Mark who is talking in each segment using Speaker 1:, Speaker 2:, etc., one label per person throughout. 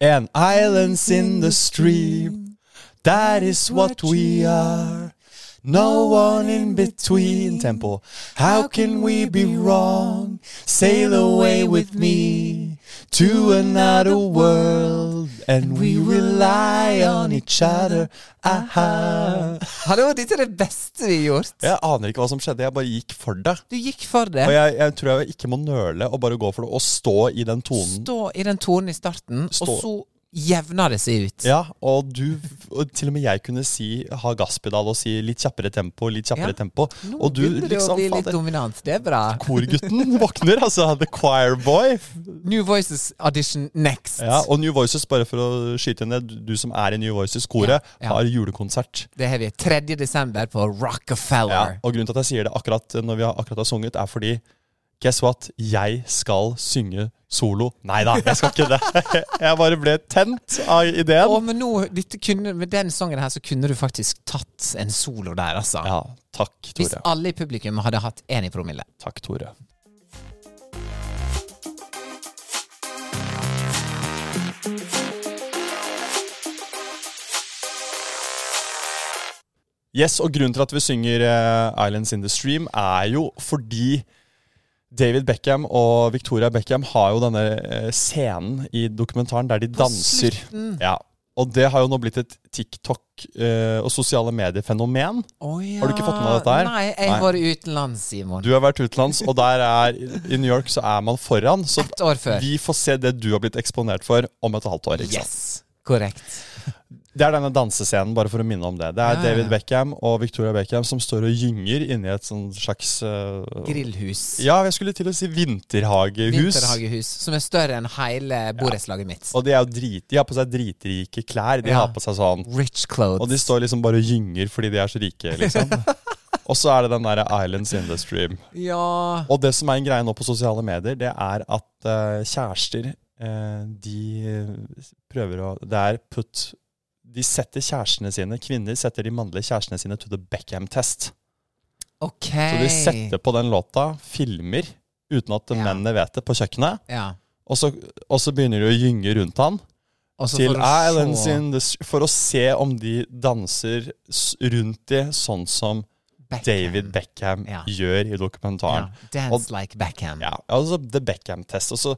Speaker 1: And islands in the stream, that is what we are. No one in between temple. How can we be wrong? Sail away with me to another world, and we rely on each other. Aha.
Speaker 2: Hallo, dette er det beste vi har gjort.
Speaker 1: Jeg aner ikke hva som skjedde, jeg bare gikk for det.
Speaker 2: Du gikk for det.
Speaker 1: Og jeg, jeg tror jeg ikke må nøle og bare gå for det, og stå i den tonen.
Speaker 2: Stå i den tonen i starten,
Speaker 1: Stå.
Speaker 2: og så jevner det seg ut.
Speaker 1: Ja, og du og Til og med jeg kunne si ha gasspedal og si litt kjappere tempo, litt kjappere
Speaker 2: Ja.
Speaker 1: tempo.
Speaker 2: Nå
Speaker 1: Og du
Speaker 2: begynner det å
Speaker 1: liksom
Speaker 2: bli litt
Speaker 1: fader,
Speaker 2: dominant. Det er bra.
Speaker 1: Korgutten våkner, altså. The choir boy.
Speaker 2: New Voices audition next.
Speaker 1: Ja, og New Voices, bare for å skyte ned, du du som er i New Voices-koret,
Speaker 2: Ja, ja.
Speaker 1: har julekonsert.
Speaker 2: Det har vi 3. desember på Rockefeller.
Speaker 1: Ja, og grunnen til at jeg sier det akkurat når vi har, akkurat har sunget, er fordi Guess what? Jeg skal synge solo. Nei da, jeg skal ikke det. Jeg bare ble tent av ideen.
Speaker 2: Å, men nå, dette kunne, med den sangen her så kunne du faktisk tatt en solo der, altså.
Speaker 1: Ja, takk,
Speaker 2: Hvis
Speaker 1: Tore.
Speaker 2: alle i publikum hadde hatt én i promille.
Speaker 1: Takk, Tore. Yes, og grunnen til at vi synger eh, Islands in the Stream, er jo fordi David Beckham og Victoria Beckham har jo denne eh, scenen i dokumentaren der de danser. Ja, og det har jo nå blitt et TikTok- eh, og sosiale medier-fenomen. Har du ikke fått med deg dette her?
Speaker 2: Nei, jeg
Speaker 1: Nei.
Speaker 2: har vært utenlands, Simon.
Speaker 1: Du har vært utenlands, og der er, i New York så er man foran. Så
Speaker 2: Ett år før.
Speaker 1: vi liksom. får se det du har blitt eksponert for om et halvt år. Ikke sant?
Speaker 2: Eh. Yes. Korrekt.
Speaker 1: Det er denne dansescenen, bare for å minne om det. Det er
Speaker 2: Ja, ja, ja.
Speaker 1: David Beckham og Victoria Beckham som står og gynger inni et sånn slags eh,
Speaker 2: Grillhus.
Speaker 1: Ja, jeg skulle til å si vinterhagehus.
Speaker 2: Vinterhagehus. Som er større enn hele borettslaget mitt.
Speaker 1: Og de, er jo drit, de har på seg dritrike klær. De
Speaker 2: Ja.
Speaker 1: har på seg sånn
Speaker 2: Rich clothes.
Speaker 1: Og de står liksom bare og gynger fordi de er så rike, liksom. og så er det den derre Islands in the Stream.
Speaker 2: Ja
Speaker 1: Og det som er en greie nå på sosiale medier, det er at eh, kjærester eh, De prøver å Det er put De setter kjærestene sine, kvinner setter de mannlige kjærestene sine to the Beckham test.
Speaker 2: Ok.
Speaker 1: Så de setter på den låta, filmer, uten at
Speaker 2: Ja.
Speaker 1: mennene vet det, på kjøkkenet.
Speaker 2: ja.
Speaker 1: Og så, og så begynner de å gynge rundt han
Speaker 2: Og så
Speaker 1: til "Ah,
Speaker 2: får du
Speaker 1: Islands
Speaker 2: se
Speaker 1: in the Street, for å se om de danser s- rundt de sånn som
Speaker 2: Beckham.
Speaker 1: David Beckham
Speaker 2: Ja.
Speaker 1: gjør i dokumentaren.
Speaker 2: Ja. Dance like Beckham.
Speaker 1: Ja, altså The Beckham-test. Og så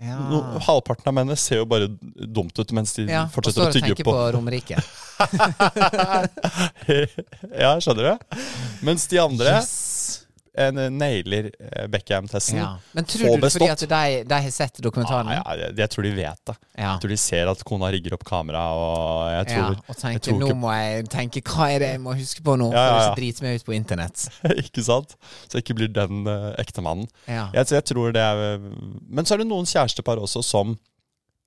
Speaker 2: Ja.
Speaker 1: no, Halvparten av mennene ser jo bare dumt ut mens de
Speaker 2: Ah. Ja, og
Speaker 1: fortsetter
Speaker 2: står
Speaker 1: å
Speaker 2: og
Speaker 1: tygge
Speaker 2: tenker
Speaker 1: på.
Speaker 2: på Romerike.
Speaker 1: ja, skjønner du? Mens de andre
Speaker 2: Yes.
Speaker 1: en, nailer eh, Beckham-testen.
Speaker 2: Ja. Men
Speaker 1: Få
Speaker 2: tror du det fordi
Speaker 1: bestått.
Speaker 2: at de, de har sett dokumentaren?
Speaker 1: Ja, ja, jeg, jeg tror de vet det.
Speaker 2: Ja.
Speaker 1: Jeg tror de ser at kona rigger opp kamera og jeg tror,
Speaker 2: ja, og
Speaker 1: jeg
Speaker 2: tenker
Speaker 1: tror
Speaker 2: nå
Speaker 1: ikke,
Speaker 2: må jeg tenke hva er det jeg må huske på nå,
Speaker 1: Ja, ja, ja.
Speaker 2: for hvis jeg driter meg ut på internett.
Speaker 1: ikke sant? Så jeg ikke blir den eh, ekte mannen.
Speaker 2: Ja.
Speaker 1: Jeg, så jeg tror det er eh, Men så er det noen kjærestepar også som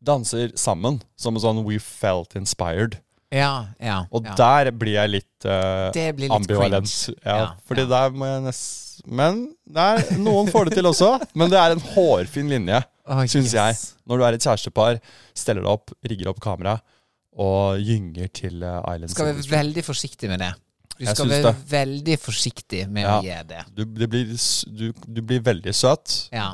Speaker 1: danser sammen, som en sånn We Felt Inspired.
Speaker 2: Ja, ja.
Speaker 1: Og
Speaker 2: ja.
Speaker 1: der blir jeg litt, eh,
Speaker 2: Det blir litt
Speaker 1: ambivalent.
Speaker 2: cringe.
Speaker 1: Ja,
Speaker 2: Ja,
Speaker 1: fordi
Speaker 2: ja.
Speaker 1: der må jeg nest... Men nei, noen får det til også. Men det er en hårfin linje,
Speaker 2: Åh,
Speaker 1: syns jeg.
Speaker 2: yes.
Speaker 1: Når du er et kjærestepar, steller deg opp, rigger opp kamera og gynger til uh, Island
Speaker 2: Du skal være
Speaker 1: Singles.
Speaker 2: veldig forsiktig med det. Du
Speaker 1: Jeg
Speaker 2: skal
Speaker 1: syns
Speaker 2: være
Speaker 1: det.
Speaker 2: veldig forsiktig med å
Speaker 1: Ja.
Speaker 2: gjøre det.
Speaker 1: Du, det blir, s- du, du blir veldig søt.
Speaker 2: Ja,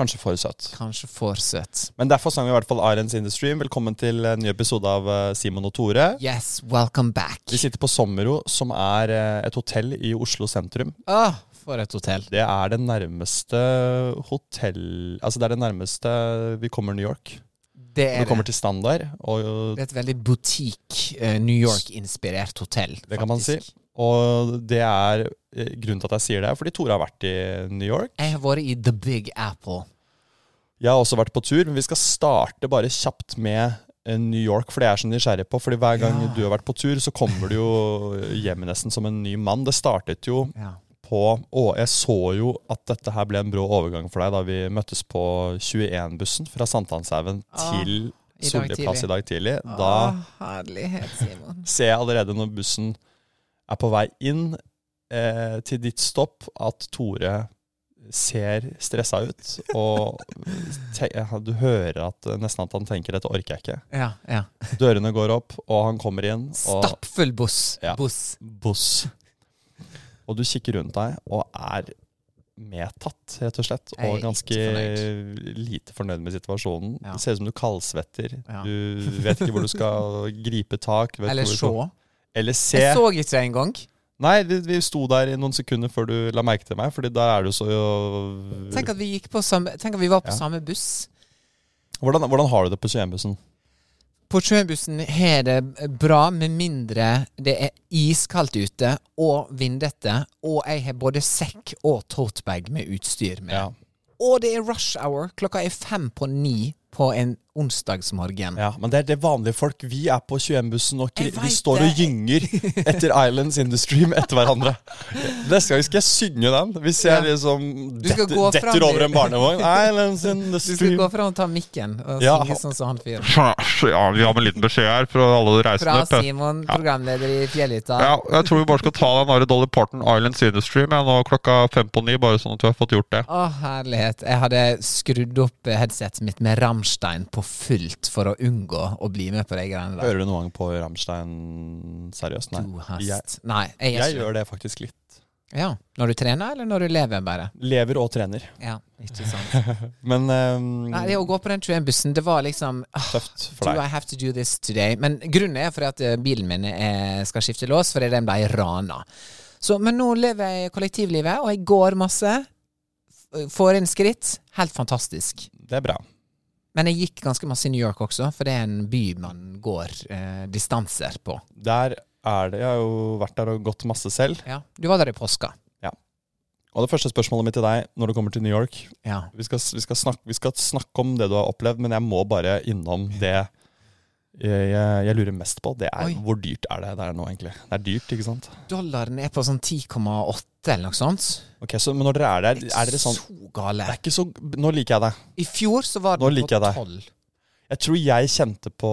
Speaker 1: Kanskje for søt.
Speaker 2: kanskje for søt.
Speaker 1: Men derfor sang vi i hvert fall Islands in the Stream. Velkommen til en ny episode av eh, Simon og Tore.
Speaker 2: Yes, welcome back.
Speaker 1: Vi sitter på Sommero, som er eh, et hotell i Oslo sentrum.
Speaker 2: Åh, for et hotell.
Speaker 1: Det er det nærmeste hotell Altså det er det nærmeste vi kommer New York.
Speaker 2: Det
Speaker 1: Vi
Speaker 2: er
Speaker 1: kommer
Speaker 2: det.
Speaker 1: til standard, og
Speaker 2: Det er et veldig butikk, eh, New York-inspirert hotell.
Speaker 1: det kan man si.
Speaker 2: faktisk.
Speaker 1: Og det er eh, grunnen til at jeg sier det, er fordi Tore har vært i New York.
Speaker 2: Jeg har vært i The Big Apple.
Speaker 1: Jeg har også vært på tur, men vi skal starte bare kjapt med eh, New York, for det er jeg så nysgjerrig på. Fordi hver gang
Speaker 2: Ja.
Speaker 1: du har vært på tur, så kommer du jo hjem nesten som en ny mann. Det startet jo
Speaker 2: Ja.
Speaker 1: på Og jeg så jo at dette her ble en brå overgang for deg da vi møttes på 21-bussen fra Sankthanshaugen
Speaker 2: Ah,
Speaker 1: til
Speaker 2: i dag
Speaker 1: Solli plass
Speaker 2: tidlig. Ah.
Speaker 1: i dag tidlig. Da
Speaker 2: Å, herlighet, Simon.
Speaker 1: ser jeg allerede når bussen er på vei inn eh, til ditt stopp, at Tore ser stressa ut. Og te eh, du hører at, eh, nesten at han tenker 'dette orker jeg ikke'.
Speaker 2: Ja, ja.
Speaker 1: Dørene går opp, og han kommer inn. Og
Speaker 2: Stappfull buss.
Speaker 1: Ja.
Speaker 2: buss.
Speaker 1: buss. Og du kikker rundt deg og er medtatt, rett og slett.
Speaker 2: Jeg er
Speaker 1: Og
Speaker 2: ikke
Speaker 1: ganske lite fornøyd med situasvetten.
Speaker 2: Ja.
Speaker 1: Det ser ut som du kaldsvetter.
Speaker 2: Ja.
Speaker 1: Du vet ikke hvor du skal gripe tak. vet
Speaker 2: Eller
Speaker 1: ikke hvor du
Speaker 2: se.
Speaker 1: skal- Eller se.
Speaker 2: Jeg så ikke det engang.
Speaker 1: Nei, vi, vi sto der i noen sekunder før du la merke til meg, Fordi da er du så øh, jo
Speaker 2: Tenk at vi, gikk på samme, tenk at vi var på
Speaker 1: Ja.
Speaker 2: samme buss.
Speaker 1: hvordan, hvordan har du det på 21-bussen?
Speaker 2: På sjøbussen har det bra, med mindre det er iskaldt ute og vindete, og jeg har både sekk og totebag med utstyr med.
Speaker 1: Ja.
Speaker 2: Og det er rush hour. Klokka er fem på ni på en onsdagsmorgen.
Speaker 1: ja, Men det er det vanlige folk. Vi er på 21-bussen og kri-
Speaker 2: Jeg
Speaker 1: vi
Speaker 2: vet
Speaker 1: står og
Speaker 2: det.
Speaker 1: gynger etter Islands Industry etter hverandre. Neste gang skal jeg synge den. Hvis jeg
Speaker 2: Ja.
Speaker 1: liksom
Speaker 2: skal
Speaker 1: detter,
Speaker 2: gå fram
Speaker 1: detter
Speaker 2: i-
Speaker 1: over en barnevogn. Islands
Speaker 2: Du
Speaker 1: Industry
Speaker 2: skal gå fram og ta mikken og
Speaker 1: Ja.
Speaker 2: synge sånn som han fyren.
Speaker 3: Ja, vi har med en liten beskjed her fra alle
Speaker 2: Fra
Speaker 3: reisende.
Speaker 2: Simon, programleder i Fjellhytta.
Speaker 3: Ja, jeg tror vi bare skal ta den der Dolly Parton Islands Industry med nå klokka fem på ni, bare sånn at vi har fått gjort det.
Speaker 2: Å, herlighet. Jeg hadde skrudd opp eh, headsetet mitt med Rammstein på fullt for å unngå å bli med på de greiene der.
Speaker 1: Hører du noen gang på Rammstein seriøst? Nei.
Speaker 2: Du hast.
Speaker 1: Jeg,
Speaker 2: Nei, jeg,
Speaker 1: jeg
Speaker 2: gjør ikke det.
Speaker 1: gjør det faktisk litt.
Speaker 2: Ja. Når du trener, eller når du lever, bare?
Speaker 1: Lever og trener.
Speaker 2: Ja, ikke sant.
Speaker 1: Men ehm,
Speaker 2: Nei, det å gå på den 21-bussen, det var liksom ah,
Speaker 1: tøft for
Speaker 2: Do
Speaker 1: deg.
Speaker 2: I have to do this today? Men grunnen er fordi at eh, bilen min eh, skal skifte lås, fordi den ble rana. Så, men nå lever jeg kollektivlivet, og jeg går masse. f- Får inn skritt. Helt fantastisk.
Speaker 1: Det er bra.
Speaker 2: Men jeg gikk ganske masse i New York også, for det er en by man går eh, distanser på.
Speaker 1: Der er det Jeg har jo vært der og gått masse selv.
Speaker 2: Ja. Du var der i påska.
Speaker 1: Og det første spørsmålet mitt til deg når du kommer til New York
Speaker 2: Ja.
Speaker 1: Vi skal, vi skal, snakke, vi skal snakke om det du har opplevd, men jeg må bare innom det jeg, jeg, jeg lurer mest på. Det er
Speaker 2: Oi.
Speaker 1: hvor dyrt er det der nå, egentlig? Det er dyrt, ikke sant?
Speaker 2: Dollaren er på sånn 10,8 eller noe sånt.
Speaker 1: Ok, så, Men når dere er der, er dere sånn
Speaker 2: Så gale.
Speaker 1: Det er ikke så Nå liker jeg deg.
Speaker 2: I fjor så var
Speaker 1: Nå
Speaker 2: den
Speaker 1: liker jeg
Speaker 2: på
Speaker 1: deg.
Speaker 2: 12.
Speaker 1: Jeg tror jeg kjente på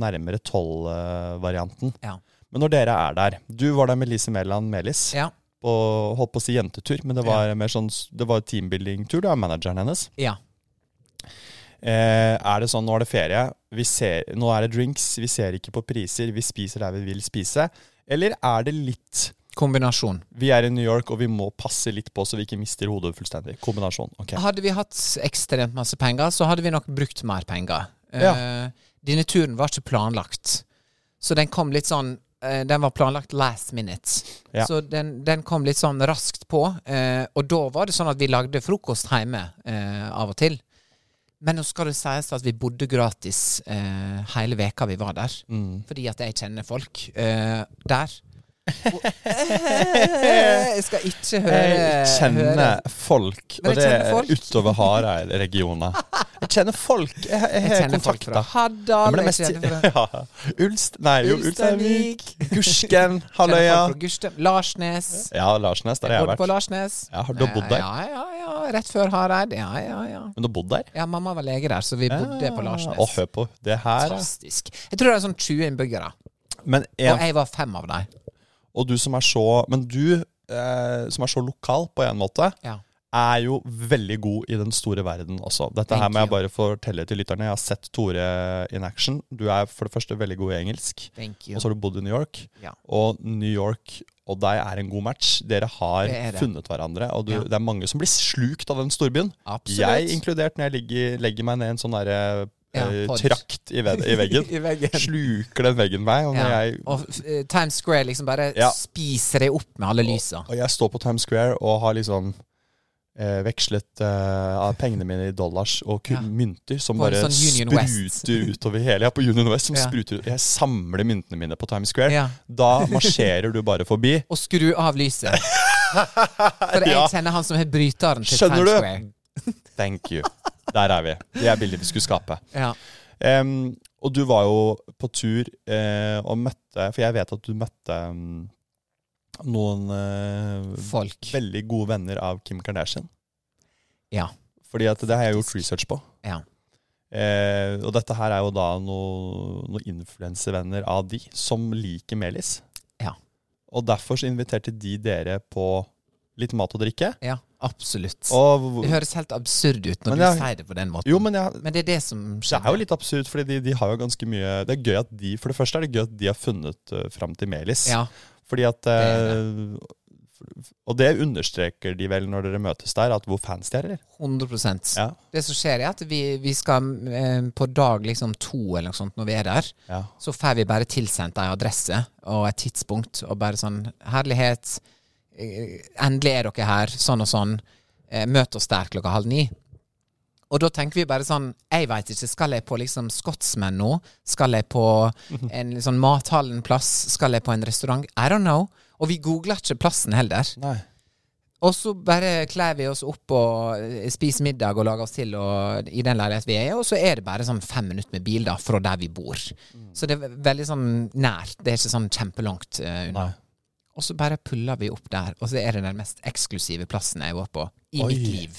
Speaker 1: nærmere 12-varianten.
Speaker 2: Ja.
Speaker 1: Men når dere er der Du var der med Lise Mæland Melis.
Speaker 2: Ja.
Speaker 1: På, holdt på å si jentetur, men det var mer sånn Det var teambuilding-tur. Det var manageren hennes.
Speaker 2: ja.
Speaker 1: Eh, er det sånn, nå er det ferie, vi ser, nå er det drinks, vi ser ikke på priser, vi spiser der vi vil spise? Eller er det litt
Speaker 2: Kombinasjon.
Speaker 1: Vi er i New York, og vi må passe litt på så vi ikke mister hodet fullstendig. Kombinasjon. ok.
Speaker 2: Hadde vi hatt ekstremt masse penger, så hadde vi nok brukt mer penger. Eh, denne turen var ikke planlagt, så den kom litt sånn eh, den var planlagt last minute,
Speaker 1: Ja.
Speaker 2: så den, den kom litt sånn raskt på. eh, og da var det sånn at vi lagde frokost hjemme eh, av og til. Men nå skal det sies at vi bodde gratis eh, hele veka vi var der,
Speaker 1: Mm.
Speaker 2: fordi at jeg kjenner folk eh, der. Og, jeg skal ikke høre
Speaker 1: Jeg
Speaker 2: høre-
Speaker 1: kjenner Eh, folk, og
Speaker 2: Men jeg
Speaker 1: det
Speaker 2: kjenner folk.
Speaker 1: er utover Hareid-regionene. Jeg kjenner folk. Jeg jeg
Speaker 2: Jeg
Speaker 1: har
Speaker 2: kjenner folk fra
Speaker 1: kontakta. Ja,
Speaker 2: Haddal.
Speaker 1: men det
Speaker 2: jeg
Speaker 1: mest-
Speaker 2: kjenner fra-
Speaker 1: ja. Ulst Nei, jo, Ulsteinvik.
Speaker 2: Ulsteinvik.
Speaker 1: Gursken.
Speaker 2: Kjenner
Speaker 1: Halløya.
Speaker 2: folk fra Gustav. Larsnes.
Speaker 1: Ja, Larsnes. Der har
Speaker 2: Jeg bodde
Speaker 1: jeg
Speaker 2: på
Speaker 1: vært.
Speaker 2: Larsnes.
Speaker 1: Ja, har du bodd der?
Speaker 2: Ja, ja, ja. Rett før Hareid. Ja, ja, ja.
Speaker 1: Men du har bodd der?
Speaker 2: Ja, mamma var lege der, så vi bodde på
Speaker 1: Ah, Å,
Speaker 2: Larsnes.
Speaker 1: hør på. Det her er
Speaker 2: Fantastisk. Jeg tror det er sånn 20 innbyggere,
Speaker 1: Men en
Speaker 2: og jeg var fem av dem.
Speaker 1: Og du som er så Men du eh, som er så lokal på en måte,
Speaker 2: Ja.
Speaker 1: er jo veldig god i den store verden også. Dette her
Speaker 2: Thank
Speaker 1: må jeg
Speaker 2: you.
Speaker 1: bare fortelle til lytterne. Jeg har sett Tore in action. Du er for det første veldig god i engelsk,
Speaker 2: Thank
Speaker 1: og
Speaker 2: you.
Speaker 1: så har du bodd i New York.
Speaker 2: Ja.
Speaker 1: Og New York og deg er en god match. Dere har
Speaker 2: Det er det.
Speaker 1: funnet hverandre, og du,
Speaker 2: Ja.
Speaker 1: det er mange som blir slukt av den storbyen. Jeg
Speaker 2: Absolutt.
Speaker 1: inkludert, når jeg ligger, legger meg ned i en sånn derre
Speaker 2: Ja,
Speaker 1: eh,
Speaker 2: pod.
Speaker 1: trakt i, ve- i veggen.
Speaker 2: I veggen.
Speaker 1: Sluker den veggen meg, og når
Speaker 2: Ja.
Speaker 1: jeg
Speaker 2: Og eh, Times Square liksom bare
Speaker 1: Ja.
Speaker 2: spiser det opp med alle lysa.
Speaker 1: Og jeg står på Times Square og har liksom eh, vekslet eh, av pengene mine i dollars og kun
Speaker 2: Ja.
Speaker 1: mynter som
Speaker 2: På en
Speaker 1: bare
Speaker 2: sånn Union West.
Speaker 1: spruter utover hele. Jeg er på Union West som
Speaker 2: Ja.
Speaker 1: spruter ut. Jeg samler myntene mine på Times Square.
Speaker 2: Ja.
Speaker 1: Da marsjerer du bare forbi.
Speaker 2: Og skru av lyset. For jeg
Speaker 1: Ja.
Speaker 2: kjenner han som har bryteren til
Speaker 1: Skjønner
Speaker 2: Times
Speaker 1: du?
Speaker 2: Square.
Speaker 1: Thank you. Der er vi. Det er bildet vi skulle skape.
Speaker 2: Ja.
Speaker 1: Em, og du var jo på tur eh, og møtte For jeg vet at du møtte em, noen eh,
Speaker 2: Folk.
Speaker 1: veldig gode venner av Kim Kardashian.
Speaker 2: Ja.
Speaker 1: Fordi at det har jeg gjort research på.
Speaker 2: Ja.
Speaker 1: Eh, og dette her er jo da noen noe influensevenner av de som liker melis.
Speaker 2: Ja.
Speaker 1: Og derfor så inviterte de dere på litt mat og drikke.
Speaker 2: ja absolutt.
Speaker 1: Og,
Speaker 2: Det høres helt absurd ut når
Speaker 1: Men
Speaker 2: du
Speaker 1: jeg-
Speaker 2: sier det på den måten.
Speaker 1: jo, men jeg,
Speaker 2: Men det er det som
Speaker 1: det er jo
Speaker 2: skjer.
Speaker 1: litt absurd, fordi de, de har jo ganske mye Det er gøy at de For det første er det gøy at de har funnet uh, fram til melis.
Speaker 2: Ja.
Speaker 1: Fordi at
Speaker 2: er
Speaker 1: eh, for- Og det understreker de vel når dere møtes der, at hvor fans de er, eller?
Speaker 2: 100
Speaker 1: Ja.
Speaker 2: Det som skjer, er at vi, vi skal eh, på dag liksom to eller noe sånt når vi er der,
Speaker 1: Ja.
Speaker 2: så får vi bare tilsendt ei adresse og et tidspunkt, og bare sånn Herlighet, eh, endelig er dere her, sånn og sånn. Eh, Møt oss der klokka halv ni. Og da tenker vi bare sånn Jeg veit ikke. Skal jeg på liksom Scotsman nå? Skal jeg på en litt sånn mathallenplass? Skal jeg på en restaurant? I don't know. Og vi googler ikke plassen heller.
Speaker 1: Nei.
Speaker 2: Og så bare kler vi oss opp og eh, spiser middag og lager oss til og, i den leilighet vi er i, og så er det bare sånn fem minutter med bil da, fra der vi bor.
Speaker 1: Mm.
Speaker 2: Så det er ve- veldig sånn nært. Det er ikke sånn kjempelangt eh, unna.
Speaker 1: Nei.
Speaker 2: Og så bare puller vi opp der, og så er det den mest eksklusive plassen jeg har vært på i
Speaker 1: Oi.
Speaker 2: mitt liv.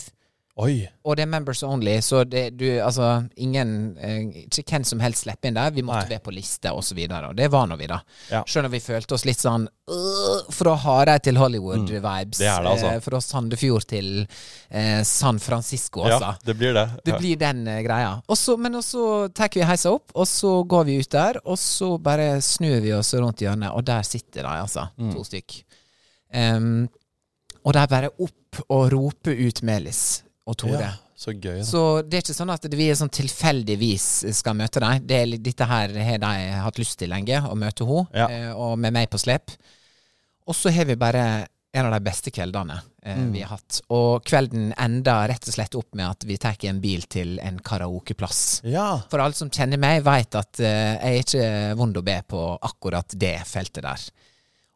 Speaker 1: Oi.
Speaker 2: Og det er members only, så det, du, altså, ingen, eh, ikke hvem som helst slipper inn der. Vi måtte
Speaker 1: Nei.
Speaker 2: være på liste og så videre, og det var nå vi, da.
Speaker 1: Ja. Mm.
Speaker 2: Selv om vi følte oss litt sånn øh, fra Hareid til Hollywood-vibes. eh,
Speaker 1: det er det, altså.
Speaker 2: fra Sandefjord til eh, San Francisco, altså.
Speaker 1: Ja, det blir det.
Speaker 2: Det blir den eh, greia. Og så- men og så tar vi heisa opp, og så går vi ut der, og så bare snur vi oss rundt hjørnet, og der sitter de, altså.
Speaker 1: Mm.
Speaker 2: To stykk. Em, og de bare opp og roper ut Melis og Tore.
Speaker 1: Ja, så gøy. Da.
Speaker 2: Så det er ikke sånn at vi er sånn tilfeldigvis skal møte dem. Det er, litt- dette her har de hatt lyst til lenge, å møte henne,
Speaker 1: Ja.
Speaker 2: eh, og med meg på slep. Og så har vi bare en av de beste kveldene eh,
Speaker 1: Mm.
Speaker 2: vi har hatt. Og kvelden enda rett og slett opp med at vi tar en bil til en karaokeplass.
Speaker 1: Ja.
Speaker 2: For alle som kjenner meg, veit at eh, jeg er ikke vond å be på akkurat det feltet der.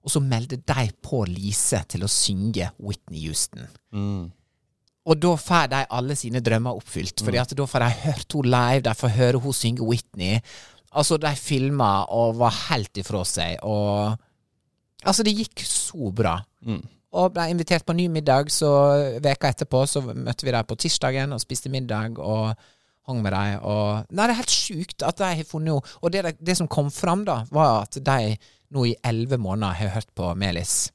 Speaker 2: Og så meldte de på Lise til å synge Whitney Houston.
Speaker 1: Mm.
Speaker 2: Og da får de alle sine drømmer oppfylt. Fordi at da får de hørt henne live, de får høre henne synge Whitney. Altså, de filma og var helt ifra seg, og Altså, det gikk så bra.
Speaker 1: Mm.
Speaker 2: Og ble invitert på ny middag, så veka etterpå så møtte vi dem på tirsdagen og spiste middag og hang med dem. Og Nei, det er helt sjukt at de har funnet henne. Og det, de- det som kom fram, da, var at de nå i elleve måneder har hørt på Melis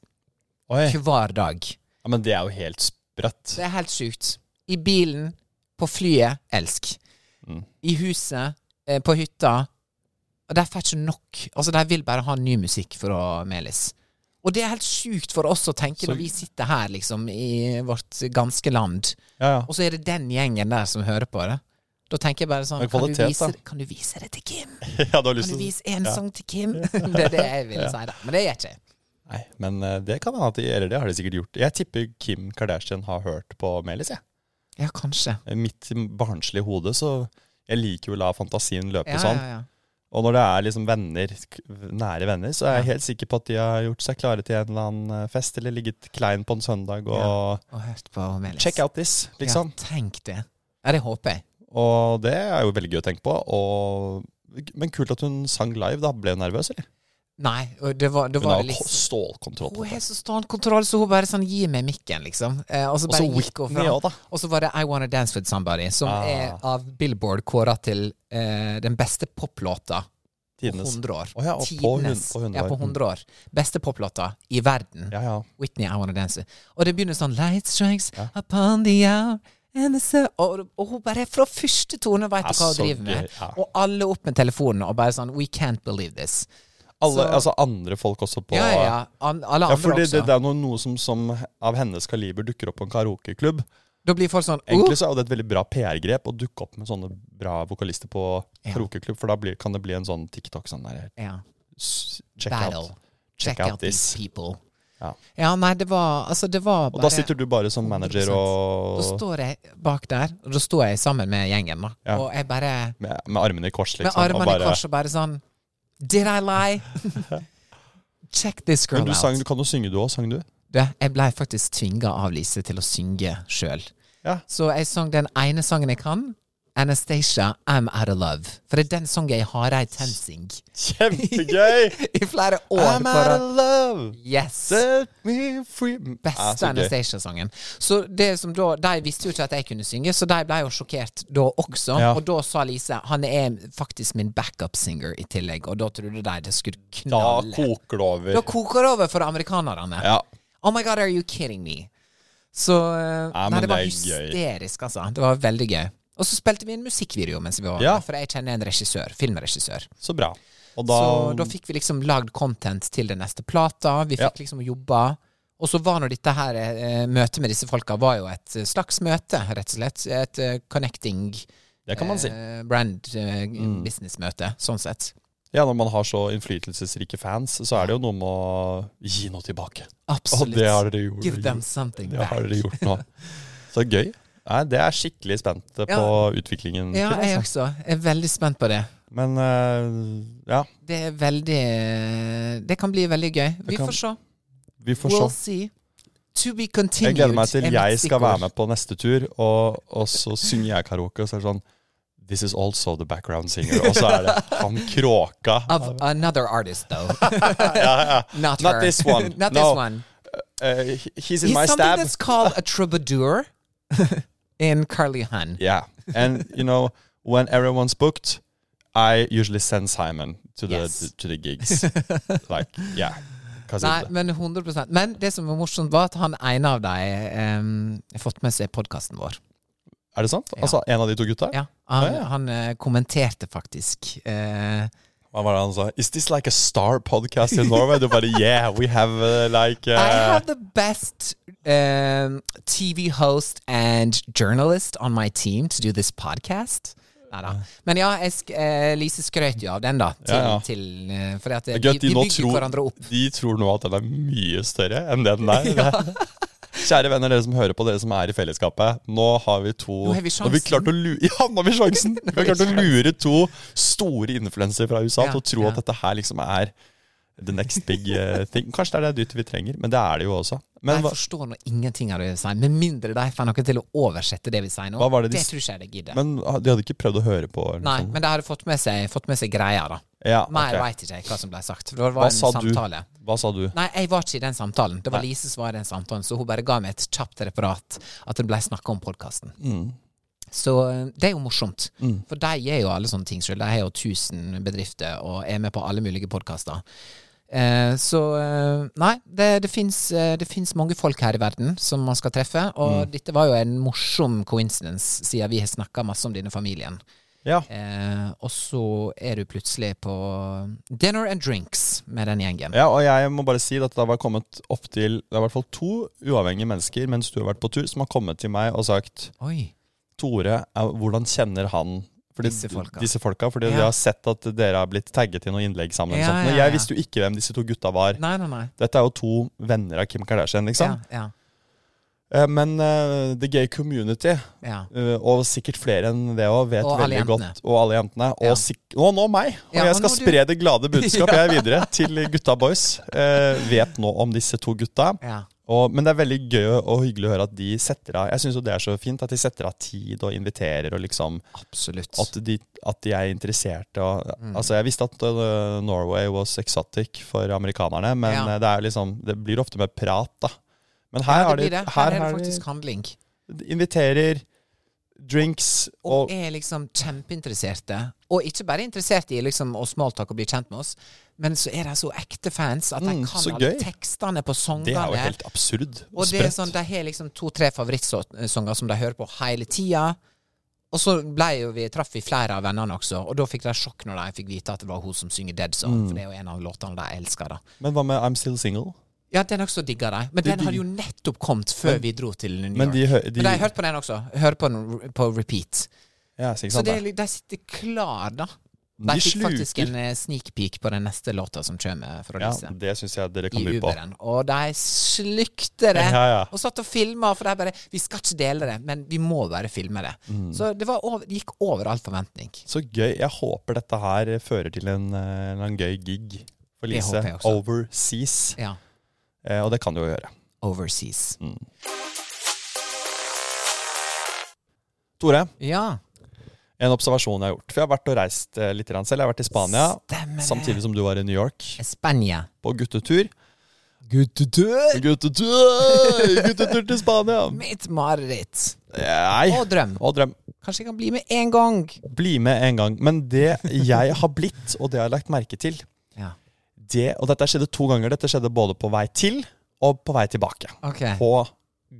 Speaker 1: Oi.
Speaker 2: hver dag.
Speaker 1: Ja, men det er jo helt sprøtt.
Speaker 2: Det er helt sjukt. I bilen, på flyet, elsk.
Speaker 1: Mm.
Speaker 2: I huset, eh, på hytta. Og de får ikke nok. Altså, de vil bare ha ny musikk fra Melis. Og det er helt sjukt for oss å tenke
Speaker 1: Så-
Speaker 2: når vi sitter her, liksom, i vårt ganske land,
Speaker 1: Ja, ja.
Speaker 2: og så er det den gjengen der som hører på det. Da tenker jeg bare sånn
Speaker 1: Men
Speaker 2: kan,
Speaker 1: kvalitet,
Speaker 2: du vise,
Speaker 1: da.
Speaker 2: kan du vise det til Kim?
Speaker 1: ja du har lyst
Speaker 2: Kan
Speaker 1: til
Speaker 2: du
Speaker 1: å
Speaker 2: vise én sang til Kim? det er det jeg vil si, da. Men det gjør jeg ikke.
Speaker 1: Nei, men eh, det kan hende at de Eller det har de sikkert gjort. Jeg tipper Kim Kardashian har hørt på Melis, jeg. Eh,
Speaker 2: Ja, kanskje.
Speaker 1: Mitt barnslige hode, så Jeg liker jo å la fantasien løpe
Speaker 2: Ja, ja,
Speaker 1: sånn.
Speaker 2: ja.
Speaker 1: Og når det er liksom venner, k- nære venner, så er jeg helt sikker på at de har gjort seg klare til en eller annen eh, fest, eller ligget klein på en søndag og
Speaker 2: Og hørt på Melis.
Speaker 1: Check out this, liksom.
Speaker 2: Ja, tenk det. Ja, det håper jeg.
Speaker 1: Og det er jo veldig gøy å tenke på. Og, men kult at hun sang live, da. Ble hun nervøs, eller?
Speaker 2: Nei, og det var, det
Speaker 1: Hun
Speaker 2: var
Speaker 1: har
Speaker 2: jo
Speaker 1: jo
Speaker 2: litt sånn-
Speaker 1: ko- stålkontroll på
Speaker 2: Hun har
Speaker 1: dette.
Speaker 2: så stålkontroll, så hun bare sånn Gi meg mikken, liksom. Eh, og så
Speaker 1: Og så
Speaker 2: bare gikk hun
Speaker 1: Whitney
Speaker 2: fram.
Speaker 1: òg, da.
Speaker 2: Og så var det I Wanna Dance With Somebody, som
Speaker 1: Ah.
Speaker 2: er av Billboard kåra til eh, den beste poplåta på
Speaker 1: Tidenes.
Speaker 2: 100 år.
Speaker 1: Å ja, og på hun-
Speaker 2: Tidenes.
Speaker 1: på 100
Speaker 2: ja,
Speaker 1: år. Mm.
Speaker 2: på 100 år. Beste poplåta i verden.
Speaker 1: Ja, ja.
Speaker 2: Whitney, I Wanna Dance. Og det begynner sånn Light strikes upon the hour and the sun og, og hun bare fra første tone veit
Speaker 1: Ja,
Speaker 2: du hva hun
Speaker 1: så
Speaker 2: driver med.
Speaker 1: gøy, ja.
Speaker 2: Og alle opp med telefonen og bare sånn We can't believe this.
Speaker 1: Alle,
Speaker 2: Så-
Speaker 1: altså andre folk også på
Speaker 2: Ja, ja. ja. An, alle
Speaker 1: Ja,
Speaker 2: andre
Speaker 1: fordi
Speaker 2: også.
Speaker 1: det, det er noe, noe som, som av hennes kaliber dukker opp på en karaokeklubb.
Speaker 2: da blir folk sånn
Speaker 1: Egentlig
Speaker 2: «Oh!»
Speaker 1: så er jo det et veldig bra PR-grep å dukke opp med sånne bra vokalister på karaokeklubb, for da blir, kan det bli en sånn TikTok sånn der
Speaker 2: ja.
Speaker 1: s- Check
Speaker 2: Battle.
Speaker 1: out. Check, out this.
Speaker 2: these people.
Speaker 1: Ja.
Speaker 2: Ja, nei, det var Altså, det var
Speaker 1: Og
Speaker 2: bare
Speaker 1: da sitter du bare som manager
Speaker 2: 100%. Da
Speaker 1: og
Speaker 2: står jeg bak der, og da står jeg sammen med gjengen, da.
Speaker 1: Ja.
Speaker 2: Og jeg bare
Speaker 1: med, med armene i kors, liksom.
Speaker 2: Med armene
Speaker 1: og bare,
Speaker 2: i kors og bare sånn Did I lie? Check this girl
Speaker 1: Men du,
Speaker 2: out.
Speaker 1: sang, du kan jo synge, du òg. Sang du?
Speaker 2: Du, jeg blei faktisk tvinga av Lise til å synge sjøl.
Speaker 1: Ja.
Speaker 2: Så jeg sang den ene sangen jeg kan, Anastacia, I'm Out of Love. For det er den sangen jeg har ei tensing
Speaker 1: Kjempegøy!
Speaker 2: i flere år.
Speaker 1: I'm
Speaker 2: på
Speaker 1: out
Speaker 2: rad.
Speaker 1: of love.
Speaker 2: Yes.
Speaker 1: Set me free. Ah,
Speaker 2: Beste
Speaker 1: så gøy.
Speaker 2: Anastacia-sangen. Så det som da De visste jo ikke at jeg kunne synge, så de ble jo sjokkert da også.
Speaker 1: Ja.
Speaker 2: Og da sa Lise han er faktisk min backup-singer i tillegg, og da trodde de det skulle
Speaker 1: Da
Speaker 2: knalle.
Speaker 1: koker det over.
Speaker 2: Da koker det over for amerikanerne.
Speaker 1: Ja.
Speaker 2: Oh my god, are you kidding me? Så eh,
Speaker 1: Ja,
Speaker 2: Nei,
Speaker 1: men
Speaker 2: det var
Speaker 1: det er gøy.
Speaker 2: hysterisk, altså. Det var veldig gøy. Og så spilte vi en musikkvideo mens vi var
Speaker 1: Ja.
Speaker 2: der, for jeg kjenner en regissør. Filmregissør.
Speaker 1: Så bra. Og da,
Speaker 2: Så da fikk vi liksom lagd content til den neste plata. Vi
Speaker 1: Ja.
Speaker 2: fikk liksom jobba. Og så var nå dette her eh, møtet med disse folka var jo et eh, slags møte, rett og slett. Et eh, connecting
Speaker 1: Det kan man si. Mm.
Speaker 2: eh, brand eh, business-møte, sånn sett.
Speaker 1: Ja, når man har så innflytelsesrike fans, så er det jo noe med å gi noe tilbake.
Speaker 2: Absolutt.
Speaker 1: Og det har dere gjort.
Speaker 2: Give them something
Speaker 1: Det har
Speaker 2: back.
Speaker 1: dere gjort nå. Så gøy. Nei, det er skikkelig spent på
Speaker 2: Ja.
Speaker 1: utviklingen.
Speaker 2: Ja,
Speaker 1: til,
Speaker 2: jeg
Speaker 1: altså.
Speaker 2: også. Jeg er veldig spent på det.
Speaker 1: Men eh, ja,
Speaker 2: Det er veldig eh, Det kan bli veldig gøy. Vi
Speaker 1: kan-
Speaker 2: får se.
Speaker 1: vi får se.
Speaker 2: We'll see. To be continued.
Speaker 1: Jeg gleder meg til
Speaker 2: er mitt
Speaker 1: jeg skal
Speaker 2: stikkord.
Speaker 1: være med på neste tur, og, og så synger jeg karaoke, og så er det sånn This is also the background singer. Og så er det han kråka.
Speaker 2: Of another artist, though.
Speaker 1: Ja, ja.
Speaker 2: Not,
Speaker 1: Not
Speaker 2: her.
Speaker 1: this one.
Speaker 2: Not
Speaker 1: No.
Speaker 2: this one.
Speaker 1: Eh, he's in
Speaker 2: He's
Speaker 1: my
Speaker 2: something
Speaker 1: stab.
Speaker 2: that's called a troubadour in Carly Hun.
Speaker 1: Yeah. And you know, when everyone's booked, I usually send Simon to the
Speaker 2: Yes.
Speaker 1: to the gigs. like, yeah. 'Cause
Speaker 2: Nei,
Speaker 1: it-
Speaker 2: men 100 Men det som var morsomt, var at han ene av dem em, har fått med seg podkasten vår.
Speaker 1: er det sant? Altså, en av de to gutta?
Speaker 2: Ja, han,
Speaker 1: Ah, ja.
Speaker 2: han eh, kommenterte faktisk. eh,
Speaker 1: Hva var det han sa? Is this like a star podcast in Norway? Du bare, yeah, we have uh, like uh,
Speaker 2: I have the best um, TV host and journalist on my team to do this podcast. Neida. Men ja, jeg sk eh, Lise skrøt jo av den, da. Til,
Speaker 1: Ja, ja.
Speaker 2: til eh, Fordi at
Speaker 1: Det
Speaker 2: vi,
Speaker 1: er gøy at
Speaker 2: vi
Speaker 1: nå
Speaker 2: bygger hverandre opp.
Speaker 1: De tror nå at den er mye større enn det den er. Kjære venner, dere som hører på, dere som er i fellesskapet. Nå har vi to
Speaker 2: Nå har vi sjansen.
Speaker 1: nå har klart å lu- ja, nå har vi sjansen! Vi har klart å lure to store influensere fra USA
Speaker 2: Ja,
Speaker 1: til å tro
Speaker 2: ja.
Speaker 1: at dette her liksom er the next big eh, thing. Kanskje det er det dyttet vi trenger, men det er det jo også. Men
Speaker 2: jeg
Speaker 1: hva,
Speaker 2: forstår nå ingenting av det vi sier, med mindre de får noen til å oversette det vi sier nå.
Speaker 1: Hva var det de
Speaker 2: det
Speaker 1: s-
Speaker 2: tror ikke jeg de gidder.
Speaker 1: men ah, de hadde ikke prøvd å høre på? Eller noe
Speaker 2: Nei,
Speaker 1: sånt?
Speaker 2: men de hadde fått med seg, fått med seg greia, da.
Speaker 1: ja,
Speaker 2: Mer
Speaker 1: Ah, ok.
Speaker 2: vet ikke jeg hva som ble sagt. For det var
Speaker 1: Hva
Speaker 2: en
Speaker 1: sa du?
Speaker 2: samtale.
Speaker 1: Hva sa du?
Speaker 2: Nei, jeg var ikke i den samtalen. Det var
Speaker 1: Nei.
Speaker 2: Lise som var i den samtalen, så hun bare ga meg et kjapt referat at det ble snakka om podkasten.
Speaker 1: Mm,
Speaker 2: Så eh, det er jo morsomt, for de gjør jo alle sånne ting sjøl. De har jo 1000 bedrifter og er med på alle mulige podkaster. Eh, så eh, nei, det, det fins eh, det finnes mange folk her i verden som man skal treffe, og
Speaker 1: Mm.
Speaker 2: dette var jo en morsom coincidence, siden vi har snakka masse om denne familien.
Speaker 1: Ja.
Speaker 2: Eh, og så er du plutselig på dinner and drinks med den gjengen.
Speaker 1: Ja, og jeg må bare si at det har kommet opp til Det er i hvert fall to uavhengige mennesker mens du har vært på tur, som har kommet til meg og sagt
Speaker 2: Oi.
Speaker 1: Tore, er- hvordan kjenner han fordi,
Speaker 2: Disse folka.
Speaker 1: Disse folka fordi
Speaker 2: Ja.
Speaker 1: de har sett at dere har blitt tagget i noen innlegg sammen. eller
Speaker 2: Ja,
Speaker 1: sånt. Men
Speaker 2: ja,
Speaker 1: jeg
Speaker 2: ja.
Speaker 1: visste jo ikke hvem disse to gutta var.
Speaker 2: Nei, nei, nei.
Speaker 1: Dette er jo to venner av Kim Kardashian, liksom.
Speaker 2: Ja,
Speaker 1: Eh, Men eh, the gay community,
Speaker 2: ja,
Speaker 1: eh, og sikkert flere enn det òg, vet
Speaker 2: Og alle
Speaker 1: veldig
Speaker 2: jentene.
Speaker 1: godt Og alle jentene. Og
Speaker 2: Ja.
Speaker 1: sikk- og nå meg! Og
Speaker 2: Ja,
Speaker 1: jeg
Speaker 2: og
Speaker 1: skal
Speaker 2: nå du.
Speaker 1: spre det glade budskap jeg videre til gutta boys. Eh, vet nå om disse to gutta.
Speaker 2: ja. ja.
Speaker 1: Og, men det er veldig gøy og hyggelig å høre at de setter av Jeg synes jo det er så fint at de setter av tid og inviterer, og liksom
Speaker 2: Absolutt.
Speaker 1: at de, at de er interesserte. Og,
Speaker 2: Mm.
Speaker 1: Altså, jeg visste at øh, Norway was exotic for amerikanerne, men
Speaker 2: Ja.
Speaker 1: øh, det er jo liksom Det blir ofte med prat, da. Men her,
Speaker 2: det
Speaker 1: har de,
Speaker 2: blir det. Her,
Speaker 1: her
Speaker 2: er det
Speaker 1: har
Speaker 2: faktisk handling.
Speaker 1: de inviterer drinks
Speaker 2: Og
Speaker 1: og
Speaker 2: er liksom kjempeinteresserte. Og ikke bare interesserte i liksom å smalltalk og bli kjent med oss, men så er de så ekte fans at de
Speaker 1: Mm,
Speaker 2: kan
Speaker 1: så
Speaker 2: alle
Speaker 1: gøy.
Speaker 2: tekstene på sangene.
Speaker 1: Det er jo helt absurd og,
Speaker 2: Og det er
Speaker 1: sprøtt.
Speaker 2: sånn, De har liksom to-tre favorittsanger som de hører på hele tida. Og så ble jo vi, traff vi flere av vennene også, og da fikk de sjokk når de fikk vite at det var hun som synger Dead
Speaker 1: Mm.
Speaker 2: Song, for det er jo en av låtene de elsker. da
Speaker 1: Men hva med I'm Still Single?
Speaker 2: Ja, den også digga de. Men
Speaker 1: De
Speaker 2: den hadde
Speaker 1: digger-
Speaker 2: jo nettopp kommet før vi dro til New York.
Speaker 1: Men de, hø- de,
Speaker 2: Men de har hørt på den også. Hører på den på repeat.
Speaker 1: ja, så ikke
Speaker 2: Så
Speaker 1: sant,
Speaker 2: det,
Speaker 1: det,
Speaker 2: er li- de sitter klar, da. De
Speaker 1: de
Speaker 2: fikk faktisk en
Speaker 1: sluker.
Speaker 2: eh, sneak peek på den neste låta som kommer fra
Speaker 1: Ja,
Speaker 2: Lise.
Speaker 1: det syns jeg dere
Speaker 2: I
Speaker 1: kan by på.
Speaker 2: Uberen. Og de slukte det.
Speaker 1: Ja, ja.
Speaker 2: Og satt og filma, for de bare Vi skal ikke dele det, men vi må bare filme det.
Speaker 1: Mm.
Speaker 2: Så det var over, gikk over all forventning.
Speaker 1: Så gøy. Jeg håper dette her fører til en, eh, en eller annen gøy gig for
Speaker 2: Det
Speaker 1: Lise
Speaker 2: håper jeg også.
Speaker 1: overseas.
Speaker 2: Ja.
Speaker 1: Eh, og det kan det jo gjøre.
Speaker 2: Overseas.
Speaker 1: Tore,
Speaker 2: Ja.
Speaker 1: en observasjon jeg har gjort. For jeg har vært og reist eh, litt grann selv. Jeg har vært i Spania,
Speaker 2: Stemmer det.
Speaker 1: samtidig som du var i New York
Speaker 2: Spania.
Speaker 1: på guttetur.
Speaker 2: Guttetur!
Speaker 1: Guttetur, guttetur til Spania!
Speaker 2: Mitt mareritt.
Speaker 1: Nei.
Speaker 2: Og drøm.
Speaker 1: Og drøm.
Speaker 2: Kanskje jeg kan bli med én gang.
Speaker 1: Bli med en gang. Men det jeg har blitt, og det jeg har lagt merke til
Speaker 2: Ja.
Speaker 1: det, Og dette skjedde to ganger. Dette skjedde både på vei til og på vei tilbake.
Speaker 2: Ok.
Speaker 1: På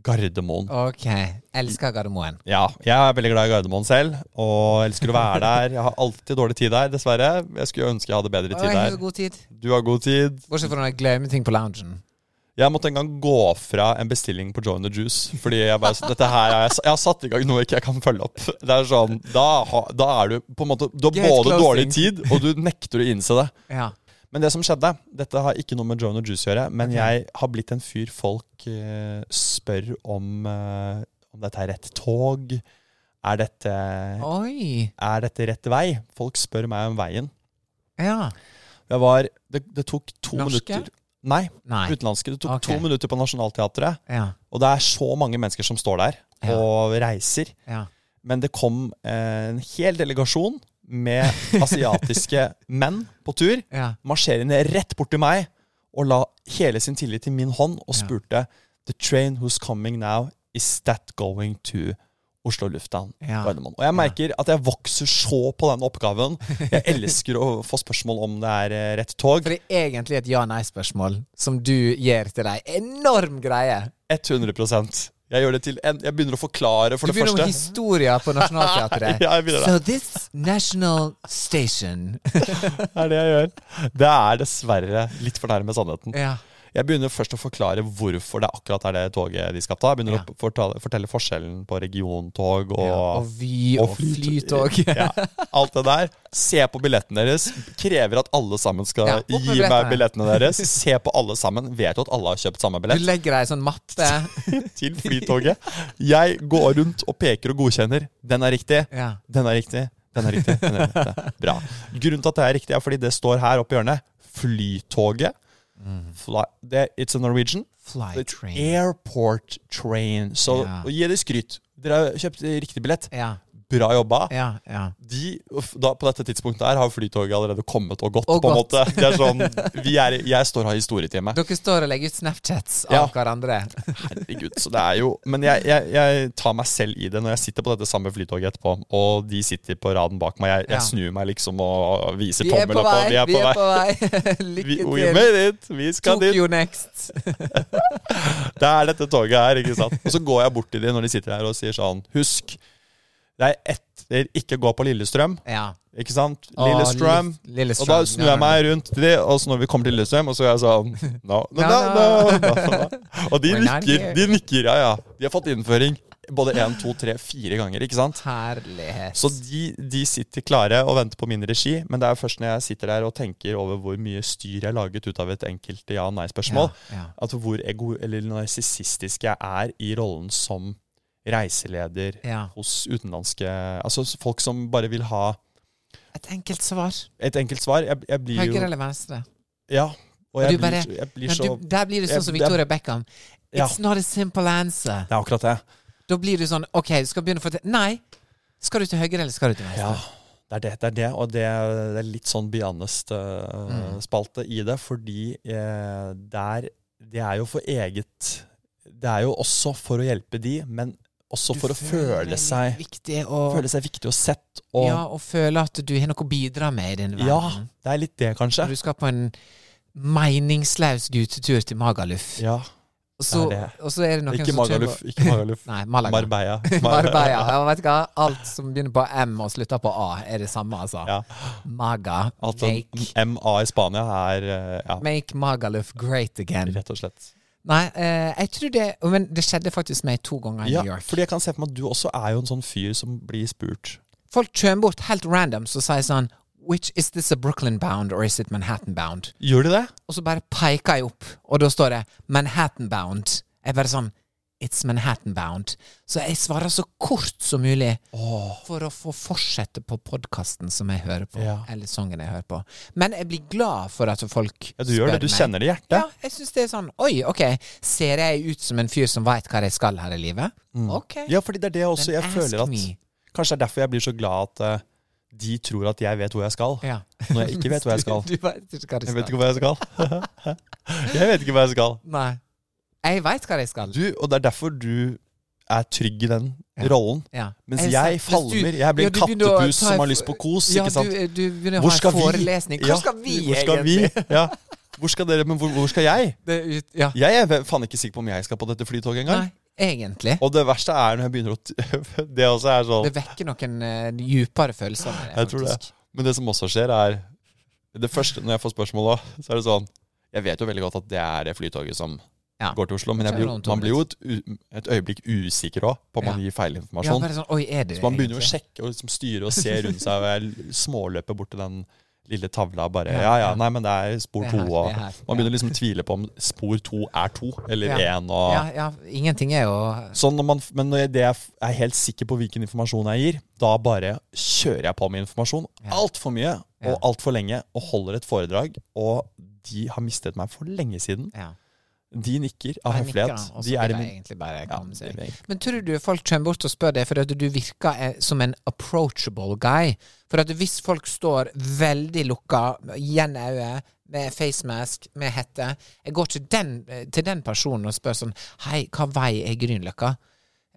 Speaker 1: Gardermoen.
Speaker 2: Ok. Elsker Gardermoen.
Speaker 1: Ja, jeg er veldig glad i Gardermoen selv, og elsker å være der. Jeg har alltid dårlig tid der, dessverre. Jeg skulle ønske jeg hadde bedre
Speaker 2: Å,
Speaker 1: tid
Speaker 2: jeg har
Speaker 1: der.
Speaker 2: så god tid.
Speaker 1: Du har god tid.
Speaker 2: Bortsett fra når jeg glemmer ting på loungen.
Speaker 1: Jeg måtte en gang gå fra en bestilling på Joe and the Juice. Fordi jeg bare, sånn, dette her er, jeg har satt i gang noe jeg ikke kan følge opp. Det er sånn, Da, har- da er du på en måte Du har
Speaker 2: Gate
Speaker 1: både dårlig
Speaker 2: closing.
Speaker 1: tid, og du nekter å innse det.
Speaker 2: Ja.
Speaker 1: Men det som skjedde Dette har ikke noe med Joe and the Juice å gjøre, men jeg har blitt en fyr folk eh, spør om eh, Om dette er rett tog. Er dette,
Speaker 2: Oi.
Speaker 1: er dette rett vei? Folk spør meg om veien.
Speaker 2: Ja.
Speaker 1: Jeg var, det, det tok to
Speaker 2: Norske?
Speaker 1: minutter Nei,
Speaker 2: Nei.
Speaker 1: utenlandske. Det tok
Speaker 2: Ok.
Speaker 1: to minutter på Nationaltheatret.
Speaker 2: Ja.
Speaker 1: Og det er så mange mennesker som står der
Speaker 2: Ja.
Speaker 1: og reiser.
Speaker 2: Ja.
Speaker 1: Men det kom eh, en hel delegasjon med asiatiske menn på tur
Speaker 2: Ja.
Speaker 1: marsjerende rett bort til meg og la hele sin tillit til min hånd og
Speaker 2: Ja.
Speaker 1: spurte The train who's coming now, is that going to Oslo lufthavn?
Speaker 2: Ja.
Speaker 1: Gardermoen. Og jeg merker at jeg vokser så på den oppgaven. Jeg elsker å få spørsmål om det er eh, rett tog.
Speaker 2: For det er egentlig et ja-nei-spørsmål som du gir til deg. Enorm greie.
Speaker 1: 100 Jeg gjør det til en, Jeg begynner å forklare, for
Speaker 2: Du
Speaker 1: det første.
Speaker 2: begynner med historia på Nationaltheatret.
Speaker 1: Ja, jeg begynner
Speaker 2: so this national station
Speaker 1: Det er det jeg gjør. Det er dessverre litt for nærme sannheten.
Speaker 2: Ja.
Speaker 1: Jeg begynner først å forklare hvorfor det akkurat er det toget de skal ta. Jeg begynner
Speaker 2: Ja.
Speaker 1: å fortale, fortelle forskjellen på regiontog og,
Speaker 2: ja. Og Vy og, Flytog.
Speaker 1: ja, alt det der. Se på billettene deres. Krever at alle sammen skal
Speaker 2: Ja, opp med
Speaker 1: gi meg billettene deres. Se på alle sammen. Vet jo at alle har kjøpt samme
Speaker 2: Du
Speaker 1: billett
Speaker 2: legger deg i sånn mappe.
Speaker 1: til Flytoget. Jeg går rundt og peker og godkjenner. Den er riktig.
Speaker 2: Ja.
Speaker 1: Den er riktig. Den er riktig. Den er riktig. Bra. Grunnen til at det er riktig, er fordi det står her oppe i hjørnet. Flytoget. Fly, det, it's a Norwegian.
Speaker 2: Fly
Speaker 1: It's
Speaker 2: Mm. train.
Speaker 1: airport train. Så
Speaker 2: Ja.
Speaker 1: og gi dem skryt. Dere har kjøpt eh, riktig billett.
Speaker 2: Ja,
Speaker 1: Bra jobba.
Speaker 2: ja, ja.
Speaker 1: De, uff, da, på dette tidspunktet her har Flytoget allerede kommet og gått.
Speaker 2: Og
Speaker 1: på en
Speaker 2: gått.
Speaker 1: måte. Det er sånn, vi er, jeg står og har historietime.
Speaker 2: Dere står og legger ut Snapchats av
Speaker 1: Ja.
Speaker 2: hverandre.
Speaker 1: Herregud, så det er jo Men jeg, jeg, jeg tar meg selv i det når jeg sitter på dette samme flytoget etterpå, og de sitter på raden bak meg. Jeg,
Speaker 2: Ja.
Speaker 1: jeg snur meg liksom og viser
Speaker 2: Vi er
Speaker 1: tommel opp.
Speaker 2: på vei!
Speaker 1: og Vi er på vei. Vi,
Speaker 2: Lykke
Speaker 1: we
Speaker 2: til.
Speaker 1: made it! Vi skal dit!
Speaker 2: Tokyo next.
Speaker 1: Det er dette toget her, ikke sant? Og så går jeg bort til dem når de sitter her og sier sånn Husk, det er etter ikke gå på Lillestrøm,
Speaker 2: Ja.
Speaker 1: ikke sant?
Speaker 2: Å,
Speaker 1: Lillestrøm.
Speaker 2: Ah, Lille- Lillestrøm.
Speaker 1: Og da snur
Speaker 2: Ja,
Speaker 1: jeg
Speaker 2: ja, ja.
Speaker 1: meg rundt til de, og så når vi kommer til Lillestrøm, og så er jeg sånn no, no, no, no, no, no. Og de
Speaker 2: We're not
Speaker 1: nikker.
Speaker 2: here.
Speaker 1: De nikker, ja, ja. De har fått innføring både én, to, tre, fire ganger, ikke sant?
Speaker 2: Herlighet.
Speaker 1: Så de, de sitter klare og venter på min regi, men det er først når jeg sitter der og tenker over hvor mye styr jeg laget ut av et enkelt ja- og nei-spørsmål,
Speaker 2: Ja, ja.
Speaker 1: at hvor ego- eller narsissistisk jeg er i rollen som reiseleder
Speaker 2: Ja.
Speaker 1: hos utenlandske Altså folk som bare vil ha
Speaker 2: Et enkelt svar.
Speaker 1: et enkelt svar. Jeg, jeg blir jo
Speaker 2: Høyre eller venstre?
Speaker 1: Ja. Og jeg
Speaker 2: du
Speaker 1: blir,
Speaker 2: bare-
Speaker 1: så- jeg blir
Speaker 2: Men
Speaker 1: så
Speaker 2: du, der blir du sånn som
Speaker 1: Jeg- jeg-
Speaker 2: Victoria Beckham.
Speaker 1: Ja.
Speaker 2: It's not a simple answer.
Speaker 1: Det er akkurat det.
Speaker 2: Da blir du sånn OK, du skal begynne å fortelle Nei! Skal du til høyre, eller skal du til venstre?
Speaker 1: Ja, det er det. det, er det og det, det er litt sånn
Speaker 2: Mm.
Speaker 1: Bianest-spalte i det, fordi eh, det er Det er jo for eget Det er jo også for å hjelpe de, men også for å føle seg,
Speaker 2: viktig og,
Speaker 1: føle seg viktig og sett. Og
Speaker 2: Ja, og føle at du har noe å bidra med i denne
Speaker 1: ja,
Speaker 2: verden.
Speaker 1: det er litt det, kanskje.
Speaker 2: Når du skal på en meningsløs guttetur til Magaluf,
Speaker 1: Ja,
Speaker 2: og, så,
Speaker 1: det er det.
Speaker 2: og så er det noen
Speaker 1: ikke
Speaker 2: som
Speaker 1: Magaluf.
Speaker 2: kjører
Speaker 1: Ikke Magaluf.
Speaker 2: Nei, Malaga.
Speaker 1: Marbella.
Speaker 2: Marbella. Ja, vet du hva? Alt som begynner på M og slutter på A, er det samme, altså.
Speaker 1: Ja.
Speaker 2: Maga.
Speaker 1: At en
Speaker 2: Make,
Speaker 1: MA i Spania er eh, Ja,
Speaker 2: make Magaluf great again.
Speaker 1: rett og slett.
Speaker 2: Nei, eh, jeg tror det Men det skjedde faktisk meg to ganger i
Speaker 1: Ja,
Speaker 2: New York.
Speaker 1: fordi jeg kan se for meg at du også er jo en sånn fyr som blir spurt.
Speaker 2: Folk kommer bort helt random og sier sånn Which is this a Brooklyn bound or is it Manhattan bound?
Speaker 1: Gjør du det?
Speaker 2: Og så bare peker jeg opp, og da står det Manhattan bound. Jeg bare sånn It's Manhattan bound. Så jeg svarer så kort som mulig for å få fortsette på podkasten som jeg hører på,
Speaker 1: Ja.
Speaker 2: eller sangen jeg hører på. Men jeg blir glad for at folk
Speaker 1: Ja, du gjør det. Du
Speaker 2: meg.
Speaker 1: kjenner det i hjertet.
Speaker 2: Ja, jeg syns det er sånn Oi, ok, ser jeg ut som en fyr som veit hva jeg skal her i livet? Ok.
Speaker 1: Mm. Ja, fordi det er det også
Speaker 2: Then
Speaker 1: jeg
Speaker 2: ask
Speaker 1: føler at
Speaker 2: me.
Speaker 1: Kanskje det er derfor jeg blir så glad at eh, de tror at jeg vet hvor jeg skal,
Speaker 2: Ja.
Speaker 1: når jeg ikke vet hvor jeg skal.
Speaker 2: Du vet ikke hva du
Speaker 1: Jeg
Speaker 2: skal.
Speaker 1: vet ikke hvor jeg skal. jeg vet ikke hvor jeg skal.
Speaker 2: Nei. Jeg veit hva jeg skal.
Speaker 1: Du, og det er derfor du er trygg i den
Speaker 2: Ja.
Speaker 1: rollen.
Speaker 2: Ja.
Speaker 1: Mens
Speaker 2: Er det
Speaker 1: jeg
Speaker 2: sant? Mens du-
Speaker 1: falmer. Jeg blir
Speaker 2: Ja,
Speaker 1: en
Speaker 2: du begynner å
Speaker 1: kattepus
Speaker 2: ta
Speaker 1: som
Speaker 2: en-
Speaker 1: har lyst på kos.
Speaker 2: Ja,
Speaker 1: ikke sant?
Speaker 2: du, du begynner å
Speaker 1: Hvor
Speaker 2: ha
Speaker 1: skal
Speaker 2: en
Speaker 1: vi?
Speaker 2: forelesning. Hvor
Speaker 1: Ja,
Speaker 2: skal vi,
Speaker 1: Hvor skal vi?
Speaker 2: egentlig?
Speaker 1: Ja. Hvor skal dere, men hvor, hvor skal jeg?
Speaker 2: Det er ut, ja.
Speaker 1: Jeg er ve- faen ikke sikker på om jeg skal på dette flytoget engang.
Speaker 2: Nei, egentlig.
Speaker 1: Og det verste er når jeg begynner å t- Det også er sånn
Speaker 2: Det vekker noen eh, djupere følelser. med
Speaker 1: Jeg tror det.
Speaker 2: faktisk.
Speaker 1: Men det som også skjer, er Det første når jeg får spørsmål òg, så er det sånn Jeg vet jo veldig godt at det er det flytoget som
Speaker 2: Ja.
Speaker 1: går til Oslo, men jeg
Speaker 2: Kjører
Speaker 1: blir,
Speaker 2: om
Speaker 1: jo-
Speaker 2: to
Speaker 1: man blir jo et, u- et øyeblikk usikker òg på om man
Speaker 2: Ja.
Speaker 1: gir feil
Speaker 2: Ja,
Speaker 1: informasjon.
Speaker 2: bare sånn, Oi, er det
Speaker 1: Så man begynner jo å
Speaker 2: egentlig?
Speaker 1: sjekke og liksom styre og se rundt seg, og jeg småløper bort til den lille tavla og bare Ja,
Speaker 2: Ja,
Speaker 1: ja,
Speaker 2: ja.
Speaker 1: nei, men det er spor
Speaker 2: Det er
Speaker 1: to,
Speaker 2: her,
Speaker 1: og
Speaker 2: det er her,
Speaker 1: Man begynner liksom å tvile på om spor to er to, eller
Speaker 2: Ja.
Speaker 1: én, og
Speaker 2: Ja, ja, ingenting er jo
Speaker 1: Sånn når man, men når jeg, det jeg f- er helt sikker på hvilken informasjon jeg gir, da bare kjører jeg på med informasjon.
Speaker 2: Ja.
Speaker 1: Altfor mye
Speaker 2: Ja.
Speaker 1: og altfor lenge, og høyler et foredrag. Og de har mistet meg for lenge siden.
Speaker 2: ja.
Speaker 1: De nikker av
Speaker 2: Jeg nikker,
Speaker 1: høflighet.
Speaker 2: da, og så
Speaker 1: De
Speaker 2: vil
Speaker 1: er i
Speaker 2: jeg
Speaker 1: min
Speaker 2: egentlig bare
Speaker 1: ja,
Speaker 2: komme
Speaker 1: de
Speaker 2: seg.
Speaker 1: er i-
Speaker 2: Men tror du folk kommer bort og spør deg fordi at du virker eh, som en approachable guy? For at hvis folk står veldig lukka, igjen øye, med facemask, med hette Jeg går ikke den, eh, til den personen og spør sånn Hei, hva vei er Grünerløkka?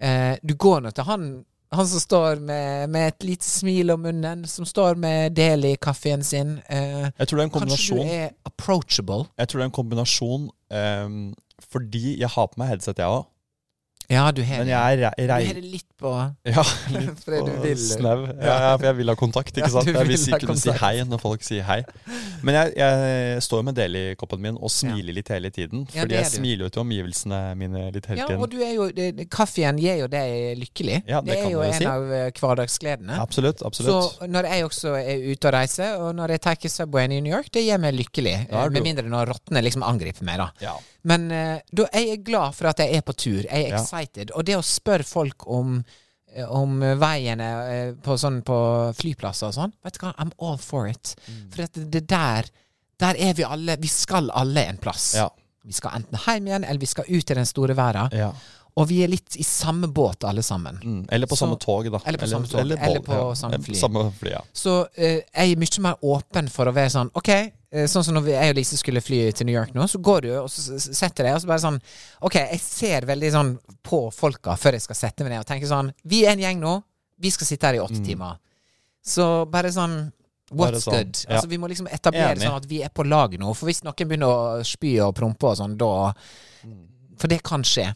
Speaker 2: Eh, du går nå til han han som står med, med et lite smil om munnen, som står med del i kaffen sin. Eh,
Speaker 1: Jeg tror det er en
Speaker 2: kanskje du
Speaker 1: kombinasjon.
Speaker 2: er approachable?
Speaker 1: Jeg tror det er en kombinasjon ehm, fordi jeg har på meg headset, jeg òg.
Speaker 2: Ja, du har
Speaker 1: Men
Speaker 2: det.
Speaker 1: jeg er re-
Speaker 2: Du
Speaker 1: rei...
Speaker 2: har det litt på
Speaker 1: Ja,
Speaker 2: Fordi du
Speaker 1: og
Speaker 2: vil-
Speaker 1: snau. Ja, ja, for jeg vil ha kontakt,
Speaker 2: Ja,
Speaker 1: ikke sant?
Speaker 2: du
Speaker 1: Jeg vil
Speaker 2: vil
Speaker 1: si,
Speaker 2: ha
Speaker 1: kunne si
Speaker 2: kontakt.
Speaker 1: hei når folk sier hei. Men jeg, jeg står jo med del i koppen min og smiler litt hele tiden.
Speaker 2: Ja,
Speaker 1: Fordi
Speaker 2: det er
Speaker 1: jeg
Speaker 2: du.
Speaker 1: smiler jo til omgivelsene mine litt hele
Speaker 2: Ja,
Speaker 1: tiden.
Speaker 2: og du er jo, det, det- kaffen gir jo deg lykkelig.
Speaker 1: Ja, det
Speaker 2: er
Speaker 1: kan
Speaker 2: jo
Speaker 1: man jo
Speaker 2: en
Speaker 1: si.
Speaker 2: av eh, hverdagsgledene.
Speaker 1: Absolutt. absolutt.
Speaker 2: Så når jeg også er ute og reiser, og når jeg tar Subwayen i New York, det gjør meg lykkelig.
Speaker 1: Ja,
Speaker 2: eh,
Speaker 1: du.
Speaker 2: Med mindre når rottene liksom angriper meg, da.
Speaker 1: Ja.
Speaker 2: Men eh, da jeg er glad for at jeg er på tur. Jeg er
Speaker 1: Ja.
Speaker 2: excited. Og det å spørre folk om eh, om veiene eh, på, sånn, på flyplasser og sånn. Vet du hva, I'm all for it.
Speaker 1: Mm.
Speaker 2: For at det der Der er vi alle. Vi skal alle en plass.
Speaker 1: Ja.
Speaker 2: Vi skal enten hjem igjen, eller vi skal ut i den store verden.
Speaker 1: ja.
Speaker 2: Og vi er litt i samme båt, alle sammen.
Speaker 1: Mm. Eller på
Speaker 2: Så-
Speaker 1: samme tog, da.
Speaker 2: Eller på samme tog,
Speaker 1: Eller,
Speaker 2: eller
Speaker 1: båt,
Speaker 2: på samme fly.
Speaker 1: Samme fly, ja.
Speaker 2: Så eh, jeg er mye mer åpen for å være sånn OK, eh, sånn som når vi, jeg og Lise skulle fly til New York nå, så går du og så s- setter deg, og så bare sånn OK, jeg ser veldig sånn på folka før jeg skal sette meg ned, og tenker sånn Vi er en gjeng nå. Vi skal sitte her i åtte timer. Så bare sånn
Speaker 1: Mm. Bare
Speaker 2: What's
Speaker 1: sånn,
Speaker 2: good?
Speaker 1: ja.
Speaker 2: Altså Vi må liksom etablere
Speaker 1: Enig.
Speaker 2: sånn at vi er på lag nå. For hvis noen begynner å spy og prompe og sånn, da
Speaker 1: Mm.
Speaker 2: For det kan skje.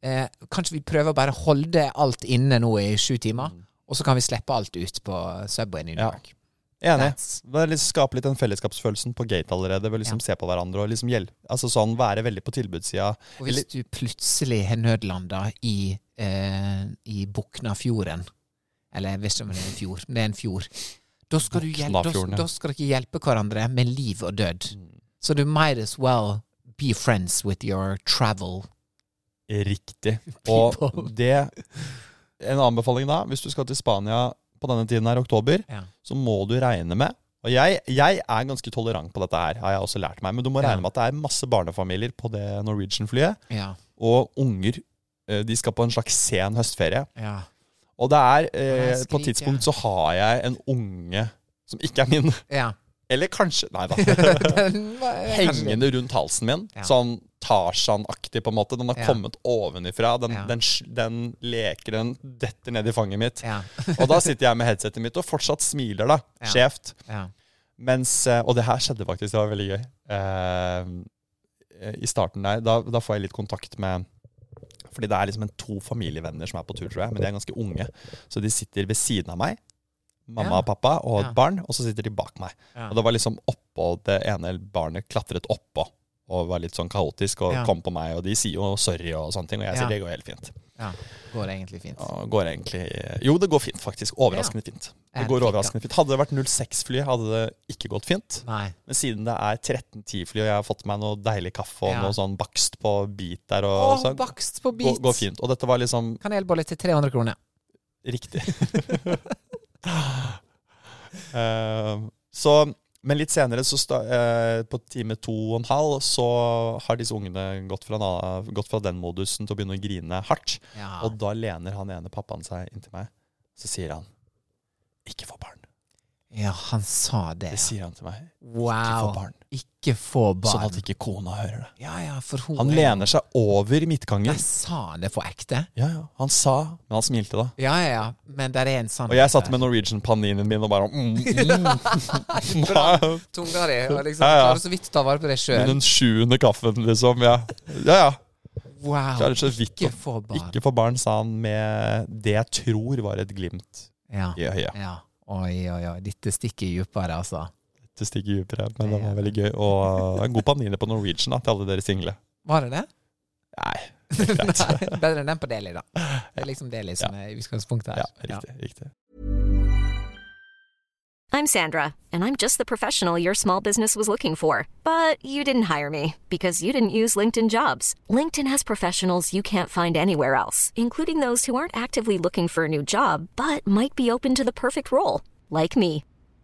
Speaker 2: Eh, kanskje vi prøver å bare holde alt inne nå i sju timer, og så kan vi slippe alt ut på Subwayen i New
Speaker 1: Mm. Ja.
Speaker 2: York.
Speaker 1: Enig.
Speaker 2: That's-
Speaker 1: Det er litt, skape litt den fellesskapsfølelsen på gate allerede. Ved å liksom se på hverandre og liksom hjelpe. Altså sånn være veldig på tilbudssida.
Speaker 2: Og hvis
Speaker 1: Eller-
Speaker 2: du plutselig har nødlanda i, eh, i Buknafjorden Eller jeg vet ikke om det er en fjord, men det er en fjord. Da skal, du hjelpe,
Speaker 1: Buknafjorden, ja. Mm.
Speaker 2: da, da skal dere hjelpe hverandre med liv og død. Så du might as well be friends with your travel.
Speaker 1: Riktig. Og
Speaker 2: People.
Speaker 1: det En anbefaling da, hvis du skal til Spania på denne tiden her, oktober,
Speaker 2: Ja.
Speaker 1: så må du regne med Og jeg, jeg er ganske tolerant på dette her, har jeg også lært meg, men du må
Speaker 2: Ja.
Speaker 1: regne med at det er masse barnefamilier på det Norwegian-flyet,
Speaker 2: Ja.
Speaker 1: og unger. eh, De skal på en slags sen høstferie.
Speaker 2: ja.
Speaker 1: Og det er
Speaker 2: Og
Speaker 1: eh,
Speaker 2: det er
Speaker 1: På et
Speaker 2: skrik,
Speaker 1: tidspunkt så har jeg en unge som ikke er min,
Speaker 2: ja.
Speaker 1: eller kanskje Nei da.
Speaker 2: Den var- kanskje litt-
Speaker 1: hengende rundt halsen min.
Speaker 2: Ja.
Speaker 1: Sånn Tarzan-aktig, på en måte. Den har
Speaker 2: Ja.
Speaker 1: kommet ovenifra. Den,
Speaker 2: Ja.
Speaker 1: den, sj- den leker, den detter ned i fanget mitt.
Speaker 2: Ja.
Speaker 1: og da sitter jeg med headsetet mitt og fortsatt smiler, da.
Speaker 2: Ja.
Speaker 1: Skjevt.
Speaker 2: ja.
Speaker 1: Mens eh, Og det her skjedde faktisk, det var veldig gøy. Eh, I starten der, da, da får jeg litt kontakt med Fordi det er liksom en to familievenner som er på tur, tror jeg. Men de er ganske unge. Så de sitter ved siden av meg. Mamma
Speaker 2: Ja.
Speaker 1: og pappa og et
Speaker 2: Ja.
Speaker 1: barn, og så sitter de bak meg.
Speaker 2: Ja.
Speaker 1: Og det var liksom oppå det ene barnet klatret oppå og var litt sånn kaotisk og
Speaker 2: Ja.
Speaker 1: kom på meg, og de sier jo sorry og sånne ting, og jeg sier
Speaker 2: Ja.
Speaker 1: det går helt fint.
Speaker 2: ja. Går det egentlig fint?
Speaker 1: Og går egentlig Jo, det går fint, faktisk. Overraskende fint. Det
Speaker 2: Er det
Speaker 1: går
Speaker 2: fint,
Speaker 1: overraskende fint. Hadde det vært 06-fly, hadde det ikke gått fint.
Speaker 2: Nei.
Speaker 1: Men siden det er 1310-fly, og jeg har fått meg noe deilig kaffe og
Speaker 2: Ja.
Speaker 1: noe sånn bakst på bit der, og
Speaker 2: Å,
Speaker 1: så
Speaker 2: bakst på
Speaker 1: går,
Speaker 2: bit!
Speaker 1: går fint. Og dette var liksom
Speaker 2: Kanelbolle til 300 kroner.
Speaker 1: Riktig. Eh, så, men litt senere, så sta, eh, på time to og en halv, så har disse ungene gått fra, en annen- gått fra den modusen til å begynne å grine hardt.
Speaker 2: Ja.
Speaker 1: Og da lener han ene pappaen seg inntil meg. Så sier han Ikke få barn.
Speaker 2: Ja, han sa det.
Speaker 1: Det sier han til meg. få
Speaker 2: Wow.
Speaker 1: barn.
Speaker 2: Ikke få
Speaker 1: Sånn
Speaker 2: barn.
Speaker 1: at ikke kona hører det.
Speaker 2: Ja, ja, for hun
Speaker 1: Han lener seg over midtgangen.
Speaker 2: Jeg sa han det på ekte.
Speaker 1: Ja, ja. Han sa, men han smilte da.
Speaker 2: Ja, ja, ja. Men der er en sånn- sannhet.
Speaker 1: Og jeg satt
Speaker 2: der.
Speaker 1: med Norwegian-paninen min og bare mm, mm. Nei,
Speaker 2: tunga di og liksom
Speaker 1: Ja, ja.
Speaker 2: klarer så vidt å ta vare på
Speaker 1: Men
Speaker 2: deg sjøl.
Speaker 1: den sjuende kaffen, liksom. Ja, ja. ja.
Speaker 2: Wow.
Speaker 1: Så er det så vidt
Speaker 2: Ikke
Speaker 1: at-
Speaker 2: få barn.
Speaker 1: Ikke for barn, sa han med det jeg tror var et glimt
Speaker 2: Ja.
Speaker 1: i øyet.
Speaker 2: ja. Oi, oi, oi. Dette stikker dypere, altså.
Speaker 1: Det stikker dypere, men det var veldig gøy. Og en god panine på Norwegian da, til alle dere single.
Speaker 2: Var det det?
Speaker 1: Nei,
Speaker 2: Nei, bedre enn den på Deli, da. Det er liksom Deli som er utgangspunktet her.
Speaker 1: ja, riktig. riktig.
Speaker 4: I'm Sandra, and I'm just the professional your small business was looking for. But you didn't hire me because you didn't use LinkedIn jobs. LinkedIn has professionals you can't find anywhere else, including those who aren't actively looking for a new job but might be open to the perfect role, like me.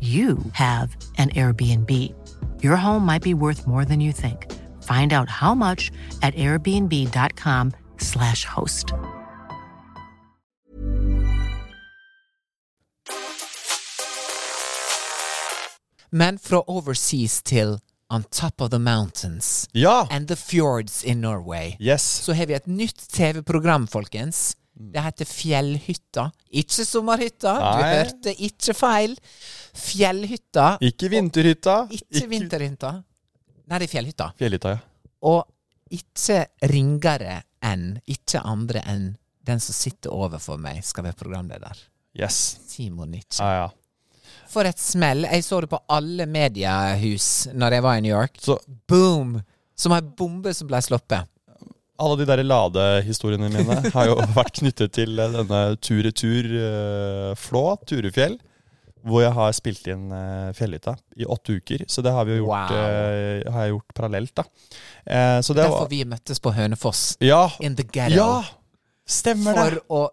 Speaker 5: you have an Airbnb. Your home might be worth more than you think. Find out how much at airbnb.com/slash host.
Speaker 2: Men fra overseas til On Top of the Mountains
Speaker 1: Ja!
Speaker 2: and the Fjords in Norway,
Speaker 1: Yes.
Speaker 2: så har vi et nytt TV-program, folkens.
Speaker 1: Mm.
Speaker 2: Det heter Fjellhytta. Ikke Sommerhytta. Du
Speaker 1: Nei.
Speaker 2: hørte ikke feil. Fjellhytta.
Speaker 1: Ikke vinterhytta.
Speaker 2: Ikke Vinterhytta. Nei, det er Fjellhytta.
Speaker 1: Fjellhytta, ja.
Speaker 2: Og ikke ringere enn, ikke andre enn, den som sitter overfor meg, skal være programleder.
Speaker 1: Yes.
Speaker 2: Simon Nietzsche.
Speaker 1: Ja, ja.
Speaker 2: For et smell. Jeg så det på alle mediehus når jeg var i New York.
Speaker 1: Så
Speaker 2: Boom! Som ei bombe som ble sluppet.
Speaker 1: alle de der ladehistoriene mine har jo vært knyttet til eh, denne tur-retur-flå, Turefjell, hvor jeg har spilt inn eh, Fjellhytta i åtte uker. Så det har, vi jo gjort,
Speaker 2: Wow.
Speaker 1: eh, har jeg gjort parallelt, da. Eh, Så det
Speaker 2: Derfor
Speaker 1: var
Speaker 2: vi møttes på Hønefoss.
Speaker 1: Ja!
Speaker 2: In the ghetto.
Speaker 1: ja stemmer det!
Speaker 2: for å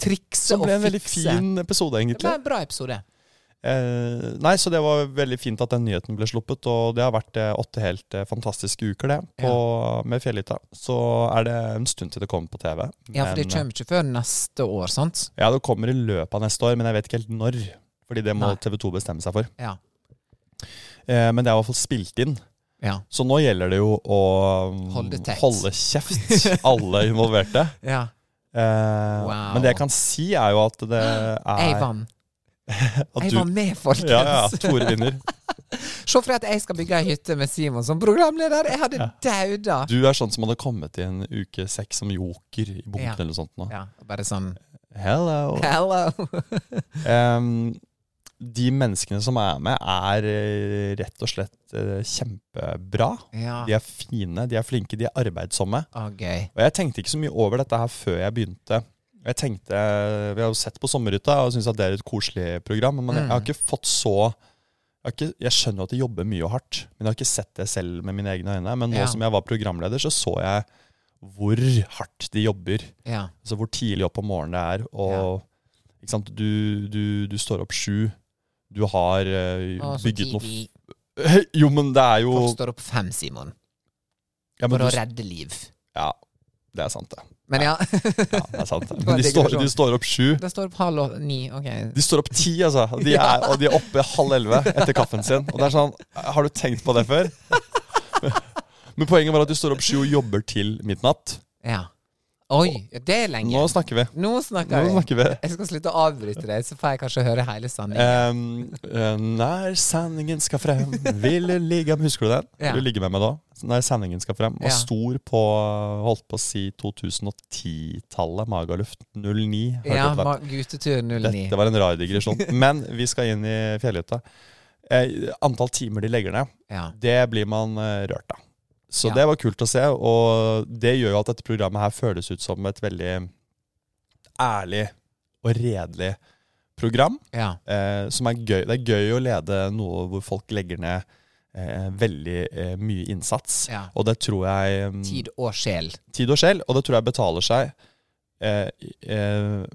Speaker 2: trikse
Speaker 1: Det
Speaker 2: og
Speaker 1: ble en veldig
Speaker 2: fikse.
Speaker 1: fin episode,
Speaker 2: Det ble
Speaker 1: egentlig.
Speaker 2: en bra episode.
Speaker 1: Eh, nei, så det var veldig fint at den nyheten ble sluppet, og det har vært eh, åtte helt eh, fantastiske uker, det, på, med Fjellhytta. Så er det en stund til det kommer på TV.
Speaker 2: Ja, for det
Speaker 1: men- eh,
Speaker 2: kommer ikke før neste år, sant?
Speaker 1: Ja, det kommer i løpet av neste år, men jeg vet ikke helt når. Fordi det må
Speaker 2: Nei.
Speaker 1: TV 2 bestemme seg for.
Speaker 2: Ja.
Speaker 1: Eh, men det er i hvert fall spilt inn.
Speaker 2: Ja.
Speaker 1: Så nå gjelder det jo å mm,
Speaker 2: Holde tett.
Speaker 1: holde kjeft, alle involverte.
Speaker 2: ja.
Speaker 1: Eh,
Speaker 2: Wow.
Speaker 1: Men det jeg kan si, er jo at det er
Speaker 2: Jeg vant.
Speaker 1: at
Speaker 2: Jeg
Speaker 1: du-
Speaker 2: var med, folkens.
Speaker 1: Ja, ja. Tore vinner.
Speaker 2: Se for deg at jeg skal bygge ei hytte med Simon som programleder. Jeg hadde dauda.
Speaker 1: Du er sånn som hadde kommet i en uke seks som joker i bunken
Speaker 2: Ja.
Speaker 1: eller noe sånt. Nå.
Speaker 2: Ja, bare sånn
Speaker 1: Hello.
Speaker 2: Hello!
Speaker 1: Em, de menneskene som er med, er eh, rett og slett eh, kjempebra.
Speaker 2: Ja.
Speaker 1: De er fine, de er flinke, de er arbeidsomme.
Speaker 2: Å, gøy.
Speaker 1: Og jeg tenkte ikke så mye over dette her før jeg begynte. Jeg tenkte, Vi har jo sett på Sommerhytta og syns at det er et koselig program, men
Speaker 2: Mm.
Speaker 1: jeg har ikke fått så jeg, har ikke, jeg skjønner at de jobber mye og hardt, men jeg har ikke sett det selv med mine egne øyne. Men nå
Speaker 2: Ja.
Speaker 1: som jeg var programleder, så så jeg hvor hardt de jobber.
Speaker 2: Ja.
Speaker 1: Altså hvor tidlig opp om morgenen det er. Og ikke sant? Du, du, du står opp sju. Du har eh,
Speaker 2: Å, så
Speaker 1: bygget noe
Speaker 2: tidlig.
Speaker 1: f- Jo, men det er jo
Speaker 2: Folk står opp fem, Simon,
Speaker 1: ja, men
Speaker 2: for å
Speaker 1: du,
Speaker 2: redde liv.
Speaker 1: ja, det er sant, det.
Speaker 2: Men ja,
Speaker 1: Ja, det er sant.
Speaker 2: var
Speaker 1: Men de står,
Speaker 2: digresjon.
Speaker 1: de står opp sju.
Speaker 2: det står opp halv åtte ni. Ok.
Speaker 1: De står opp ti, altså. Og de er, og de er oppe halv elleve etter kaffen sin. Og det er sånn Har du tenkt på det før? Men poenget var at du står opp sju og jobber til midnatt.
Speaker 2: Ja. Oi, ja, det er lenge.
Speaker 1: Nå snakker vi.
Speaker 2: Nå snakker
Speaker 1: Nå
Speaker 2: vi.
Speaker 1: snakker vi.
Speaker 2: Jeg skal slutte å avbryte deg, så får jeg kanskje høre hele sannheten.
Speaker 1: Ehm, eh, når sanningen skal frem Vil ligge Husker du den?
Speaker 2: Ja.
Speaker 1: Vil du ligge med meg da? Når sanningen skal frem. Var
Speaker 2: Ja.
Speaker 1: stor på holdt på å si 2010-tallet. Magaluft 09. hørte
Speaker 2: ja,
Speaker 1: jeg på den.
Speaker 2: ma- Guttetur 09.
Speaker 1: Dette var en rar digresjon. Men vi skal inn i fjellhytta. Eh, antall timer de legger ned,
Speaker 2: Ja.
Speaker 1: det blir man eh, rørt av. Så
Speaker 2: Ja.
Speaker 1: det var kult å se, og det gjør jo at dette programmet her føles ut som et veldig ærlig og redelig program.
Speaker 2: ja.
Speaker 1: Eh, som er gøy. Det er gøy å lede noe hvor folk legger ned eh, veldig eh, mye innsats.
Speaker 2: Ja.
Speaker 1: Og det tror jeg mm,
Speaker 2: Tid og sjel.
Speaker 1: tid og sjel, og det tror jeg betaler seg eh, i- eh,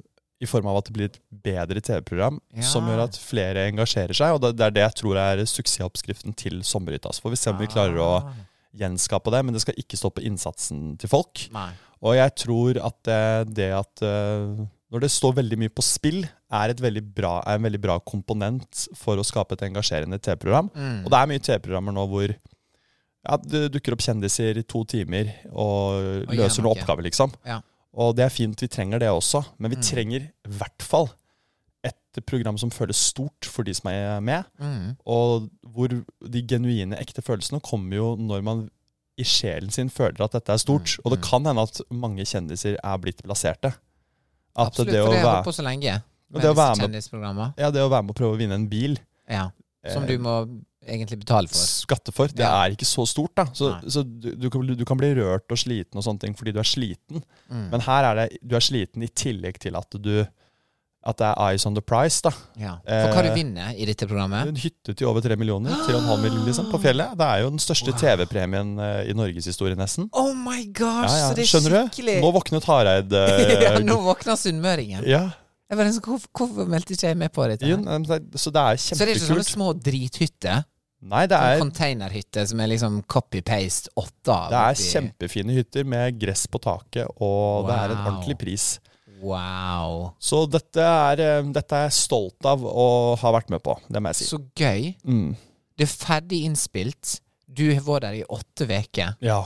Speaker 1: i form av at det blir et bedre TV-program
Speaker 2: Ja.
Speaker 1: som gjør at flere engasjerer seg. Og det, det er det jeg tror er suksessoppskriften til Sommerhytta. Så får vi se
Speaker 2: Ah.
Speaker 1: om vi klarer å gjenskape det, men det skal ikke stoppe innsatsen til folk.
Speaker 2: Nei.
Speaker 1: Og jeg tror at det, det at eh, når det står veldig mye på spill, er, et veldig bra, er en veldig bra komponent for å skape et engasjerende TV-program.
Speaker 2: Mm,
Speaker 1: Og det er mye TV-programmer nå hvor ja, det dukker opp kjendiser i to timer og
Speaker 2: Og
Speaker 1: løser
Speaker 2: gjør
Speaker 1: noen
Speaker 2: noe.
Speaker 1: oppgaver, liksom.
Speaker 2: Ja. Mm.
Speaker 1: Og det er fint, vi trenger det også. Men vi trenger i hvert fall et program som føles stort for de som er med.
Speaker 2: Mm.
Speaker 1: Og hvor de genuine, ekte følelsene kommer jo når man i sjelen sin føler at dette er
Speaker 2: Mm,
Speaker 1: stort. Og det kan hende at mange kjendiser er blitt blaserte. At
Speaker 2: Absolutt,
Speaker 1: det, å
Speaker 2: for det har jeg holdt
Speaker 1: være,
Speaker 2: på så lenge.
Speaker 1: Og
Speaker 2: Med
Speaker 1: det å
Speaker 2: disse
Speaker 1: være med-
Speaker 2: kjendisprogrammer.
Speaker 1: ja, det å være med og prøve å vinne en bil,
Speaker 2: Ja. Som
Speaker 1: Eh,
Speaker 2: du må egentlig betale for.
Speaker 1: skatte for, det
Speaker 2: Ja.
Speaker 1: er ikke så stort. da. Så,
Speaker 2: Nei.
Speaker 1: så du, du, kan, bli- du kan bli rørt og sliten og sånne ting fordi du er sliten.
Speaker 2: Mm,
Speaker 1: Men her er det, du er sliten i tillegg til at du at det er eyes on the price. da.
Speaker 2: Ja. For hva
Speaker 1: Eh,
Speaker 2: du vinner i dette programmet?
Speaker 1: En hytte til over tre millioner, 3,5 millioner liksom, på fjellet. Det er jo den største TV-premien eh, i norgeshistorien, nesten.
Speaker 2: Oh my gosh,
Speaker 1: Ja, ja.
Speaker 2: så det er
Speaker 1: Skjønner
Speaker 2: skikkelig
Speaker 1: du? Nå våknet Hareid.
Speaker 2: ja,
Speaker 1: eh,
Speaker 2: nå våkner sunnmøringen.
Speaker 1: ja.
Speaker 2: Jeg bare, sånn, hvorfor, hvorfor meldte ikke jeg med på dette?
Speaker 1: Jo,
Speaker 2: her?
Speaker 1: nei, men det- Så det er
Speaker 2: Så det er ikke sånne
Speaker 1: kjempekult.
Speaker 2: små drithytter?
Speaker 1: Nei, det
Speaker 2: Sånn
Speaker 1: er,
Speaker 2: Containerhytter som er liksom copy-paste åtte av?
Speaker 1: det er
Speaker 2: oppi-
Speaker 1: kjempefine hytter med gress på taket, og det er en
Speaker 2: Wow.
Speaker 1: ordentlig pris.
Speaker 2: Wow.
Speaker 1: Så dette er, eh, dette er jeg stolt av og har vært med på, det må jeg si.
Speaker 2: Så gøy.
Speaker 1: Mm.
Speaker 2: Det er ferdig innspilt. Du har vært der i åtte uker
Speaker 1: Ja.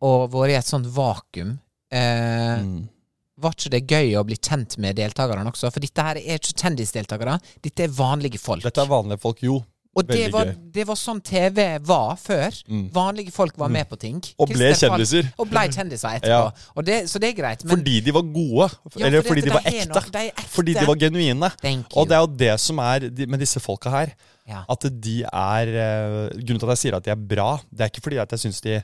Speaker 2: og vært i et sånt vakuum. Eh,
Speaker 1: Mm.
Speaker 2: Var ikke det gøy å bli kjent med deltakerne også? For dette her er ikke kjendisdeltakere, dette er vanlige folk.
Speaker 1: Dette er vanlige folk, jo.
Speaker 2: og
Speaker 1: veldig
Speaker 2: det var,
Speaker 1: gøy.
Speaker 2: det var sånn TV var før.
Speaker 1: Mm.
Speaker 2: Vanlige folk var med på ting.
Speaker 1: Og ble
Speaker 2: Christian Falk-
Speaker 1: kjendiser.
Speaker 2: Og ble kjendiser
Speaker 1: Ja.
Speaker 2: etterpå. Og det, så det er greit. Men
Speaker 1: Fordi de var gode.
Speaker 2: Ja,
Speaker 1: eller
Speaker 2: fordi
Speaker 1: fordi
Speaker 2: at
Speaker 1: de
Speaker 2: de
Speaker 1: var
Speaker 2: har
Speaker 1: ekte.
Speaker 2: noe- de er ekte.
Speaker 1: Fordi de var genuine.
Speaker 2: Thank you.
Speaker 1: Og det er jo det som er de- med disse folka her.
Speaker 2: Ja.
Speaker 1: At de er eh, Grunnen til at jeg sier at de er bra, det er ikke fordi at jeg syns de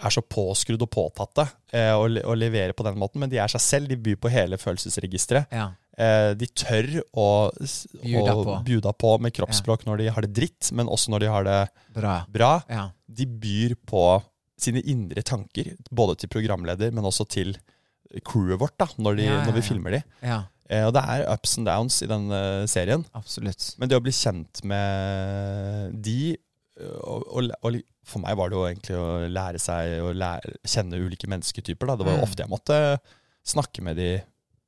Speaker 1: er så påskrudd og påtatte eh, og, le- og leverer på den måten, men de er seg selv. De byr på hele følelsesregisteret.
Speaker 2: ja.
Speaker 1: Eh, de tør å, s-
Speaker 2: Bjuda
Speaker 1: å
Speaker 2: på.
Speaker 1: bjuda på med kroppsspråk når de har det dritt, men også når de har det
Speaker 2: Bra.
Speaker 1: bra.
Speaker 2: Ja.
Speaker 1: De byr på sine indre tanker, både til programleder, men også til crewet vårt, da, når, de,
Speaker 2: Ja, ja,
Speaker 1: når vi
Speaker 2: ja.
Speaker 1: filmer de.
Speaker 2: ja.
Speaker 1: Eh, og det er ups and downs i den eh, serien.
Speaker 2: Absolutt.
Speaker 1: Men det å bli kjent med de eh, og, og, og For meg var det jo egentlig å lære seg å lære, kjenne ulike mennesketyper. Da. Det var jo
Speaker 2: Mm.
Speaker 1: ofte jeg måtte snakke med de,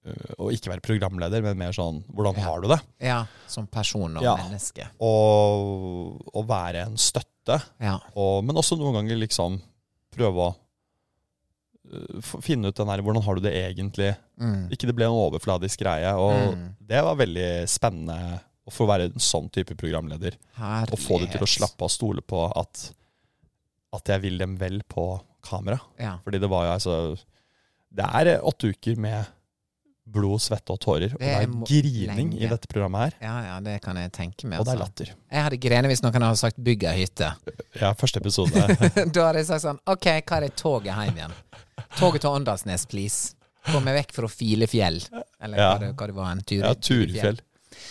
Speaker 1: eh, og ikke være programleder, men mer sånn Hvordan
Speaker 2: Ja.
Speaker 1: har du det?
Speaker 2: Ja. Som person og
Speaker 1: Ja.
Speaker 2: menneske.
Speaker 1: Og, og være en støtte.
Speaker 2: Ja.
Speaker 1: Og, men også noen ganger liksom prøve å øh, f- finne ut den her, hvordan har du det egentlig?
Speaker 2: Mm.
Speaker 1: Ikke det ble en overfladisk greie, og
Speaker 2: Mm.
Speaker 1: det var veldig spennende å få være en sånn type programleder. Og få de til å
Speaker 2: Herlighet.
Speaker 1: slappe av og stole på at, at jeg vil dem vel på kamera.
Speaker 2: Ja.
Speaker 1: Fordi det var jo altså, det er eh, åtte uker med blod, svette og tårer, og det
Speaker 2: er
Speaker 1: er
Speaker 2: mo-
Speaker 1: grining i
Speaker 2: lenge.
Speaker 1: dette programmet her,
Speaker 2: ja, ja, det kan jeg tenke meg.
Speaker 1: og det er
Speaker 2: altså.
Speaker 1: latter.
Speaker 2: Jeg hadde grenet hvis noen hadde sagt 'bygg ei hytte'.
Speaker 1: Ja, første episode.
Speaker 2: da hadde jeg sagt sånn OK, hva er det toget hjem igjen? Toget til Åndalsnes, please. Kom meg vekk fra Filefjell. Eller
Speaker 1: Ja.
Speaker 2: hva, det, hva det var, en tur
Speaker 1: Ja, Turefjell.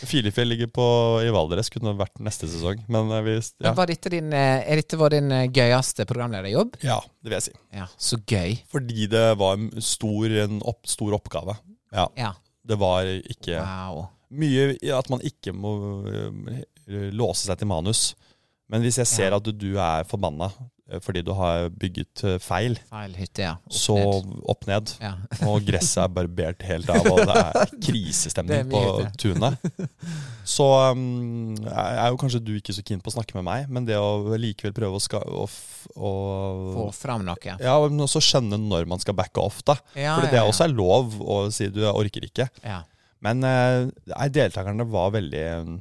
Speaker 1: Filefjell ligger på i Valdres, kunne vært neste sesong. Men eh, vi
Speaker 2: Men
Speaker 1: ja.
Speaker 2: Var dette din, eh, er dette vår din eh, gøyeste programlederjobb?
Speaker 1: ja, det vil jeg si.
Speaker 2: Ja, så gøy.
Speaker 1: Fordi det var en stor, en opp, stor oppgave. Ja.
Speaker 2: Ja.
Speaker 1: Det var ikke
Speaker 2: Wow.
Speaker 1: Mye i at man ikke må eh, låse seg til manus. Men hvis jeg ser at du, du er forbanna eh, fordi du har bygget eh, feil.
Speaker 2: Feil hytte, ja. Opp
Speaker 1: Så
Speaker 2: ned.
Speaker 1: opp ned.
Speaker 2: ja.
Speaker 1: Og gresset er barbert helt av, og det er krisestemning
Speaker 2: Det er
Speaker 1: på
Speaker 2: mye
Speaker 1: tunet. Så um, er er jo kanskje du ikke så keen på å snakke med meg, men det å likevel prøve å, ska, å, f-
Speaker 2: Få
Speaker 1: å
Speaker 2: fram noe.
Speaker 1: ja, men også skjønne når man skal backe off, da.
Speaker 2: Ja,
Speaker 1: For det
Speaker 2: ja, ja.
Speaker 1: også er lov å si du jeg orker ikke.
Speaker 2: Ja.
Speaker 1: Men eh, nei, deltakerne var veldig eh,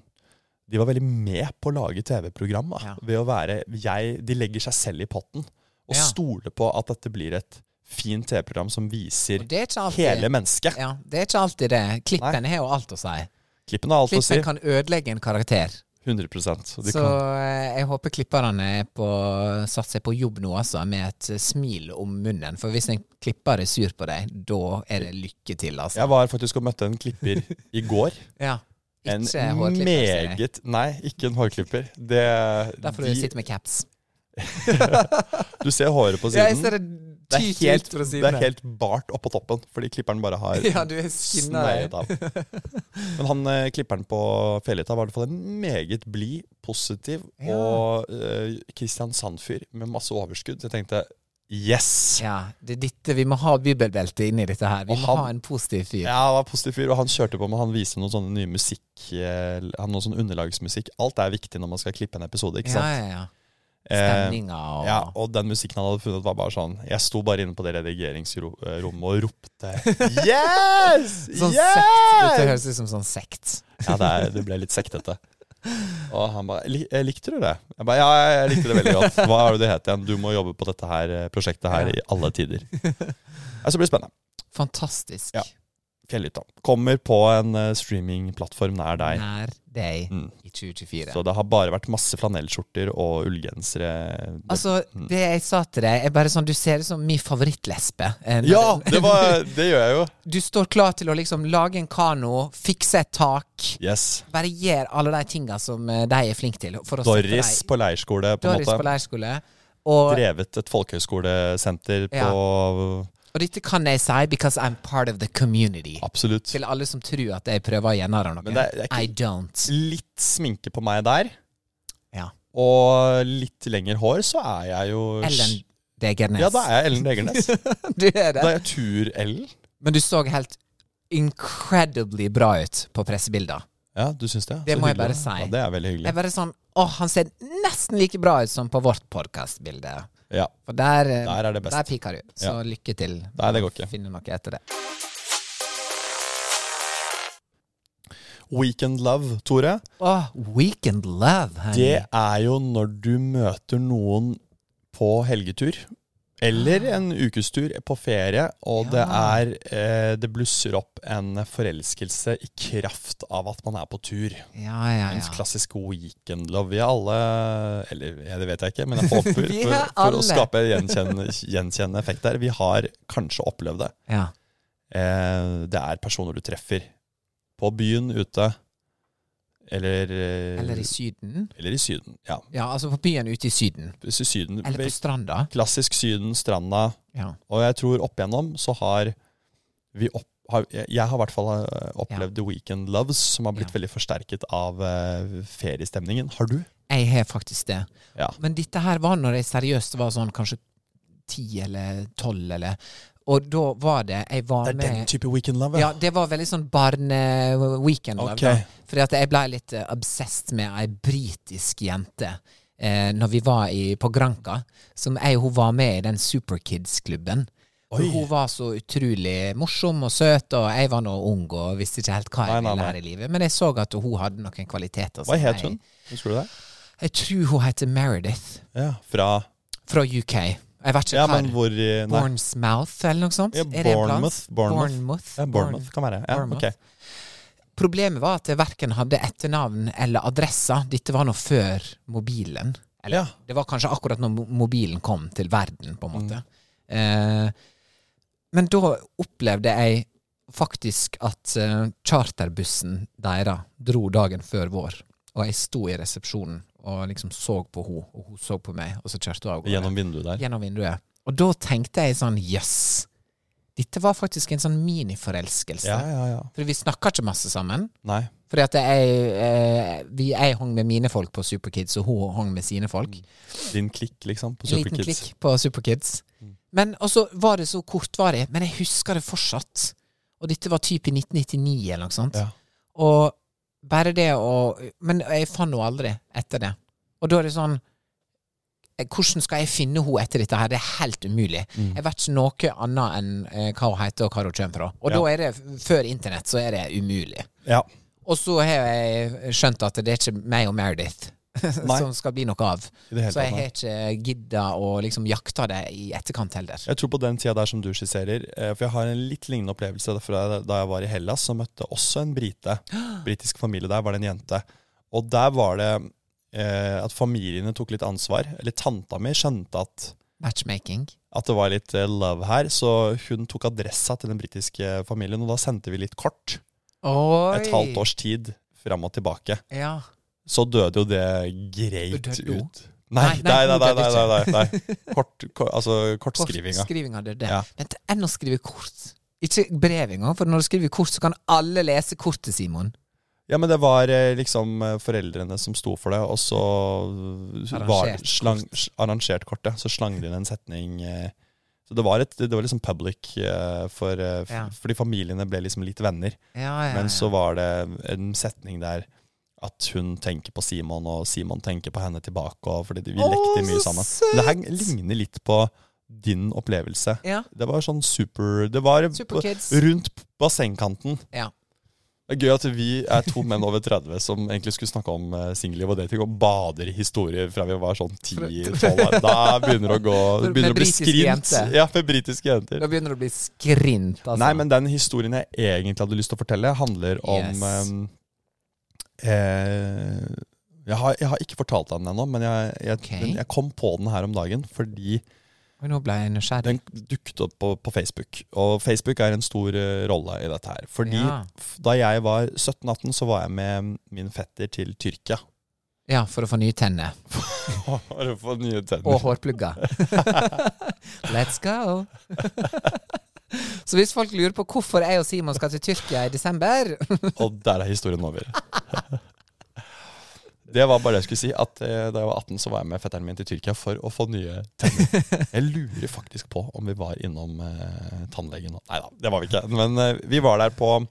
Speaker 1: De var veldig med på å lage TV-program. da,
Speaker 2: Ja.
Speaker 1: Ved å være jeg, De legger seg selv i potten og
Speaker 2: Ja.
Speaker 1: stoler på at dette blir et fint TV-program som viser
Speaker 2: Og det er ikke alltid
Speaker 1: hele mennesket.
Speaker 2: ja, Det er ikke alltid det. Klippen har jo alt å si.
Speaker 1: Klippen har alt å si.
Speaker 2: Klippen kan ødelegge en karakter.
Speaker 1: 100 og de
Speaker 2: Så
Speaker 1: kan,
Speaker 2: eh, jeg håper klipperne er på, satt seg på jobb nå, altså, med et eh, smil om munnen. For hvis en klipper er sur på deg, da er det lykke til, altså.
Speaker 1: Jeg var faktisk og møtte en klipper i går.
Speaker 2: Ja.
Speaker 1: En
Speaker 2: Ikke hårklipper, sier jeg.
Speaker 1: meget Nei, ikke en hårklipper. Det,
Speaker 2: Derfor
Speaker 1: de,
Speaker 2: du sitter med caps.
Speaker 1: du ser håret på
Speaker 2: Ja, jeg
Speaker 1: siden.
Speaker 2: ser det
Speaker 1: det,
Speaker 2: tyt
Speaker 1: er helt,
Speaker 2: ut fra
Speaker 1: det er
Speaker 2: sidene.
Speaker 1: helt bart oppå toppen, fordi klipperen bare har
Speaker 2: Ja, du er eh. skinna.
Speaker 1: Sneiet av. Men han eh, klipperen på Fjellhytta var i hvert fall en meget blid, positiv
Speaker 2: Ja.
Speaker 1: og eh, Kristiansand-fyr med masse overskudd. Så jeg tenkte yes!
Speaker 2: Ja, det er dette vi må ha bibelbelte inni dette her. Vi
Speaker 1: Og
Speaker 2: må
Speaker 1: han-
Speaker 2: ha en positiv fyr.
Speaker 1: Ja, han var en positiv fyr, og han kjørte på med Han viste noen sånne nye musikk eh, Han noen sånn underlagsmusikk. Alt er viktig når man skal klippe en episode, ikke
Speaker 2: Ja,
Speaker 1: sant?
Speaker 2: ja, ja.
Speaker 1: Eh,
Speaker 2: Stemninga og
Speaker 1: ja, og den musikken han hadde funnet, var bare sånn Jeg sto bare inne på det redigeringsrommet og ropte Yes!
Speaker 2: Sånn sekt. Dette
Speaker 1: yes!
Speaker 2: høres ut som sånn sekt.
Speaker 1: Ja, det, er, det ble litt sektete. Og han bare «Lik- eh, Likte du det? Jeg bare, ja, jeg likte det veldig godt. Hva er det du het igjen? Du må jobbe på dette her eh, prosjektet her
Speaker 2: Ja.
Speaker 1: i alle tider. Ja, så blir det spennende.
Speaker 2: Fantastisk.
Speaker 1: Ja. Fjellhytta kommer på en eh, streamingplattform nær deg.
Speaker 2: Nær deg
Speaker 1: Mm.
Speaker 2: i 2024.
Speaker 1: Så det har bare vært masse flanellskjorter og ullgensere.
Speaker 2: Altså,
Speaker 1: Mm.
Speaker 2: det jeg sa til deg, er bare sånn Du ser ut som min favorittlesbe. Eh, når
Speaker 1: ja,
Speaker 2: du-
Speaker 1: det, var, det gjør jeg jo.
Speaker 2: Du står klar til å liksom lage en kano, fikse et tak.
Speaker 1: Yes.
Speaker 2: Bare gjør alle de tinga som eh, de er flinke til. For å sette
Speaker 1: Doris
Speaker 2: deg-
Speaker 1: på leirskole, på en
Speaker 2: Doris på
Speaker 1: måte.
Speaker 2: leirskole. Og,
Speaker 1: Drevet et folkehøyskolesenter
Speaker 2: Ja.
Speaker 1: på
Speaker 2: og dette kan jeg si because I'm part of the community.
Speaker 1: Absolutt.
Speaker 2: Til alle som tror at jeg prøver å gjennomføre noe.
Speaker 1: Men det er- det er ikke-
Speaker 2: I don't.
Speaker 1: Litt sminke på meg der.
Speaker 2: Ja.
Speaker 1: Og litt lengre hår, så er jeg jo
Speaker 2: Ellen Degernes.
Speaker 1: Ja, da er jeg Ellen Degernes.
Speaker 2: Du er
Speaker 1: Da
Speaker 2: det.
Speaker 1: er jeg Tur-Ellen.
Speaker 2: Men du så helt incredibly bra ut på pressebilder.
Speaker 1: Ja, du syns det?
Speaker 2: Det
Speaker 1: Så
Speaker 2: må jeg
Speaker 1: hyggelig, da.
Speaker 2: bare si.
Speaker 1: Ja, det er veldig
Speaker 2: Jeg
Speaker 1: hyggelig.
Speaker 2: bare sånn Å, han ser nesten like bra ut som på vårt podkastbilde.
Speaker 1: Ja.
Speaker 2: For der, eh,
Speaker 1: Der er det best.
Speaker 2: der piker du. Så
Speaker 1: Ja.
Speaker 2: lykke til.
Speaker 1: Nei, det går ikke.
Speaker 2: Finne noe etter det.
Speaker 1: Weekend love, Tore,
Speaker 2: Å, Weekend Love. honey.
Speaker 1: det er jo når du møter noen på helgetur. Eller
Speaker 2: Ah.
Speaker 1: en ukestur på ferie, og det er eh, Det blusser opp en forelskelse i kraft av at man er på tur.
Speaker 2: Ja, ja,
Speaker 1: Ens
Speaker 2: ja.
Speaker 1: klassiske weekend love. Vi er alle Eller ja, det vet jeg ikke, men jeg håper
Speaker 2: Vi
Speaker 1: for,
Speaker 2: er
Speaker 1: for å
Speaker 2: alle.
Speaker 1: skape gjenkjennende, gjenkjennende effekt der. Vi har kanskje opplevd det.
Speaker 2: ja.
Speaker 1: Eh, det er personer du treffer på byen ute, eller eh,
Speaker 2: Eller i Syden.
Speaker 1: eller i Syden. Ja,
Speaker 2: Ja, altså på byen ute i Syden.
Speaker 1: i Syden.
Speaker 2: Eller på stranda.
Speaker 1: Klassisk Syden, stranda.
Speaker 2: Ja.
Speaker 1: Og jeg tror opp igjennom så har vi opp har, jeg jeg har i hvert fall eh, opplevd weekend loves, som har blitt
Speaker 2: Ja.
Speaker 1: veldig forsterket av eh, feriestemningen. Har du?
Speaker 2: Jeg har faktisk det.
Speaker 1: Ja.
Speaker 2: Men dette her var når jeg seriøst var sånn kanskje ti eller tolv eller Og da var det Jeg var
Speaker 1: Det er den
Speaker 2: med
Speaker 1: type weekend love,
Speaker 2: Ja, det var veldig sånn barne-weekend.
Speaker 1: Ok.
Speaker 2: Fordi at jeg ble litt eh, obsessed med ei britisk jente eh, når vi var i, på Granca, som jeg og hun var med i den Superkids-klubben. For
Speaker 1: Oi.
Speaker 2: Hun var så utrolig morsom og søt, og jeg var nå ung og visste ikke helt hva
Speaker 1: Nei,
Speaker 2: jeg
Speaker 1: nei,
Speaker 2: ville
Speaker 1: nei.
Speaker 2: her i livet. Men jeg så at hun hadde noen kvaliteter.
Speaker 1: Hva
Speaker 2: som
Speaker 1: het
Speaker 2: jeg-
Speaker 1: hun? Husker du det?
Speaker 2: Jeg tror hun heter Meredith
Speaker 1: Ja, fra
Speaker 2: fra UK. Jeg vet ikke
Speaker 1: Ja,
Speaker 2: hva.
Speaker 1: men hvor i- Nei.
Speaker 2: Bournemouth eller noe sånt?
Speaker 1: Ja,
Speaker 2: Er det en
Speaker 1: Bournemouth,
Speaker 2: plass?
Speaker 1: Bournemouth.
Speaker 2: Bournemouth.
Speaker 1: Ja, Bournemouth kan være. Ja,
Speaker 2: Bournemouth.
Speaker 1: ok.
Speaker 2: Problemet var at jeg verken hadde etternavn eller adressa. Dette var nå før mobilen. Eller
Speaker 1: Ja.
Speaker 2: det var kanskje akkurat når mo- mobilen kom til verden, på en måte.
Speaker 1: Mm.
Speaker 2: Eh, men da opplevde jeg faktisk at eh, charterbussen deres dro dagen før vår. Og jeg sto i resepsjonen og liksom så på henne, og hun så på meg, og så kjørte hun av gårde
Speaker 1: Gjennom vinduet der.
Speaker 2: gjennom vinduet. Og da tenkte jeg sånn Jøss, Dette var faktisk en sånn miniforelskelse.
Speaker 1: Ja, ja, ja.
Speaker 2: For vi snakka ikke masse sammen.
Speaker 1: Nei.
Speaker 2: Fordi at jeg, eh, vi, jeg hang med mine folk på Superkids, og hun hang med sine folk.
Speaker 1: Din klikk, liksom, på Mm.
Speaker 2: En liten
Speaker 1: Superkids. Mm.
Speaker 2: klikk på Superkids. Men, og så var det så kortvarig, men jeg husker det fortsatt. Og dette var typ i 1999 eller noe sånt.
Speaker 1: Ja.
Speaker 2: Og bare det å Men jeg fant henne aldri etter det. Og da er det sånn eh, Hvordan skal jeg finne henne etter dette her? Det er helt umulig.
Speaker 1: Mm.
Speaker 2: Jeg vet ikke noe annet enn eh, hva hun heter og hvor hun kommer fra. Og
Speaker 1: Ja.
Speaker 2: da er det f- før internett, så er det umulig.
Speaker 1: Ja.
Speaker 2: Og så har jeg skjønt at det er ikke meg og Meredith
Speaker 1: Nei.
Speaker 2: som skal bli noe av.
Speaker 1: I det hele
Speaker 2: Så jeg
Speaker 1: tatt,
Speaker 2: har ikke gidda å liksom jakte det i etterkant heller.
Speaker 1: Jeg tror på den tida der som du skisserer, eh, for jeg har en litt lignende opplevelse fra da jeg var i Hellas, så møtte jeg også en brite. Britisk familie der var det en jente. Og der var det eh, at familiene tok litt ansvar. Eller tanta mi skjønte at,
Speaker 2: Matchmaking.
Speaker 1: at det var litt eh, love her, så hun tok adressa til den britiske familien, og da sendte vi litt kort.
Speaker 2: Oi.
Speaker 1: Et halvt års tid fram og tilbake.
Speaker 2: Ja.
Speaker 1: Så døde jo det greit
Speaker 2: Døde hun?
Speaker 1: ut. Nei,
Speaker 2: Nei, nei,
Speaker 1: nei, nei. nei,
Speaker 2: hun
Speaker 1: nei, nei,
Speaker 2: døde
Speaker 1: nei, Kort, ko- altså, kortskrivinga.
Speaker 2: Kortskrivinga døde.
Speaker 1: Ja.
Speaker 2: Men det er enn å skrive kort. Ikke brev engang, for når du skriver kort, så kan alle lese kortet, Simon.
Speaker 1: Ja, men det var eh, liksom eh, foreldrene som sto for det, og så eh, var
Speaker 2: Arrangert
Speaker 1: slang,
Speaker 2: kort.
Speaker 1: s- arrangert kortet. Så slang de inn en setning eh, Så det var, et, det var liksom public, eh, for, eh, f-
Speaker 2: Ja.
Speaker 1: fordi familiene ble liksom litt venner.
Speaker 2: Ja, ja,
Speaker 1: Men så var det en setning der at hun tenker på Simon, og Simon tenker på henne tilbake. Og, fordi vi
Speaker 2: Å,
Speaker 1: lekte mye
Speaker 2: så
Speaker 1: sammen.
Speaker 2: søtt!
Speaker 1: Det her ligner litt på din opplevelse.
Speaker 2: Ja.
Speaker 1: Det var sånn super Det var
Speaker 2: Superkids.
Speaker 1: på- rundt bassengkanten.
Speaker 2: Ja.
Speaker 1: Det er gøy at vi er to menn over 30 som egentlig skulle snakke om eh, singelliv og dating, og bader i historier fra vi var sånn 10-12 år. Da begynner det å gå
Speaker 2: Med
Speaker 1: begynner å bli
Speaker 2: britiske
Speaker 1: skrint.
Speaker 2: jenter.
Speaker 1: Ja, med britiske jenter.
Speaker 2: Da begynner det å bli skrint, altså.
Speaker 1: Nei, men den historien jeg egentlig hadde lyst til å fortelle, handler om
Speaker 2: Yes.
Speaker 1: eh, eh, jeg, har, jeg har ikke fortalt deg den ennå, men jeg, jeg,
Speaker 2: Ok.
Speaker 1: den, jeg kom på den her om dagen fordi
Speaker 2: Oi, nå ble jeg nysgjerrig.
Speaker 1: den dukket opp på, på Facebook. Og Facebook er en stor eh, rolle i dette her. Fordi
Speaker 2: Ja.
Speaker 1: f- da jeg var 17-18, så var jeg med min fetter til Tyrkia.
Speaker 2: Ja, for å få nye tenner.
Speaker 1: Bare for nye
Speaker 2: Og
Speaker 1: tenner.
Speaker 2: hårplugger. Let's go! så hvis folk lurer på hvorfor jeg og Simon skal til Tyrkia i desember
Speaker 1: Og der er historien over. Det var bare det jeg skulle si, at eh, da jeg var 18, så var jeg med fetteren min til Tyrkia for å få nye tenner. Jeg lurer faktisk på om vi var innom eh, tannlegen nå. Nei da, det var vi ikke. Men eh, vi var der på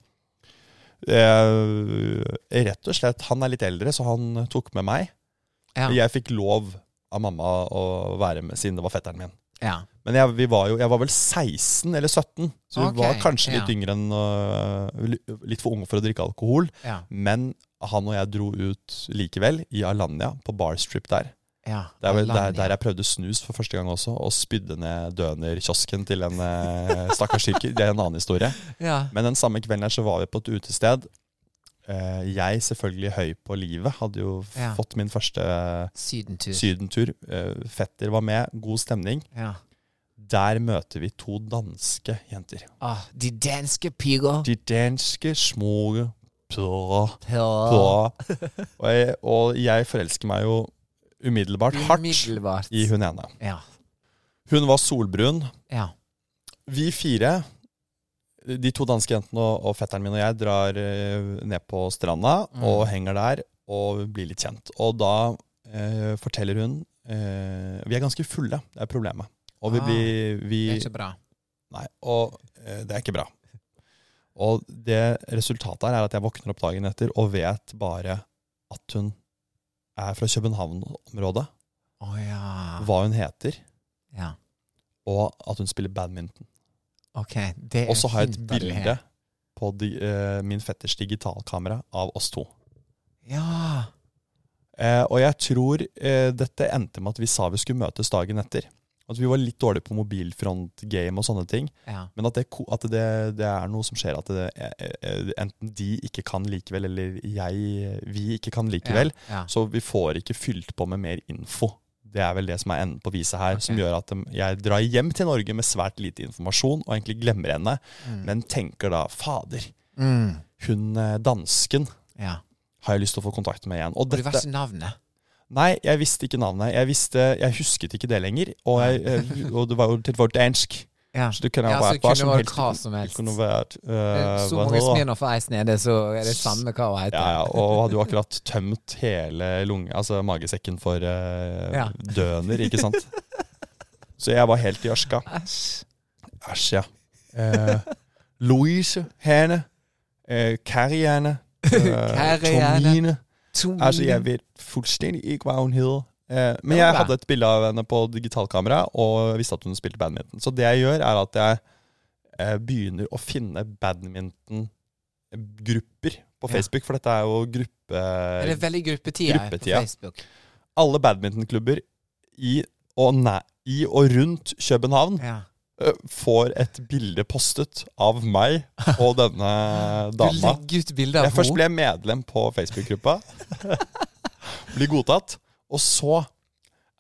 Speaker 1: eh, Rett og slett, han er litt eldre, så han tok med meg.
Speaker 2: Ja.
Speaker 1: Jeg fikk lov av mamma å være med, siden det var fetteren min.
Speaker 2: ja.
Speaker 1: Men jeg, vi var jo, jeg var vel 16 eller 17, så vi
Speaker 2: Ok,
Speaker 1: var kanskje litt
Speaker 2: ja.
Speaker 1: yngre enn øh, li- Litt for unge for å drikke alkohol.
Speaker 2: Ja.
Speaker 1: Men han og jeg dro ut likevel, i Alanya, på barstrip der.
Speaker 2: ja.
Speaker 1: Det er vel der,
Speaker 2: Alanya.
Speaker 1: der jeg prøvde snus for første gang også, og spydde ned dønerkiosken til en eh, stakkars tyrker. Det er en annen historie.
Speaker 2: ja.
Speaker 1: Men den samme kvelden her så var vi på et utested. Eh, Jeg, selvfølgelig høy på livet, hadde jo f-
Speaker 2: Ja.
Speaker 1: fått min første eh,
Speaker 2: Sydentur.
Speaker 1: sydentur. Eh, Fetter var med, god stemning.
Speaker 2: Ja.
Speaker 1: Der møter vi to danske jenter.
Speaker 2: Ah, de danske piger.
Speaker 1: De danske smuge bra,
Speaker 2: Ja.
Speaker 1: bra. Og jeg, og jeg forelsker meg jo umiddelbart hardt
Speaker 2: Umiddelbart.
Speaker 1: i hun ene.
Speaker 2: Ja.
Speaker 1: Hun var solbrun.
Speaker 2: ja.
Speaker 1: Vi fire, de to danske jentene og, og fetteren min og jeg, drar eh, ned på stranda
Speaker 2: Mm.
Speaker 1: og henger der og blir litt kjent. Og da eh, forteller hun eh, Vi er ganske fulle, det er problemet. Og vi
Speaker 2: Ah,
Speaker 1: blir vi,
Speaker 2: Det er ikke bra.
Speaker 1: Nei, og eh, det er ikke bra. Og det resultatet her er at jeg våkner opp dagen etter og vet bare at hun er fra København-området,
Speaker 2: Å ja.
Speaker 1: hva hun heter,
Speaker 2: ja.
Speaker 1: og at hun spiller badminton.
Speaker 2: Ok. Det er
Speaker 1: Og så har jeg et
Speaker 2: hint da du
Speaker 1: bilde
Speaker 2: har.
Speaker 1: på di, eh, min fetters digitalkamera av oss to.
Speaker 2: Ja.
Speaker 1: Eh, og jeg tror eh, dette endte med at vi sa vi skulle møtes dagen etter. At vi var litt dårlige på mobilfront-game og sånne ting.
Speaker 2: ja.
Speaker 1: Men at, det, ko- at det, det er noe som skjer at det, eh, eh, enten de ikke kan likevel, eller jeg, vi ikke kan likevel.
Speaker 2: Ja.
Speaker 1: Så vi får ikke fylt på med mer info. Det er vel det som er enden på viset her, som
Speaker 2: Ok.
Speaker 1: gjør at dem- jeg drar hjem til Norge med svært lite informasjon, og egentlig glemmer henne, men tenker da fader,
Speaker 2: Mm.
Speaker 1: hun eh, dansken
Speaker 2: ja.
Speaker 1: har jeg lyst til å få kontakt med igjen. Og
Speaker 2: Og du vet
Speaker 1: dette,
Speaker 2: ikke navnet.
Speaker 1: nei, jeg visste ikke navnet. Jeg, visste, jeg husket ikke det lenger, og, jeg, eh, og det var jo til vårt dansk.
Speaker 2: Ja.
Speaker 1: Så det kan ha
Speaker 2: Ja, så
Speaker 1: vært
Speaker 2: det
Speaker 1: hva
Speaker 2: kunne
Speaker 1: som
Speaker 2: vært
Speaker 1: helst.
Speaker 2: hva som helst.
Speaker 1: Det kunne vært eh,
Speaker 2: Så
Speaker 1: hva
Speaker 2: mange
Speaker 1: heter det?
Speaker 2: Smirnoff og Ice nede, så er det samme hva hun heter.
Speaker 1: Ja, ja, og hadde jo akkurat tømt hele lunge, altså magesekken for eh,
Speaker 2: Ja.
Speaker 1: døner, ikke sant? Så jeg var helt i ørska.
Speaker 2: Æsj.
Speaker 1: Æsj, ja. Eh, Louise, Hane, eh, Karianne, eh,
Speaker 2: Karianne.
Speaker 1: Tomine.
Speaker 2: Tung.
Speaker 1: Altså, jeg vet fullstendig ikke hva hun heter. Eh, men
Speaker 2: Mm. Jo
Speaker 1: jeg
Speaker 2: da.
Speaker 1: hadde et bilde av henne på digitalkamera og visste at hun spilte badminton. Så det jeg gjør, er at jeg eh, begynner å finne badmintongrupper øh, på
Speaker 2: Ja.
Speaker 1: Facebook, for dette er jo
Speaker 2: Er det
Speaker 1: gruppe...
Speaker 2: veldig gruppetida her på
Speaker 1: Gruppetida.
Speaker 2: Facebook?
Speaker 1: Alle badmintonklubber i og, næ- i og rundt København
Speaker 2: Ja.
Speaker 1: eh, får et bilde postet av meg og denne
Speaker 2: Du
Speaker 1: dama.
Speaker 2: legger ut bilde
Speaker 1: Jeg
Speaker 2: av
Speaker 1: først
Speaker 2: henne.
Speaker 1: ble jeg medlem på Facebook-gruppa. Blir godtatt. Og så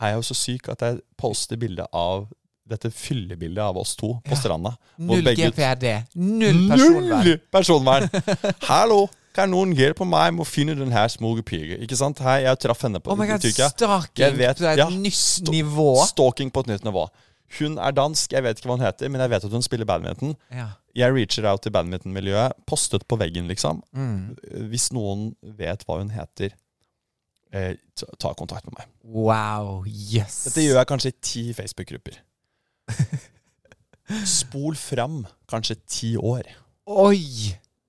Speaker 1: er jeg jo så syk at jeg poster bilde av dette fyllebildet av oss to på stranda. hvor
Speaker 2: Null
Speaker 1: begge-
Speaker 2: GPRD. Null personvern.
Speaker 1: Null personvern! Hallo! Kan noen hjelpe meg med å finne den her smuge pige? Ikke sant? Hei, jeg traff henne på,
Speaker 2: Oh my
Speaker 1: i
Speaker 2: god,
Speaker 1: Tyrkia. Jeg
Speaker 2: stalking
Speaker 1: vet-
Speaker 2: på et
Speaker 1: ja,
Speaker 2: nytt
Speaker 1: sto-
Speaker 2: nivå.
Speaker 1: Stalking på et nytt nivå. Hun er dansk, jeg vet ikke hva hun heter, men jeg vet at hun spiller badminton.
Speaker 2: Ja.
Speaker 1: Jeg reacher out til badmintonmiljøet, postet på veggen, liksom. Hvis noen vet hva hun heter, eh, ta- ta kontakt med meg.
Speaker 2: Wow, yes.
Speaker 1: Dette gjør jeg kanskje i ti Facebook-grupper. Spol fram kanskje ti år.
Speaker 2: Oi!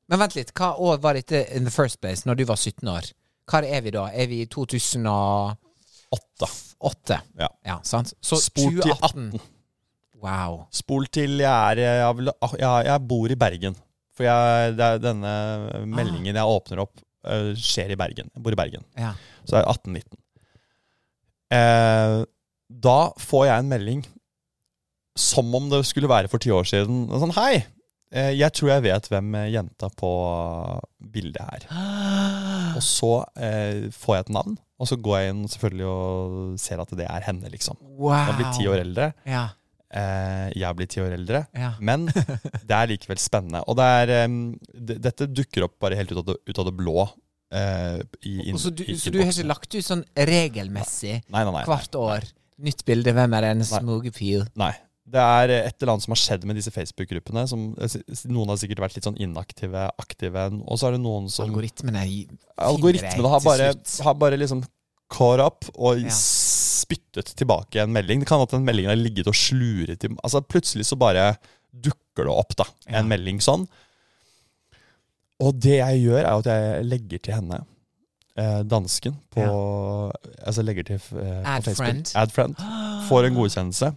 Speaker 2: Men vent litt, hva år var dette in the first place, når du var 17 år? Hva er vi da? Er vi i 2008?
Speaker 1: Åtte. Ja.
Speaker 2: Ja, sant? Så
Speaker 1: Spol til
Speaker 2: 2018.
Speaker 1: 18.
Speaker 2: Wow.
Speaker 1: Spol til jeg, er, jeg, er vel- ah, jeg, jeg bor i Bergen. For jeg, det er denne meldingen jeg åpner opp, eh, skjer i Bergen. Jeg bor i Bergen.
Speaker 2: Ja.
Speaker 1: Så er jeg 18-19. Eh, da får jeg en melding som om det skulle være for ti år siden. Og Sånn, hei! eh, Jeg tror jeg vet hvem eh, jenta på eh, bildet er. Og så eh, får jeg et navn, og så går jeg inn selvfølgelig og ser at det er henne, liksom.
Speaker 2: Wow.
Speaker 1: Jeg blir ti år eldre.
Speaker 2: Ja,
Speaker 1: Eh, jeg blir ti år eldre.
Speaker 2: ja.
Speaker 1: Men det er likevel spennende. Og det er, em, d- dette dukker opp bare helt ut av det, ut av det blå. Eh, i, inn-
Speaker 2: Og så du,
Speaker 1: i
Speaker 2: så du har
Speaker 1: innboksen.
Speaker 2: ikke lagt ut sånn regelmessig
Speaker 1: Nei, nei, nei.
Speaker 2: hvert år? Nytt bilde, hvem er den
Speaker 1: Nei.
Speaker 2: smugepyr?
Speaker 1: Nei. Det er et eller annet som har skjedd med disse Facebook-gruppene. som- s- Noen har sikkert vært litt sånn inaktive, aktive. Og så er det noen som
Speaker 2: Algoritmene er
Speaker 1: Algoritmene har bare, har bare liksom caught up og
Speaker 2: Ja.
Speaker 1: spyttet tilbake en melding. Det kan at den meldingen har ligget og sluret i Altså Plutselig så bare dukker det opp da en
Speaker 2: Ja.
Speaker 1: melding sånn. Og det jeg gjør, er at jeg legger til henne, eh, dansken, på Altså legger til eh,
Speaker 2: Add
Speaker 1: på Facebook.
Speaker 2: friend.
Speaker 1: Add friend. Får en godkjennelse.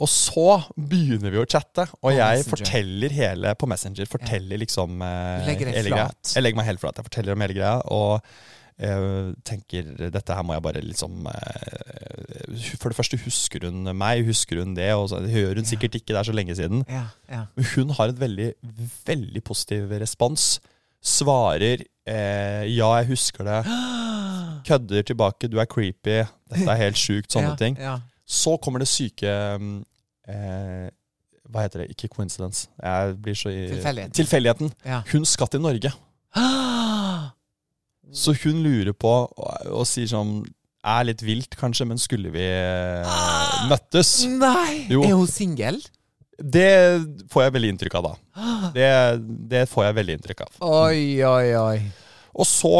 Speaker 1: Og så begynner vi å chatte, og jeg
Speaker 2: Messenger.
Speaker 1: forteller hele på Messenger. Forteller liksom eh,
Speaker 2: Du legger deg
Speaker 1: hele greia.
Speaker 2: flat.
Speaker 1: Jeg legger meg helt flat. Jeg forteller om hele greia og eh, tenker dette her må jeg bare liksom eh, For det første, husker hun meg? Husker hun det? Og så hører hun sikkert ikke, det er så lenge siden.
Speaker 2: Ja, ja.
Speaker 1: Men hun har en veldig, veldig positiv respons. Svarer eh, 'ja, jeg husker det'. Kødder tilbake 'du er creepy', 'dette er helt sjukt', sånne
Speaker 2: ja,
Speaker 1: ting.
Speaker 2: Ja.
Speaker 1: Så kommer det syke mm, eh, Hva heter det? Ikke coincidence. Jeg blir så i,
Speaker 2: Tilfeldigheten.
Speaker 1: Tilfeldigheten.
Speaker 2: Ja.
Speaker 1: Hun skal til Norge. Så hun lurer på og, og sier sånn Er litt vilt, kanskje, men skulle vi eh, møttes?
Speaker 2: Nei!
Speaker 1: Jo.
Speaker 2: Er hun singel?
Speaker 1: Det får jeg veldig inntrykk av da. Det, det får jeg veldig inntrykk av.
Speaker 2: Oi, oi, oi.
Speaker 1: Og så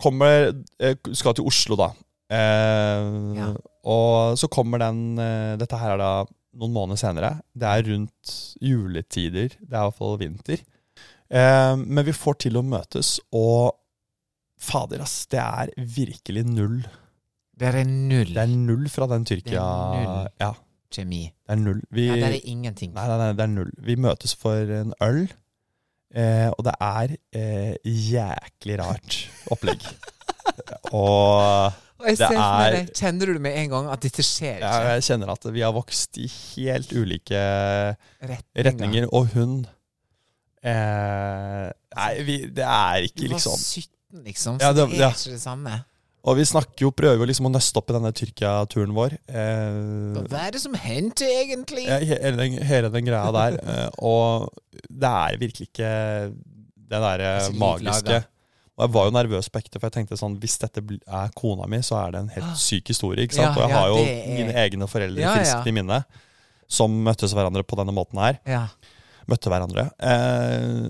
Speaker 1: kommer eh, Skal til Oslo, da. Eh,
Speaker 2: Ja.
Speaker 1: Og så kommer den eh, Dette her er da noen måneder senere. Det er rundt juletider. Det er iallfall vinter. Eh, men vi får til å møtes, og fader, ass. Det er virkelig null.
Speaker 2: Det er null
Speaker 1: Det er null fra den
Speaker 2: Det
Speaker 1: Tyrkia
Speaker 2: er null.
Speaker 1: Ja,
Speaker 2: kjemi.
Speaker 1: det er null. Vi,
Speaker 2: Ja, det er ingenting.
Speaker 1: Nei, nei, nei, det er null. Vi møtes for en øl, eh, og det er eh, jæklig rart opplegg. og
Speaker 2: Og
Speaker 1: Det
Speaker 2: jeg ser for meg
Speaker 1: er-
Speaker 2: det. Kjenner du det med en gang at dette skjer
Speaker 1: jeg,
Speaker 2: ikke?
Speaker 1: jeg kjenner at vi har vokst i helt ulike
Speaker 2: Retninger.
Speaker 1: retninger, og hun eh, Nei, vi, det er
Speaker 2: Du
Speaker 1: ikke
Speaker 2: var
Speaker 1: liksom
Speaker 2: 17, liksom, så
Speaker 1: Ja,
Speaker 2: det,
Speaker 1: det-
Speaker 2: er
Speaker 1: ja.
Speaker 2: ikke det samme.
Speaker 1: Og vi snakker jo, prøver jo liksom å nøste opp i denne Tyrkia-turen vår. Eh,
Speaker 2: Hva er det som hendte, egentlig?
Speaker 1: Ja, he- hele, den, hele den greia der. eh, Og det er virkelig ikke det derre
Speaker 2: er så liv
Speaker 1: magiske.
Speaker 2: laga.
Speaker 1: Og jeg var jo nervøs på ekte, for jeg tenkte sånn Hvis dette bl- er kona mi, så er det en helt syk historie. ikke sant?
Speaker 2: Ah. Ja,
Speaker 1: og jeg
Speaker 2: ja,
Speaker 1: har jo
Speaker 2: det er-
Speaker 1: mine egne foreldre
Speaker 2: Ja, ja.
Speaker 1: friskt i minne. som møttes hverandre på denne måten her.
Speaker 2: Ja.
Speaker 1: Møtte hverandre. Eh,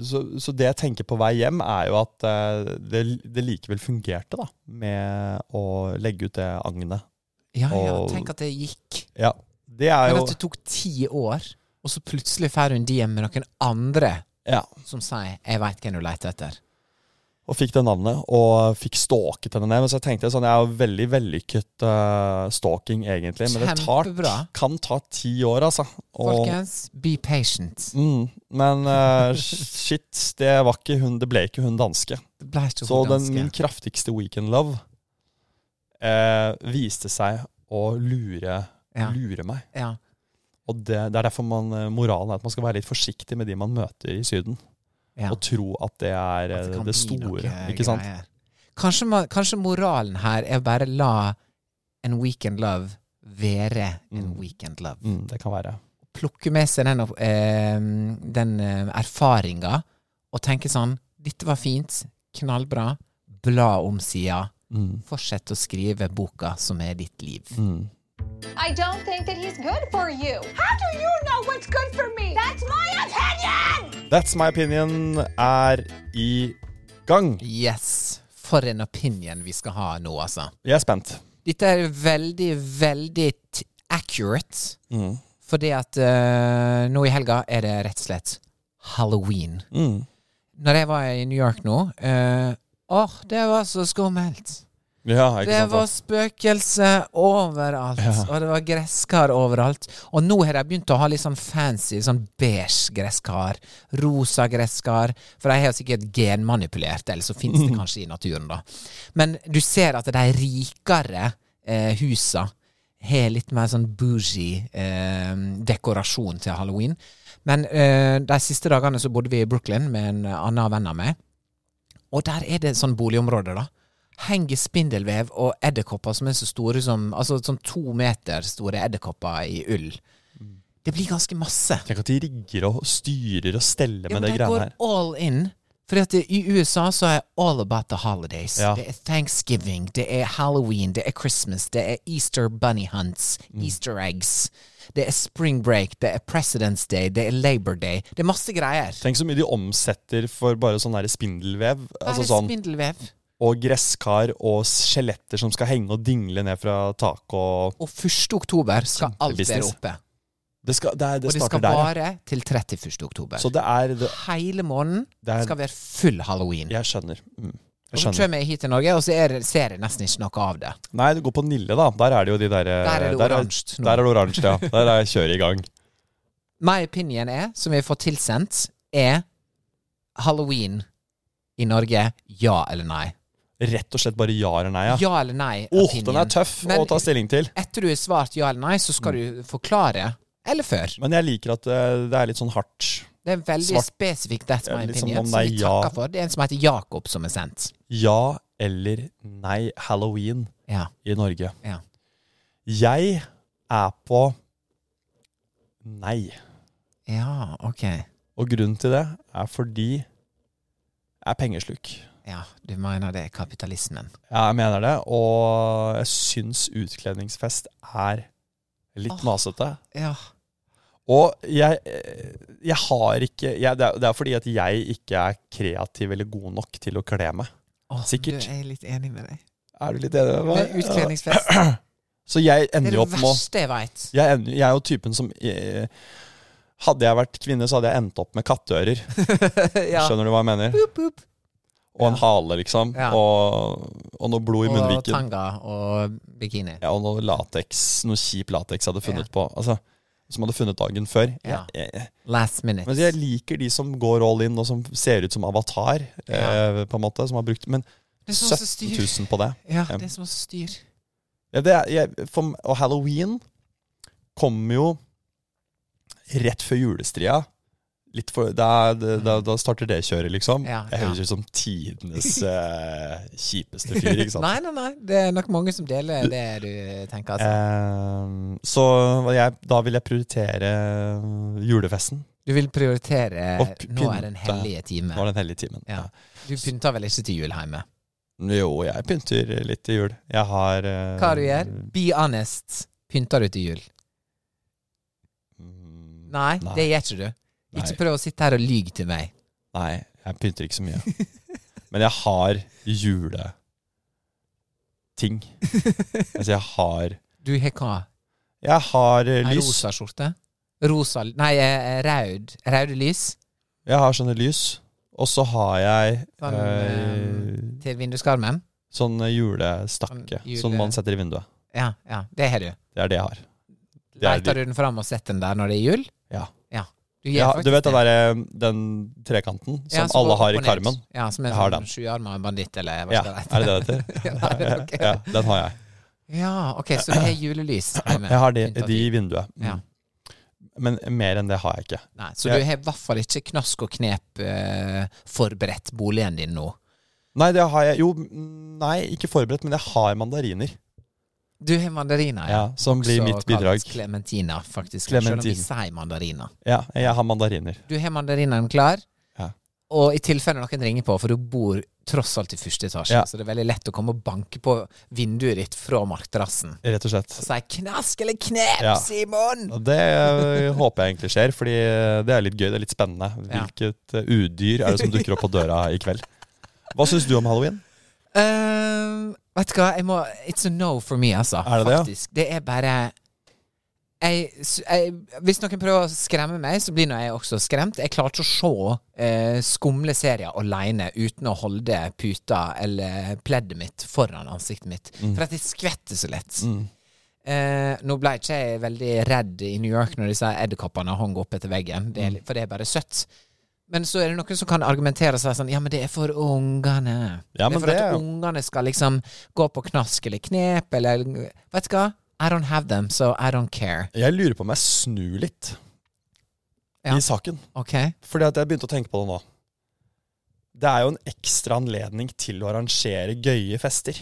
Speaker 1: så, så det jeg tenker på vei hjem, er jo at eh, det, det likevel fungerte, da. Med å legge ut det agnet.
Speaker 2: Ja, ja.
Speaker 1: Og-
Speaker 2: Tenk at det gikk.
Speaker 1: Ja. Det er
Speaker 2: Men
Speaker 1: jo
Speaker 2: at det tok ti år, og så plutselig får hun DM med noen andre
Speaker 1: Ja.
Speaker 2: som sier 'jeg veit hvem du leter etter'.
Speaker 1: Og fikk det navnet, og fikk stalket henne ned. Men så tenkte jeg sånn, jeg er jo veldig vellykket eh, stalking, egentlig. Men det tar,
Speaker 2: Kjempebra.
Speaker 1: kan ta ti år, altså. Og,
Speaker 2: Folkens, be patient.
Speaker 1: mm, men eh, shit, det, var ikke hun, det ble ikke hun danske.
Speaker 2: Det ble ikke
Speaker 1: Så
Speaker 2: hun
Speaker 1: den,
Speaker 2: ganske.
Speaker 1: min kraftigste weekend love eh, viste seg å lure,
Speaker 2: Ja.
Speaker 1: lure meg.
Speaker 2: Ja.
Speaker 1: Og det, det er derfor man, eh, moralen er at man skal være litt forsiktig med de man møter i Syden.
Speaker 2: Ja.
Speaker 1: Og tro at det er eh,
Speaker 2: At
Speaker 1: det,
Speaker 2: kan bli
Speaker 1: store.
Speaker 2: noe
Speaker 1: Ikke sant?
Speaker 2: greier. Kanskje, man, kanskje moralen her er å bare la en weekend love være en
Speaker 1: Mm.
Speaker 2: weekend love.
Speaker 1: Mm, det kan være.
Speaker 2: Plukke med seg den, opp- eh, den eh, erfaringa og tenke sånn Dette var fint. Knallbra. Bla om sida.
Speaker 1: Mm,
Speaker 2: Fortsett å skrive boka som er ditt liv.
Speaker 1: mm.
Speaker 6: I don't think that he's good for you. How do you know what's good for me? That's my opinion!
Speaker 1: That's my opinion er i gang.
Speaker 2: Yes. For en opinion vi skal ha nå, altså.
Speaker 1: Jeg er spent.
Speaker 2: Dette er veldig, veldig t accurate.
Speaker 1: Mm.
Speaker 2: Fordi at eh, nå i helga er det rett og slett halloween.
Speaker 1: Mm.
Speaker 2: Når jeg var i New York nå eh, Åh, det var så skummelt.
Speaker 1: Ja, ikke
Speaker 2: Det
Speaker 1: sant?
Speaker 2: var spøkelse overalt, og det var gresskar overalt. Og nå har de begynt å ha litt sånn fancy, sånn beige gresskar. Rosa gresskar. For de har sikkert genmanipulert, eller så fins det kanskje i naturen, da. Men du ser at de rikere eh, husa har litt mer sånn bougie eh, dekorasjon til halloween. Men eh, de siste dagene så bodde vi i Brooklyn med en annen venn av meg. Og der er det sånn boligområde, da. Henger spindelvev og edderkopper som er så store som Altså sånn to meter store edderkopper i ull. Det blir ganske masse.
Speaker 1: Tenk at de rigger og styrer og steller
Speaker 2: Ja,
Speaker 1: med
Speaker 2: men
Speaker 1: det
Speaker 2: de
Speaker 1: greiene
Speaker 2: går
Speaker 1: her.
Speaker 2: all in. Fordi at det- I USA så er all about the holidays.
Speaker 1: Ja.
Speaker 2: Det er Thanksgiving, det er Halloween, det er Christmas, det er Easter bunny hunts,
Speaker 1: Mm.
Speaker 2: Easter eggs. Det er spring break, det er President's Day, det er Labor Day. Det er masse greier.
Speaker 1: Tenk så mye de omsetter for bare sånn der spindelvev.
Speaker 2: Bare
Speaker 1: Altså sånn,
Speaker 2: spindelvev.
Speaker 1: og gresskar og skjeletter som skal henge og dingle ned fra taket. Og
Speaker 2: Og 1. oktober skal alt være
Speaker 1: Kjempebusiness.
Speaker 2: oppe.
Speaker 1: det, skal, det, er, det
Speaker 2: og det
Speaker 1: starter
Speaker 2: skal
Speaker 1: der. ja.
Speaker 2: vare til 31. oktober.
Speaker 1: Så det er det,
Speaker 2: Hele måneden
Speaker 1: Det er-
Speaker 2: skal være full halloween.
Speaker 1: Jeg skjønner. Mm.
Speaker 2: og
Speaker 1: Jeg
Speaker 2: så
Speaker 1: skjønner.
Speaker 2: kommer jeg hit til Norge, og så er, det- ser jeg nesten ikke noe av det.
Speaker 1: Nei, du går på Nille, da. Der er det jo de der
Speaker 2: Der er det
Speaker 1: Der
Speaker 2: oransje nå.
Speaker 1: Der er det oransje, ja. Der er kjøret i gang.
Speaker 2: My opinion er, som vi får tilsendt, er halloween i Norge ja eller nei.
Speaker 1: Rett og slett bare ja eller nei,
Speaker 2: Ja,
Speaker 1: ja.
Speaker 2: eller nei.
Speaker 1: Åh,
Speaker 2: opinion.
Speaker 1: den er tøff
Speaker 2: Men
Speaker 1: å ta Mm. stilling til.
Speaker 2: Etter du har svart ja eller nei, så skal du forklare. Eller før.
Speaker 1: Men jeg liker at eh, det er litt sånn hardt.
Speaker 2: Det er veldig
Speaker 1: Svart.
Speaker 2: spesifikt. That's
Speaker 1: Ja,
Speaker 2: my
Speaker 1: liksom
Speaker 2: opinion.
Speaker 1: om
Speaker 2: Som
Speaker 1: det er
Speaker 2: vi
Speaker 1: ja.
Speaker 2: takker for. Det er en som heter Jakob, som er sendt.
Speaker 1: Ja eller nei halloween
Speaker 2: Ja.
Speaker 1: i Norge.
Speaker 2: ja.
Speaker 1: Jeg er på nei.
Speaker 2: Ja, ok.
Speaker 1: Og grunnen til det er fordi jeg er pengesluk.
Speaker 2: Ja, du mener det er kapitalismen.
Speaker 1: Jeg mener det, og jeg syns utkledningsfest er litt masete.
Speaker 2: Ja.
Speaker 1: Og jeg, eh, jeg har ikke jeg, det, er, det er fordi at jeg ikke er kreativ eller god nok til å kle meg.
Speaker 2: Åh,
Speaker 1: Sikkert.
Speaker 2: Du er litt enig med deg.
Speaker 1: Er du litt enig med
Speaker 2: Det
Speaker 1: meg?
Speaker 2: er utkledningsfest.
Speaker 1: Så jeg
Speaker 2: Det
Speaker 1: ender
Speaker 2: er
Speaker 1: jo
Speaker 2: det
Speaker 1: opp med å
Speaker 2: verste jeg veit.
Speaker 1: Jeg, ender- jeg er jo typen som eh, Hadde jeg vært kvinne, så hadde jeg endt opp med katteører.
Speaker 2: ja.
Speaker 1: Skjønner du hva jeg mener?
Speaker 2: Boop, boop.
Speaker 1: Og en hale, liksom.
Speaker 2: Ja.
Speaker 1: Og, og noe blod i
Speaker 2: Og
Speaker 1: munnviken.
Speaker 2: tanga og bikini.
Speaker 1: Ja, og noe lateks, noe kjip lateks jeg hadde funnet på. Altså, som jeg hadde funnet dagen før.
Speaker 2: Ja.
Speaker 1: Jeg, jeg,
Speaker 2: Last minute.
Speaker 1: men jeg liker de som går all in, og som ser ut som avatar, eh, på en måte. Som har brukt Men
Speaker 2: Det er sånn som
Speaker 1: 17
Speaker 2: styr.
Speaker 1: 000 på det.
Speaker 2: Ja, det er som å styr.
Speaker 1: Ja, det er, jeg, for, og halloween kommer jo rett før julestria. Litt for, da, da, da- da starter det kjøret, liksom.
Speaker 2: Mm. Ja,
Speaker 1: jeg
Speaker 2: ja.
Speaker 1: høres ut som tidenes eh, kjipeste fyr, ikke sant.
Speaker 2: Nei, nei, nei. Det er nok mange som deler det du tenker. Altså.
Speaker 1: Eh, så var jeg, da vil jeg prioritere eh, julefesten.
Speaker 2: Du vil prioritere
Speaker 1: Og p-
Speaker 2: Nå er den
Speaker 1: pynte.
Speaker 2: hellige
Speaker 1: Nå er
Speaker 2: time.
Speaker 1: den hellige timen.
Speaker 2: Ja. Du pynter vel ikke til jul hjemme?
Speaker 1: Jo, jeg pynter litt til jul. Jeg har eh,
Speaker 2: Hva du gjør? Be honest. Pynter du til jul? Nei,
Speaker 1: mm, Nei.
Speaker 2: det gjør ikke du. Ikke
Speaker 1: Nei.
Speaker 2: prøv å sitte her og lyge til meg.
Speaker 1: Nei, jeg pynter ikke så mye. Men jeg har juleting. Altså, jeg har
Speaker 2: Du har hva?
Speaker 1: Jeg har eh,
Speaker 2: Ei
Speaker 1: lys.
Speaker 2: Rosa skjorte? Rosa Nei, eh, raud. Raude lys
Speaker 1: Jeg har sånne lys. Og så har jeg
Speaker 2: Sånn,
Speaker 1: eh,
Speaker 2: til vinduskarmen?
Speaker 1: sånn julestakke.
Speaker 2: Sånn jule-
Speaker 1: Som man setter i vinduet.
Speaker 2: Ja, ja, det har du.
Speaker 1: Det er det jeg har. Det er
Speaker 2: Leiter du den fram og setter den der når det er jul?
Speaker 1: Ja.
Speaker 2: Du,
Speaker 1: Jeg
Speaker 2: gjør
Speaker 1: har- du
Speaker 2: faktisk
Speaker 1: vet
Speaker 2: det.
Speaker 1: den derre den trekanten som
Speaker 2: Ja,
Speaker 1: alle
Speaker 2: går
Speaker 1: har
Speaker 2: opp
Speaker 1: i
Speaker 2: og ned.
Speaker 1: karmen?
Speaker 2: Ja, som en
Speaker 1: Jeg har
Speaker 2: sånn
Speaker 1: den.
Speaker 2: sjuarma banditt, eller hva
Speaker 1: Ja,
Speaker 2: skal
Speaker 1: er det det det
Speaker 2: ja,
Speaker 1: heter?
Speaker 2: det er ok.
Speaker 1: ja, den har jeg.
Speaker 2: Ja, ok, så du har julelys hjemme.
Speaker 1: Jeg har de,
Speaker 2: Pynt av
Speaker 1: de i
Speaker 2: de.
Speaker 1: vinduet. Mm.
Speaker 2: Ja.
Speaker 1: Men mer enn det har jeg ikke.
Speaker 2: Nei, så
Speaker 1: Jeg-
Speaker 2: du har i hvert fall ikke knask og knep eh, forberedt boligen din nå.
Speaker 1: Nei, det har jeg jo mm, Nei, ikke forberedt, men jeg har mandariner.
Speaker 2: Du har mandariner,
Speaker 1: Ja, som blir
Speaker 2: Også
Speaker 1: mitt bidrag.
Speaker 2: kalt Clementina, faktisk. Selv om vi
Speaker 1: Clementin.
Speaker 2: sier mandariner.
Speaker 1: Ja, jeg har mandariner.
Speaker 2: Du har mandarinene klar,
Speaker 1: Ja.
Speaker 2: og i tilfelle noen ringer på, for du bor tross alt i første etasje,
Speaker 1: Ja.
Speaker 2: så det er veldig lett å komme og banke på vinduet ditt fra markterrassen
Speaker 1: Rett og slett.
Speaker 2: og si 'knask eller knep,
Speaker 1: Ja.
Speaker 2: Simon'!
Speaker 1: Og Det eh, håper jeg egentlig skjer, fordi eh, det er litt gøy, det er litt spennende.
Speaker 2: Ja.
Speaker 1: Hvilket eh, udyr er det som dukker opp på døra i kveld? Hva syns du om halloween?
Speaker 2: Ehm, vet du hva, jeg må It's a no for me, altså.
Speaker 1: Er det det, ja?
Speaker 2: faktisk. det? er bare jeg, s- jeg, Hvis noen prøver å skremme meg, så blir nå jeg også skremt. Jeg klarer ikke å se eh, skumle serier aleine uten å holde puta eller pleddet mitt foran ansiktet mitt.
Speaker 1: Mm.
Speaker 2: For at jeg skvetter så lett. Eh, nå ble ikke jeg veldig redd i New York når disse edderkoppene hang opp etter veggen,
Speaker 1: Mm.
Speaker 2: det er, li- for det er bare søtt. Men så er det noen som kan argumentere og si sånn Ja, men det er for ungene.
Speaker 1: Ja,
Speaker 2: det
Speaker 1: men
Speaker 2: er for
Speaker 1: det er
Speaker 2: at
Speaker 1: jo-
Speaker 2: ungene skal liksom gå på knask eller knep eller Vet du hva? I don't have them, so I don't care.
Speaker 1: Jeg lurer på om jeg snur litt
Speaker 2: Ja.
Speaker 1: i saken.
Speaker 2: Ok?
Speaker 1: Fordi at jeg begynte å tenke på det nå. Det er jo en ekstra anledning til å arrangere gøye fester.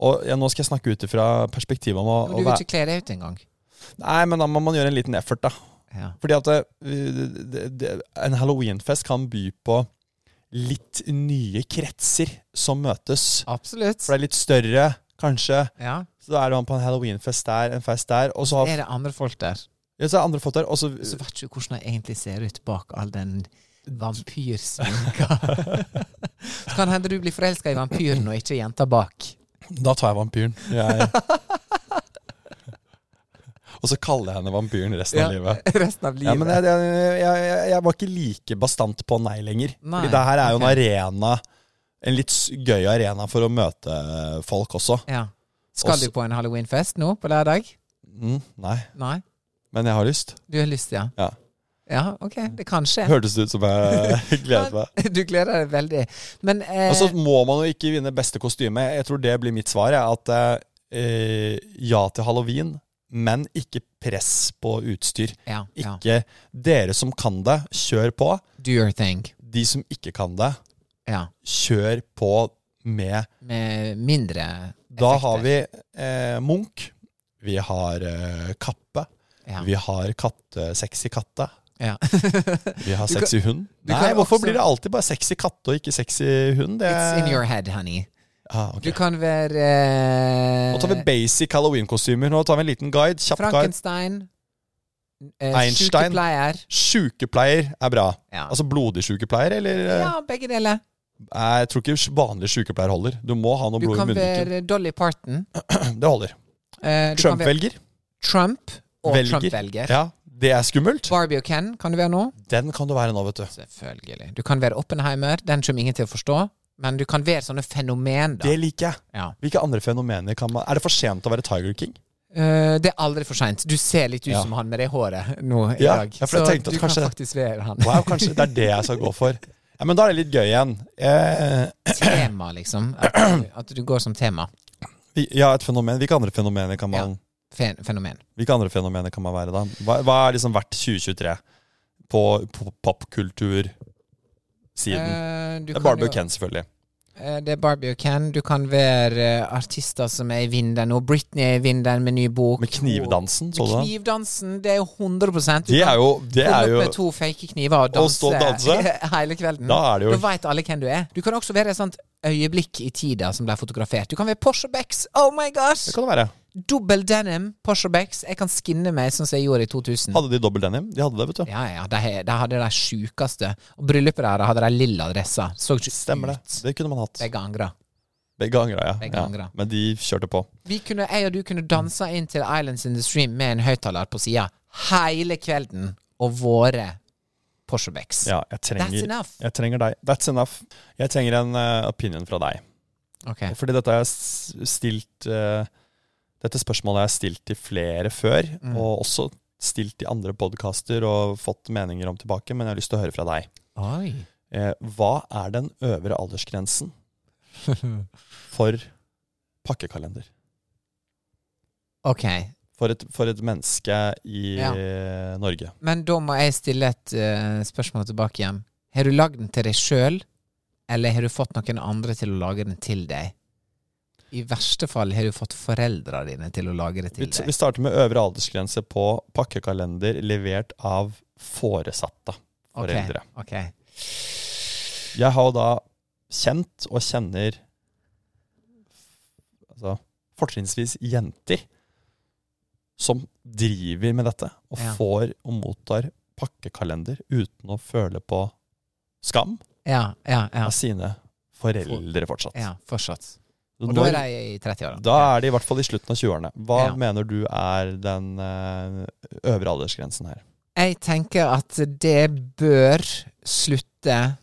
Speaker 1: Og ja, nå skal jeg snakke ut ifra perspektivet om å,
Speaker 2: Men
Speaker 1: å
Speaker 2: du vil
Speaker 1: være
Speaker 2: ikke kle deg ut engang.
Speaker 1: Nei, men da må man gjøre en liten effort, da.
Speaker 2: Ja.
Speaker 1: Fordi at det, det, det, en halloweenfest kan by på litt nye kretser som møtes.
Speaker 2: Absolutt.
Speaker 1: For det er litt større, kanskje.
Speaker 2: Ja.
Speaker 1: Så da er man på en halloweenfest der, en fest der, og så har
Speaker 2: Er det andre folk der?
Speaker 1: ja, så er andre folk der. Og så,
Speaker 2: Så vet du hvordan jeg egentlig ser ut bak all den vampyrsminka. Så kan hende du blir forelska i vampyren og ikke jenta bak.
Speaker 1: da tar jeg vampyren. Jeg, og så kaller jeg henne vampyren resten av livet.
Speaker 2: Resten av livet.
Speaker 1: Ja, men jeg, jeg, jeg, jeg- jeg var ikke like bastant på nei lenger.
Speaker 2: Nei,
Speaker 1: Fordi det her er jo en
Speaker 2: ok.
Speaker 1: arena, en litt s- gøy arena for å møte folk også.
Speaker 2: Ja. Skal
Speaker 1: Også-
Speaker 2: du på en halloweenfest nå på lørdag?
Speaker 1: Mm, nei,
Speaker 2: Nei?
Speaker 1: men jeg har lyst.
Speaker 2: Du har lyst, ja?
Speaker 1: Ja.
Speaker 2: Ja, ok. Det kan skje.
Speaker 1: Hørtes det ut som jeg gledet meg.
Speaker 2: Du gleder deg veldig. Men eh,
Speaker 1: Og så må man jo ikke vinne beste kostyme. Jeg tror det blir mitt svar. Jeg, at eh, ja til halloween, men ikke press på utstyr.
Speaker 2: ja, ja.
Speaker 1: Ikke dere som kan det, kjør på.
Speaker 2: Do your thing.
Speaker 1: De som ikke kan det,
Speaker 2: Ja.
Speaker 1: kjør på med
Speaker 2: Med mindre
Speaker 1: Da
Speaker 2: effekter.
Speaker 1: har vi eh, Munch. Vi har eh, kappe.
Speaker 2: Ja.
Speaker 1: Vi har katte, sexy katte.
Speaker 2: ja.
Speaker 1: Vi har sexy hund.
Speaker 2: du
Speaker 1: Nei,
Speaker 2: kan
Speaker 1: hvorfor
Speaker 2: også-
Speaker 1: blir det alltid bare sexy katte og ikke sexy hund? Det...
Speaker 2: It's in your head, honey.
Speaker 1: ah, ok.
Speaker 2: Du kan være eh,
Speaker 1: Nå tar vi basic Halloween-kostymer. Nå tar vi en liten guide. Kjapp guide.
Speaker 2: Frankenstein. Eh,
Speaker 1: Einstein.
Speaker 2: Sykepleier.
Speaker 1: Sjukepleier er bra.
Speaker 2: Ja.
Speaker 1: Altså blodig sjukepleier, eller eh,
Speaker 2: ja, begge deler.
Speaker 1: Nei, Jeg tror ikke vanlig sjukepleier holder. Du må ha noe
Speaker 2: Du
Speaker 1: blod i
Speaker 2: kan
Speaker 1: munnen.
Speaker 2: være Dolly Parton.
Speaker 1: Det holder.
Speaker 2: Eh, du kan være
Speaker 1: Trump-velger.
Speaker 2: Trump og
Speaker 1: Velger.
Speaker 2: Trump-velger.
Speaker 1: Ja, det er skummelt.
Speaker 2: Barbie og Ken kan du være nå.
Speaker 1: Den kan du være nå, vet du.
Speaker 2: Selvfølgelig. Du kan være Oppenheimer. Den kommer ingen til å forstå. Men du kan være sånne fenomen, da.
Speaker 1: Det liker jeg.
Speaker 2: Ja.
Speaker 1: Hvilke andre fenomener kan man Er det for sent å være Tiger King?
Speaker 2: Eh, det er aldri for seint. Du ser litt ut
Speaker 1: Ja.
Speaker 2: som han med det håret nå i
Speaker 1: Ja,
Speaker 2: dag.
Speaker 1: ja, for jeg
Speaker 2: Så
Speaker 1: tenkte at
Speaker 2: du
Speaker 1: kanskje-
Speaker 2: kan faktisk være han.
Speaker 1: Wow, kanskje det er det jeg skal gå for. Ja, Men da er det litt gøy igjen. Eh,
Speaker 2: Tema, liksom. At du, at du går som tema.
Speaker 1: vi- ja, et fenomen. Hvilke andre fenomener kan man
Speaker 2: Ja. Fen fenomen.
Speaker 1: Hvilke andre fenomener kan man være da? Hva, hva er liksom verdt 2023 på, på popkultursiden?
Speaker 2: Eh,
Speaker 1: det
Speaker 2: du
Speaker 1: er
Speaker 2: kan
Speaker 1: Barbie
Speaker 2: jo-
Speaker 1: og Ken, selvfølgelig.
Speaker 2: Eh, Det er Barbie og Ken. Du kan være eh, artister som er i vinden nå. Britney er i vinden med ny bok.
Speaker 1: Med knivdansen, så du den?
Speaker 2: Knivdansen, det er jo 100 Du
Speaker 1: Det
Speaker 2: kan
Speaker 1: er jo, det
Speaker 2: komme
Speaker 1: er
Speaker 2: opp
Speaker 1: jo
Speaker 2: med to fake kniver og danse,
Speaker 1: Og stå og danse?
Speaker 2: hele kvelden.
Speaker 1: Da er det jo-
Speaker 2: Da veit alle hvem du er. Du kan også være et sånt øyeblikk i tida som ble fotografert. Du kan være Porsche Becks. Oh my
Speaker 1: Det
Speaker 2: gosh!
Speaker 1: kan det være.
Speaker 2: Dobbel denim Porsche Becks. Jeg kan skinne meg sånn som jeg gjorde i 2000.
Speaker 1: Hadde de dobbel denim? De hadde det, vet du.
Speaker 2: Ja, ja, de, de hadde de sjukeste. Og bryllupet der de hadde de lilla dresser. Så ikke
Speaker 1: Stemmer det.
Speaker 2: ut.
Speaker 1: Det kunne man hatt.
Speaker 2: Begge angra.
Speaker 1: Begge angra, ja.
Speaker 2: Begge
Speaker 1: ja.
Speaker 2: angret.
Speaker 1: Men de kjørte på.
Speaker 2: Vi kunne, jeg og du kunne dansa inn til Islands in the Stream med en høyttaler på sida hele kvelden og våre Porsche Becks.
Speaker 1: Ja, jeg
Speaker 2: That's
Speaker 1: trenger,
Speaker 2: enough.
Speaker 1: jeg trenger deg. That's enough. Jeg trenger en eh, opinion fra deg.
Speaker 2: Ok.
Speaker 1: Fordi dette har jeg s- stilt eh, Dette spørsmålet har jeg stilt til flere før,
Speaker 2: Mm.
Speaker 1: og også stilt i andre podkaster og fått meninger om tilbake, men jeg har lyst til å høre fra deg.
Speaker 2: Oi.
Speaker 1: Eh, hva er den øvre aldersgrensen for pakkekalender?
Speaker 2: Ok.
Speaker 1: For et, for et menneske i
Speaker 2: Ja.
Speaker 1: eh, Norge.
Speaker 2: Men da må jeg stille et eh, spørsmål tilbake hjem. Har du lagd den til deg sjøl, eller har du fått noen andre til å lage den til deg? I verste fall har du fått foreldra dine til å lage det
Speaker 1: Vi,
Speaker 2: til
Speaker 1: t vi
Speaker 2: deg.
Speaker 1: starter med øvre aldersgrense på pakkekalender levert av foresatte
Speaker 2: Ok,
Speaker 1: foreldre.
Speaker 2: ok.
Speaker 1: Jeg har jo da kjent og kjenner altså, fortrinnsvis jenter som driver med dette og
Speaker 2: Ja.
Speaker 1: får og mottar pakkekalender uten å føle på skam
Speaker 2: Ja, ja, ja.
Speaker 1: av sine foreldre fortsatt.
Speaker 2: ja fortsatt. Og da
Speaker 1: Når,
Speaker 2: er de i 30-åra.
Speaker 1: da er det i hvert fall i slutten av 20-årene. Hva
Speaker 2: Ja.
Speaker 1: mener du er den eh, øvre aldersgrensen her?
Speaker 2: Jeg tenker at det bør slutte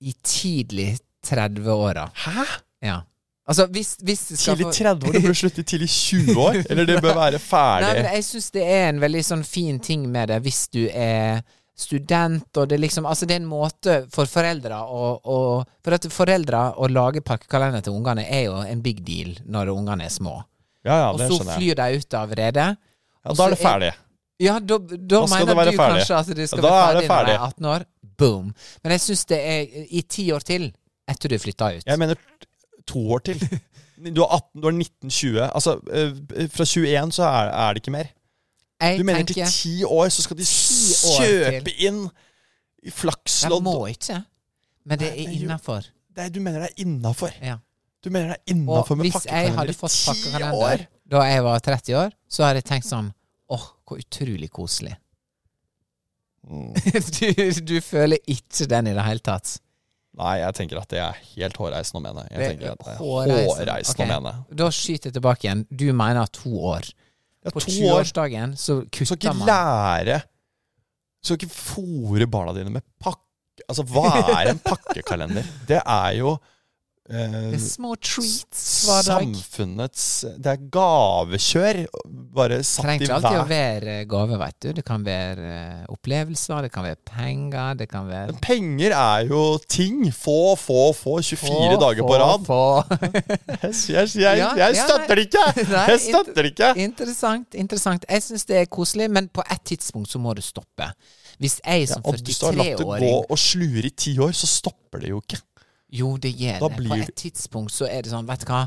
Speaker 2: i tidlig 30-åra.
Speaker 1: Hæ?
Speaker 2: Ja. Altså, hvis, hvis det skal
Speaker 1: Tidlig
Speaker 2: få-
Speaker 1: 30 år? Det burde slutte i tidlig 20 år? Eller det bør være ferdig?
Speaker 2: Nei, men jeg syns det er en veldig sånn fin ting med det hvis du er student, og det er liksom Altså, det er en måte for foreldre å, å For at foreldre å lage pakkekalender til ungene er jo en big deal når ungene er små.
Speaker 1: ja, ja,
Speaker 2: og
Speaker 1: det
Speaker 2: så
Speaker 1: skjønner jeg.
Speaker 2: flyr de ut av redet.
Speaker 1: Ja, da er det ferdig.
Speaker 2: Ja, da, da
Speaker 1: Da skal
Speaker 2: mener
Speaker 1: det være
Speaker 2: du
Speaker 1: ferdig.
Speaker 2: kanskje at det skal
Speaker 1: Da er
Speaker 2: være
Speaker 1: det
Speaker 2: ferdig når
Speaker 1: ferdig.
Speaker 2: jeg er 18 år. Boom. Men jeg syns det er i ti år til etter du flytta ut.
Speaker 1: Jeg mener t- to år til. Du er 18, du er 19, 20. Altså, eh, fra 21 så er, er det ikke mer.
Speaker 2: Jeg
Speaker 1: Du mener til
Speaker 2: tenker
Speaker 1: ti år så skal de
Speaker 2: Ti år
Speaker 1: kjøpe inn i
Speaker 2: Jeg
Speaker 1: flakslodd.
Speaker 2: må ikke, men det
Speaker 1: Nei,
Speaker 2: er
Speaker 1: men jo.
Speaker 2: innafor.
Speaker 1: Nei, du mener det er innafor.
Speaker 2: Ja.
Speaker 1: Du mener det er
Speaker 2: Og
Speaker 1: innafor med
Speaker 2: hvis jeg
Speaker 1: pakkekalender
Speaker 2: hadde
Speaker 1: i
Speaker 2: fått
Speaker 1: ti
Speaker 2: pakkekalender
Speaker 1: år.
Speaker 2: da jeg var 30 år, så hadde jeg tenkt sånn Åh, hvor utrolig koselig.
Speaker 1: Mm.
Speaker 2: du, du føler ikke den i det hele tatt.
Speaker 1: Nei, jeg tenker at det er helt hårreisende å mene. Jeg
Speaker 2: Det
Speaker 1: tenker
Speaker 2: er
Speaker 1: at det er
Speaker 2: hårreisende.
Speaker 1: hårreisende å
Speaker 2: Ok.
Speaker 1: mene.
Speaker 2: Da skyter jeg tilbake igjen. Du mener to år.
Speaker 1: Ja,
Speaker 2: På
Speaker 1: to år
Speaker 2: 20-årsdagen så
Speaker 1: Du skal
Speaker 2: kutter
Speaker 1: ikke
Speaker 2: man.
Speaker 1: lære Du skal ikke fôre barna dine med pakke... Altså, hva er en pakkekalender? Det er jo eh,
Speaker 2: Det er små treats hver dag.
Speaker 1: samfunnets Det er gavekjør, bare satt
Speaker 2: Trenger
Speaker 1: i
Speaker 2: ikke alltid å
Speaker 1: hver
Speaker 2: være eh, gave, veit du. Det kan være eh, opplevelser, det kan være penger, det kan være
Speaker 1: Men Penger er jo ting. Få, få, få. 24
Speaker 2: Få,
Speaker 1: dager
Speaker 2: få,
Speaker 1: på rad.
Speaker 2: få.
Speaker 1: Jeg, jeg, jeg,
Speaker 2: Ja,
Speaker 1: jeg
Speaker 2: ja,
Speaker 1: støtter det ikke!
Speaker 2: Nei,
Speaker 1: Jeg støtter det ikke!
Speaker 2: Interessant. interessant Jeg syns det er koselig, men på et tidspunkt så må du stoppe. Hvis jeg
Speaker 1: Ja,
Speaker 2: som
Speaker 1: og hvis du har latt det gå
Speaker 2: 43-åring
Speaker 1: og slure i ti år, så stopper det jo ikke.
Speaker 2: Jo, det gjør
Speaker 1: Da
Speaker 2: det. På
Speaker 1: blir
Speaker 2: et tidspunkt så er det sånn, vet du hva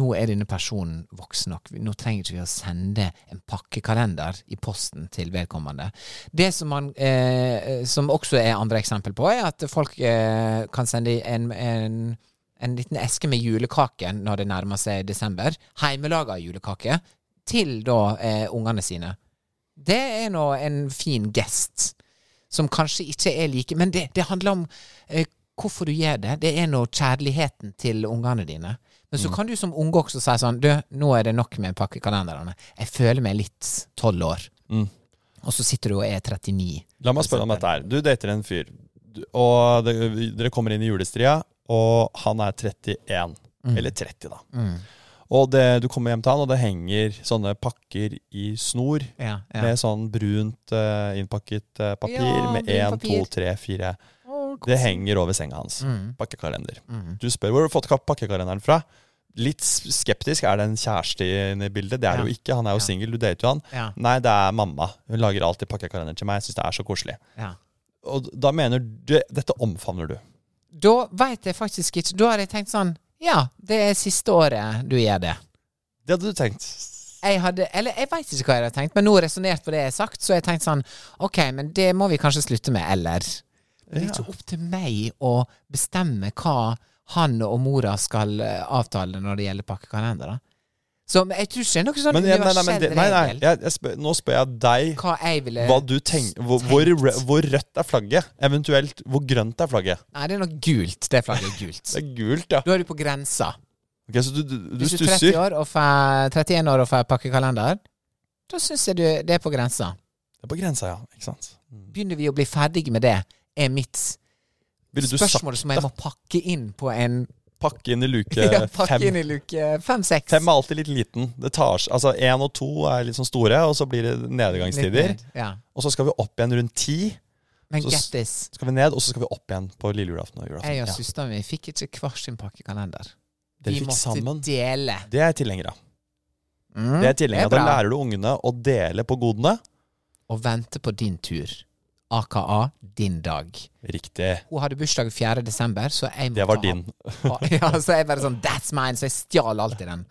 Speaker 2: Nå er denne personen voksen nok. Nå trenger ikke vi å sende en pakkekalender i posten til vedkommende. Det som, man, eh, som også er andre eksempel på, er at folk eh, kan sende en, en en liten eske med julekake når det nærmer seg desember. Heimelaga julekake til da eh, ungene sine. Det er nå en fin gest, som kanskje ikke er like Men det, det handler om eh, hvorfor du gjør det. Det er nå kjærligheten til ungene dine. Men så kan du som unge også si sånn Du, nå er det nok med pakkekalenderne. Jeg føler meg litt tolv år.
Speaker 1: Mm.
Speaker 2: Og så sitter du og er 39.
Speaker 1: La meg
Speaker 2: For
Speaker 1: spørre om
Speaker 2: eksempel.
Speaker 1: dette her. Du dater en fyr, du- og det, dere kommer inn i julestria, og han er 31.
Speaker 2: Mm.
Speaker 1: Eller 30, da. Og det, du kommer hjem til han, og det henger sånne pakker i snor
Speaker 2: Ja, ja.
Speaker 1: med sånn brunt eh, innpakket eh, papir
Speaker 2: Ja,
Speaker 1: med
Speaker 2: brunt
Speaker 1: én,
Speaker 2: papir.
Speaker 1: to, tre, fire. Det henger over senga hans.
Speaker 2: Mm.
Speaker 1: Pakkekalender. Du spør hvor har du fått kap- pakkekalenderen fra. Litt s- skeptisk. Er det en kjæreste i bildet? Det er
Speaker 2: Ja.
Speaker 1: det jo ikke. Han er jo singel. Du dater jo han.
Speaker 2: Ja.
Speaker 1: Nei, det er mamma. Hun lager alltid pakkekalender til meg. Jeg syns det er så koselig.
Speaker 2: ja.
Speaker 1: Og da mener du Dette omfavner du.
Speaker 2: Da veit jeg faktisk ikke. Da har jeg tenkt sånn Ja, det er siste året du gjør det.
Speaker 1: Det hadde du tenkt.
Speaker 2: Jeg hadde, eller jeg veit ikke hva jeg hadde tenkt, men nå har jeg resonnert på det jeg har sagt, så jeg har tenkt sånn Ok, men det må vi kanskje slutte med, eller? Men det er ikke opp til meg å bestemme hva han og mora skal eh, avtale når det gjelder pakkekalendere. Så men jeg tror ikke det er noe sånn
Speaker 1: Men, ja, nei, nei, men,
Speaker 2: universell
Speaker 1: det- nei, nei,
Speaker 2: regel.
Speaker 1: jeg, jeg spør, nå spør jeg deg
Speaker 2: Hva jeg ville
Speaker 1: hva du tenker hvor, hvor, rø- hvor rødt er flagget? Eventuelt hvor grønt er flagget?
Speaker 2: Nei, det er nok gult. Det flagget er gult.
Speaker 1: Det er gult, ja.
Speaker 2: Da er du på grensa.
Speaker 1: Ok, så du, du, du
Speaker 2: Hvis du er 30
Speaker 1: stusser?
Speaker 2: år og får 31 år og får pakkekalender, da syns jeg du, det er på grensa.
Speaker 1: Det er på grensa, ja. Ikke sant?
Speaker 2: Begynner vi å bli ferdige med det, er mitt
Speaker 1: Ville du sagt
Speaker 2: spørsmål som jeg må pakke inn på en
Speaker 1: pakke inn i luke
Speaker 2: ja, Pakke inn
Speaker 1: fem?
Speaker 2: i luke fem-seks.
Speaker 1: Fem er alltid litt liten. Det tar, s- altså Én og to er litt sånn store, og så blir det nedgangstider.
Speaker 2: Ja.
Speaker 1: Og så skal vi opp igjen rundt ti.
Speaker 2: Men
Speaker 1: Så s-
Speaker 2: get this.
Speaker 1: Så skal vi ned, og så skal vi opp igjen på lille julaften og julaften.
Speaker 2: Jeg og
Speaker 1: Ja.
Speaker 2: søsteren min fikk ikke hver sin pakkekalender.
Speaker 1: Dere
Speaker 2: vi
Speaker 1: fikk
Speaker 2: måtte
Speaker 1: sammen.
Speaker 2: dele.
Speaker 1: Det er jeg tilhenger av.
Speaker 2: Mm,
Speaker 1: Det er jeg tilhenger av. Da
Speaker 2: bra.
Speaker 1: lærer du ungene å dele på godene.
Speaker 2: Og vente på din tur. AKA din dag.
Speaker 1: Riktig.
Speaker 2: Hun hadde bursdag 4. desember, så jeg måtte
Speaker 1: Det var
Speaker 2: ha-
Speaker 1: din.
Speaker 2: ja, så jeg bare sånn That's mine! Så jeg stjal alltid den.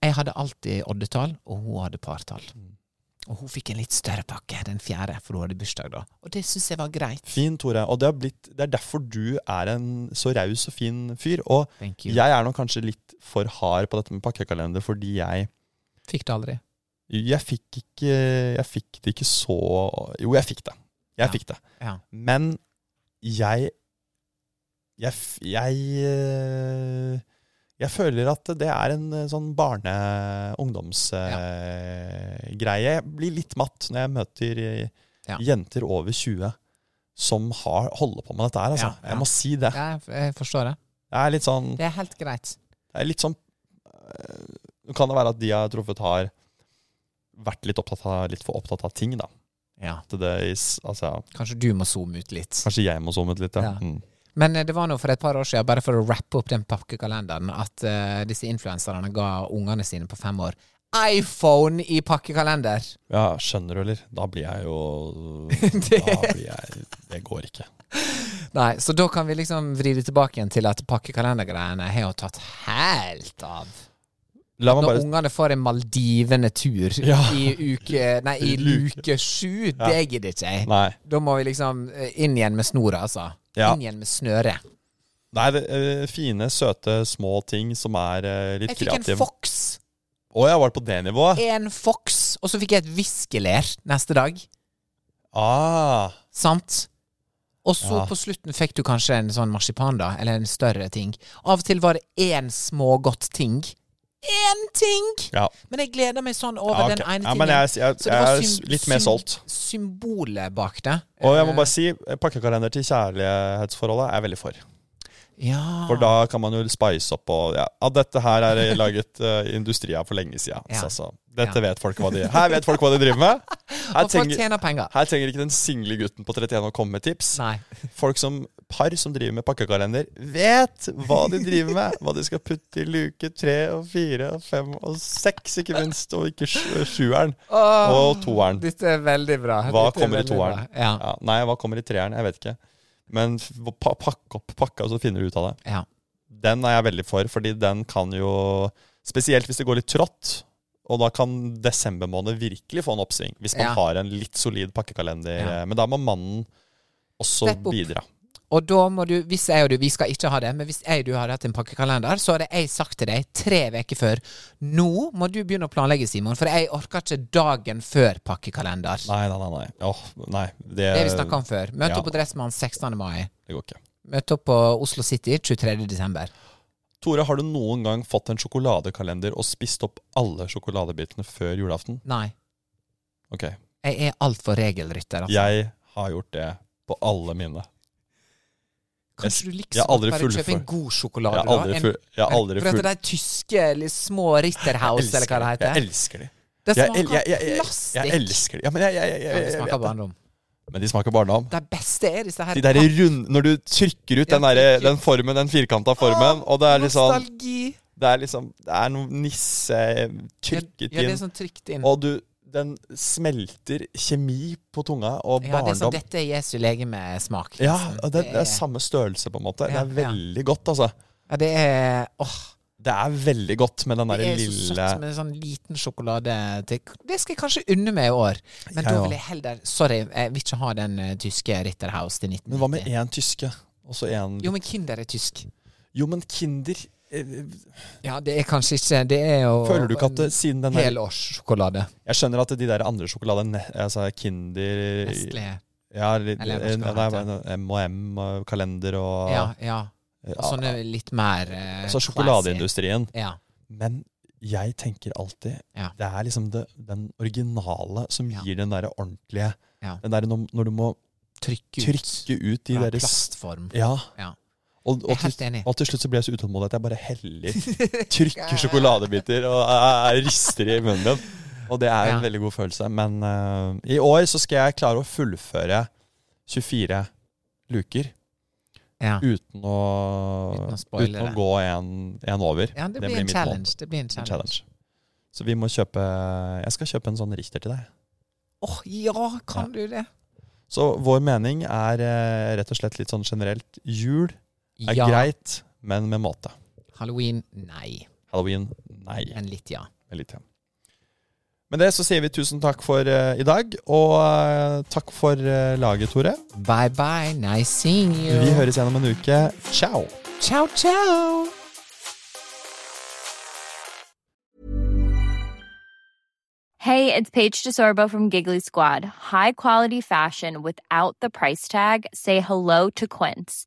Speaker 2: Jeg hadde alltid oddetall, og hun hadde partall.
Speaker 1: Mm.
Speaker 2: Og hun fikk en litt større pakke, den fjerde, for hun hadde bursdag da. Og det syns jeg var greit.
Speaker 1: Fin, Tore. Og det, har blitt, det er derfor du er en så raus og fin fyr. Og
Speaker 2: Thank you.
Speaker 1: jeg er nok kanskje litt for hard på dette med pakkekalender, fordi jeg
Speaker 2: Fikk det aldri.
Speaker 1: Jeg fikk ikke Jeg fikk det ikke så Jo, jeg fikk det. Jeg
Speaker 2: Ja.
Speaker 1: fikk det.
Speaker 2: Ja.
Speaker 1: Men jeg jeg, f- jeg eh, Jeg føler at det er en eh, sånn barne-ungdomsgreie. Jeg blir litt matt når jeg møter eh,
Speaker 2: Ja.
Speaker 1: jenter over 20 som har, holder på med dette her. Altså.
Speaker 2: Ja, ja.
Speaker 1: Jeg må si det.
Speaker 2: Jeg, jeg forstår det.
Speaker 1: Det er litt sånn,
Speaker 2: Det er helt greit.
Speaker 1: det er litt sånn eh, Nå kan det være at de jeg har truffet, har vært litt, opptatt av, litt for opptatt av ting, da.
Speaker 2: Ja.
Speaker 1: At det is, altså,
Speaker 2: Kanskje du må zoome ut litt.
Speaker 1: kanskje jeg må zoome ut litt. Ja.
Speaker 2: Ja.
Speaker 1: Mm.
Speaker 2: Men eh, det var nå for et par år siden, bare for å rappe opp den pakkekalenderen, at eh, disse influenserne ga ungene sine på fem år iPhone i pakkekalender!
Speaker 1: Ja, skjønner du, eller? Da blir jeg jo
Speaker 2: Det-
Speaker 1: Da blir jeg Det går ikke.
Speaker 2: Nei, så da kan vi liksom vri det tilbake igjen til at pakkekalendergreiene har jo tatt helt av.
Speaker 1: La meg
Speaker 2: Når
Speaker 1: bare
Speaker 2: ungene får en maldivende tur
Speaker 1: Ja.
Speaker 2: i uke Nei, i
Speaker 1: I luke.
Speaker 2: luke sju, det gidder ikke jeg.
Speaker 1: Nei.
Speaker 2: Da må vi liksom eh, inn igjen med snora, altså.
Speaker 1: Ja.
Speaker 2: Inn igjen med snøret.
Speaker 1: Nei, det, eh, fine, søte, små ting som er eh, litt
Speaker 2: Jeg fikk en
Speaker 1: kreative.
Speaker 2: foks.
Speaker 1: Å, jeg var på det nivået?
Speaker 2: En foks. Og så fikk jeg et viskelær neste dag.
Speaker 1: Ah,
Speaker 2: Sant? Og så
Speaker 1: Ja.
Speaker 2: på slutten fikk du kanskje en sånn marsipan, da, eller en større ting. Av og til var det én smågodt ting. Én ting!
Speaker 1: ja.
Speaker 2: Men jeg gleder meg sånn over
Speaker 1: ja ok.
Speaker 2: den ene
Speaker 1: ja,
Speaker 2: tingen.
Speaker 1: men jeg, jeg,
Speaker 2: Så det
Speaker 1: jeg
Speaker 2: var
Speaker 1: er s-
Speaker 2: sym-
Speaker 1: litt mer
Speaker 2: sym-
Speaker 1: solgt.
Speaker 2: Symbolet bak det.
Speaker 1: Og jeg må bare si, eh, pakkekalender til kjærlighetsforholdet er jeg veldig for.
Speaker 2: Ja.
Speaker 1: For da kan man jo spice opp og Ja, ja dette her er laget eh, industri av for lenge siden.
Speaker 2: Ja.
Speaker 1: Så, altså, dette
Speaker 2: Ja.
Speaker 1: vet folk hva de Her vet folk hva de driver med. Her
Speaker 2: Og folk
Speaker 1: trenger-
Speaker 2: tjener penger.
Speaker 1: Her trenger ikke den single gutten på 31 å komme med tips.
Speaker 2: Nei.
Speaker 1: Folk som par som driver med pakkekalender, vet hva de driver med. Hva de skal putte i luke tre og fire og fem og seks, ikke minst. Og ikke sju- sjueren. Og toeren.
Speaker 2: Dette er veldig bra.
Speaker 1: Hva
Speaker 2: Dette er
Speaker 1: kommer i
Speaker 2: veldig bra.
Speaker 1: toeren?
Speaker 2: Ja.
Speaker 1: Ja, nei, hva kommer i treeren? Jeg vet ikke. Men f- pa pakk opp pakka, så finner du ut av det.
Speaker 2: ja.
Speaker 1: Den er jeg veldig for, fordi den kan jo Spesielt hvis det går litt trått. Og da kan desember måned virkelig få en oppsving, hvis man
Speaker 2: Ja.
Speaker 1: har en litt solid pakkekalender.
Speaker 2: Ja.
Speaker 1: Men da må mannen også
Speaker 2: Steppe opp.
Speaker 1: bidra.
Speaker 2: Og da må du, hvis jeg og du, vi skal ikke ha det, men hvis jeg og du hadde hatt en pakkekalender, så hadde jeg sagt til deg tre uker før Nå må du begynne å planlegge, Simon, for jeg orker ikke dagen før pakkekalender.
Speaker 1: Nei, nei, nei. nei. Åh, nei det,
Speaker 2: Det har vi snakka om før. Møte
Speaker 1: ja.
Speaker 2: opp på Dressmann 16. mai.
Speaker 1: det går ikke.
Speaker 2: Møte opp på Oslo City 23. desember.
Speaker 1: Tore, har du noen gang fått en sjokoladekalender og spist opp alle sjokoladebitene før julaften?
Speaker 2: Nei.
Speaker 1: Ok,
Speaker 2: Jeg er altfor regelrytter, altså.
Speaker 1: jeg har gjort det på alle mine.
Speaker 2: Kanskje du
Speaker 1: jeg
Speaker 2: liksom
Speaker 1: har aldri
Speaker 2: bare
Speaker 1: full-
Speaker 2: kjøper en god
Speaker 1: Jeg
Speaker 2: sjokolade,
Speaker 1: har aldri,
Speaker 2: da? En-
Speaker 1: full, jeg har aldri
Speaker 2: for
Speaker 1: full,
Speaker 2: at det er tyske li- små Ritterhouse, eller hva det
Speaker 1: Jeg
Speaker 2: heter.
Speaker 1: elsker de.
Speaker 2: Det
Speaker 1: Jeg,
Speaker 2: smaker
Speaker 1: el- jeg, jeg, jeg,
Speaker 2: plastikk.
Speaker 1: jeg elsker de. Ja, men jeg, jeg, jeg,
Speaker 2: Ja,
Speaker 1: jeg,
Speaker 2: det
Speaker 1: jeg
Speaker 2: smaker
Speaker 1: vet det.
Speaker 2: barndom.
Speaker 1: Men de smaker barndom.
Speaker 2: Det beste er disse her
Speaker 1: De der rund, når du trykker ut den,
Speaker 2: Ja,
Speaker 1: derre-
Speaker 2: trykker.
Speaker 1: den formen, den firkanta formen, og det er litt sånn
Speaker 2: Nostalgi.
Speaker 1: Det er liksom Det er noe nisse
Speaker 2: Ja,
Speaker 1: trykket
Speaker 2: ja, det er
Speaker 1: inn,
Speaker 2: sånn trykt inn.
Speaker 1: og du Den smelter kjemi på tunga, og
Speaker 2: Ja, det er sånn
Speaker 1: barndom
Speaker 2: Dette er Jesu legemesmak.
Speaker 1: Ja,
Speaker 2: nesten.
Speaker 1: og det, det
Speaker 2: liksom. er-
Speaker 1: er samme størrelse, på en måte.
Speaker 2: Ja,
Speaker 1: det er
Speaker 2: ja.
Speaker 1: veldig godt, altså.
Speaker 2: Ja, det er Åh.
Speaker 1: Det er veldig godt med den
Speaker 2: Det
Speaker 1: derre
Speaker 2: er så
Speaker 1: lille
Speaker 2: søtt med sånn liten sjokolade til Det skal jeg kanskje unne meg i år,
Speaker 1: Jeg
Speaker 2: men da
Speaker 1: òg.
Speaker 2: vil jeg heller Sorry, jeg vil ikke ha den eh, tyske Ritterhouse til
Speaker 1: Men hva med
Speaker 2: 1990.
Speaker 1: én tyske, og så én
Speaker 2: Jo, men Kinder er tysk.
Speaker 1: Jo, men Kinder eh,
Speaker 2: Ja, det er kanskje ikke Det er jo
Speaker 1: Føler du ikke at det, siden den her
Speaker 2: helårssjokolade?
Speaker 1: Jeg skjønner at de der andre sjokoladene, altså Kinder
Speaker 2: Nestle.
Speaker 1: Ja, litt,
Speaker 2: Eller hva
Speaker 1: eh,
Speaker 2: skal det
Speaker 1: nei,
Speaker 2: hete?
Speaker 1: men M&M, og kalender og
Speaker 2: Ja, ja. Og
Speaker 1: ja,
Speaker 2: sånne litt mer eh,
Speaker 1: altså
Speaker 2: classy.
Speaker 1: sjokoladeindustrien.
Speaker 2: Ja.
Speaker 1: Men jeg tenker alltid
Speaker 2: Ja.
Speaker 1: Det er liksom det, den originale som
Speaker 2: Ja.
Speaker 1: gir den derre ordentlige
Speaker 2: Ja.
Speaker 1: Den derre når, når du må
Speaker 2: Trykke ut.
Speaker 1: trykke ut de
Speaker 2: fra
Speaker 1: derre s-
Speaker 2: plastform.
Speaker 1: Ja.
Speaker 2: Ja.
Speaker 1: Og,
Speaker 2: Jeg
Speaker 1: og,
Speaker 2: er helt
Speaker 1: til,
Speaker 2: enig.
Speaker 1: og til slutt så blir jeg så utålmodig at jeg bare heller trykker sjokoladebiter og eh, rister i munnen min. Og det er en
Speaker 2: Ja.
Speaker 1: veldig god følelse. Men eh, i år så skal jeg klare å fullføre 24 luker
Speaker 2: Ja.
Speaker 1: uten å,
Speaker 2: Uten å spoile
Speaker 1: uten å
Speaker 2: det.
Speaker 1: gå en, en over.
Speaker 2: ja, det blir,
Speaker 1: mitt
Speaker 2: en
Speaker 1: mål.
Speaker 2: challenge. Det blir en
Speaker 1: En
Speaker 2: challenge.
Speaker 1: challenge. Så vi må kjøpe Jeg skal kjøpe en sånn Richter til deg.
Speaker 2: Åh, ja, kan du det?
Speaker 1: Så vår mening er eh, rett og slett litt sånn generelt jul er
Speaker 2: ja.
Speaker 1: greit, men med måte.
Speaker 2: Halloween, nei.
Speaker 1: Halloween nei.
Speaker 2: Men litt, ja.
Speaker 1: Med litt, ja. Med det så sier vi tusen takk for eh, i dag, og eh, takk for eh, laget, Tore.
Speaker 2: Bye bye, nice seeing you.
Speaker 1: Vi høres igjen om en uke. Ciao!
Speaker 2: Ciao, ciao.
Speaker 7: Hey, it's Paige DeSorbo from Giggly Squad. High quality fashion without the price tag. Say hello to Quince.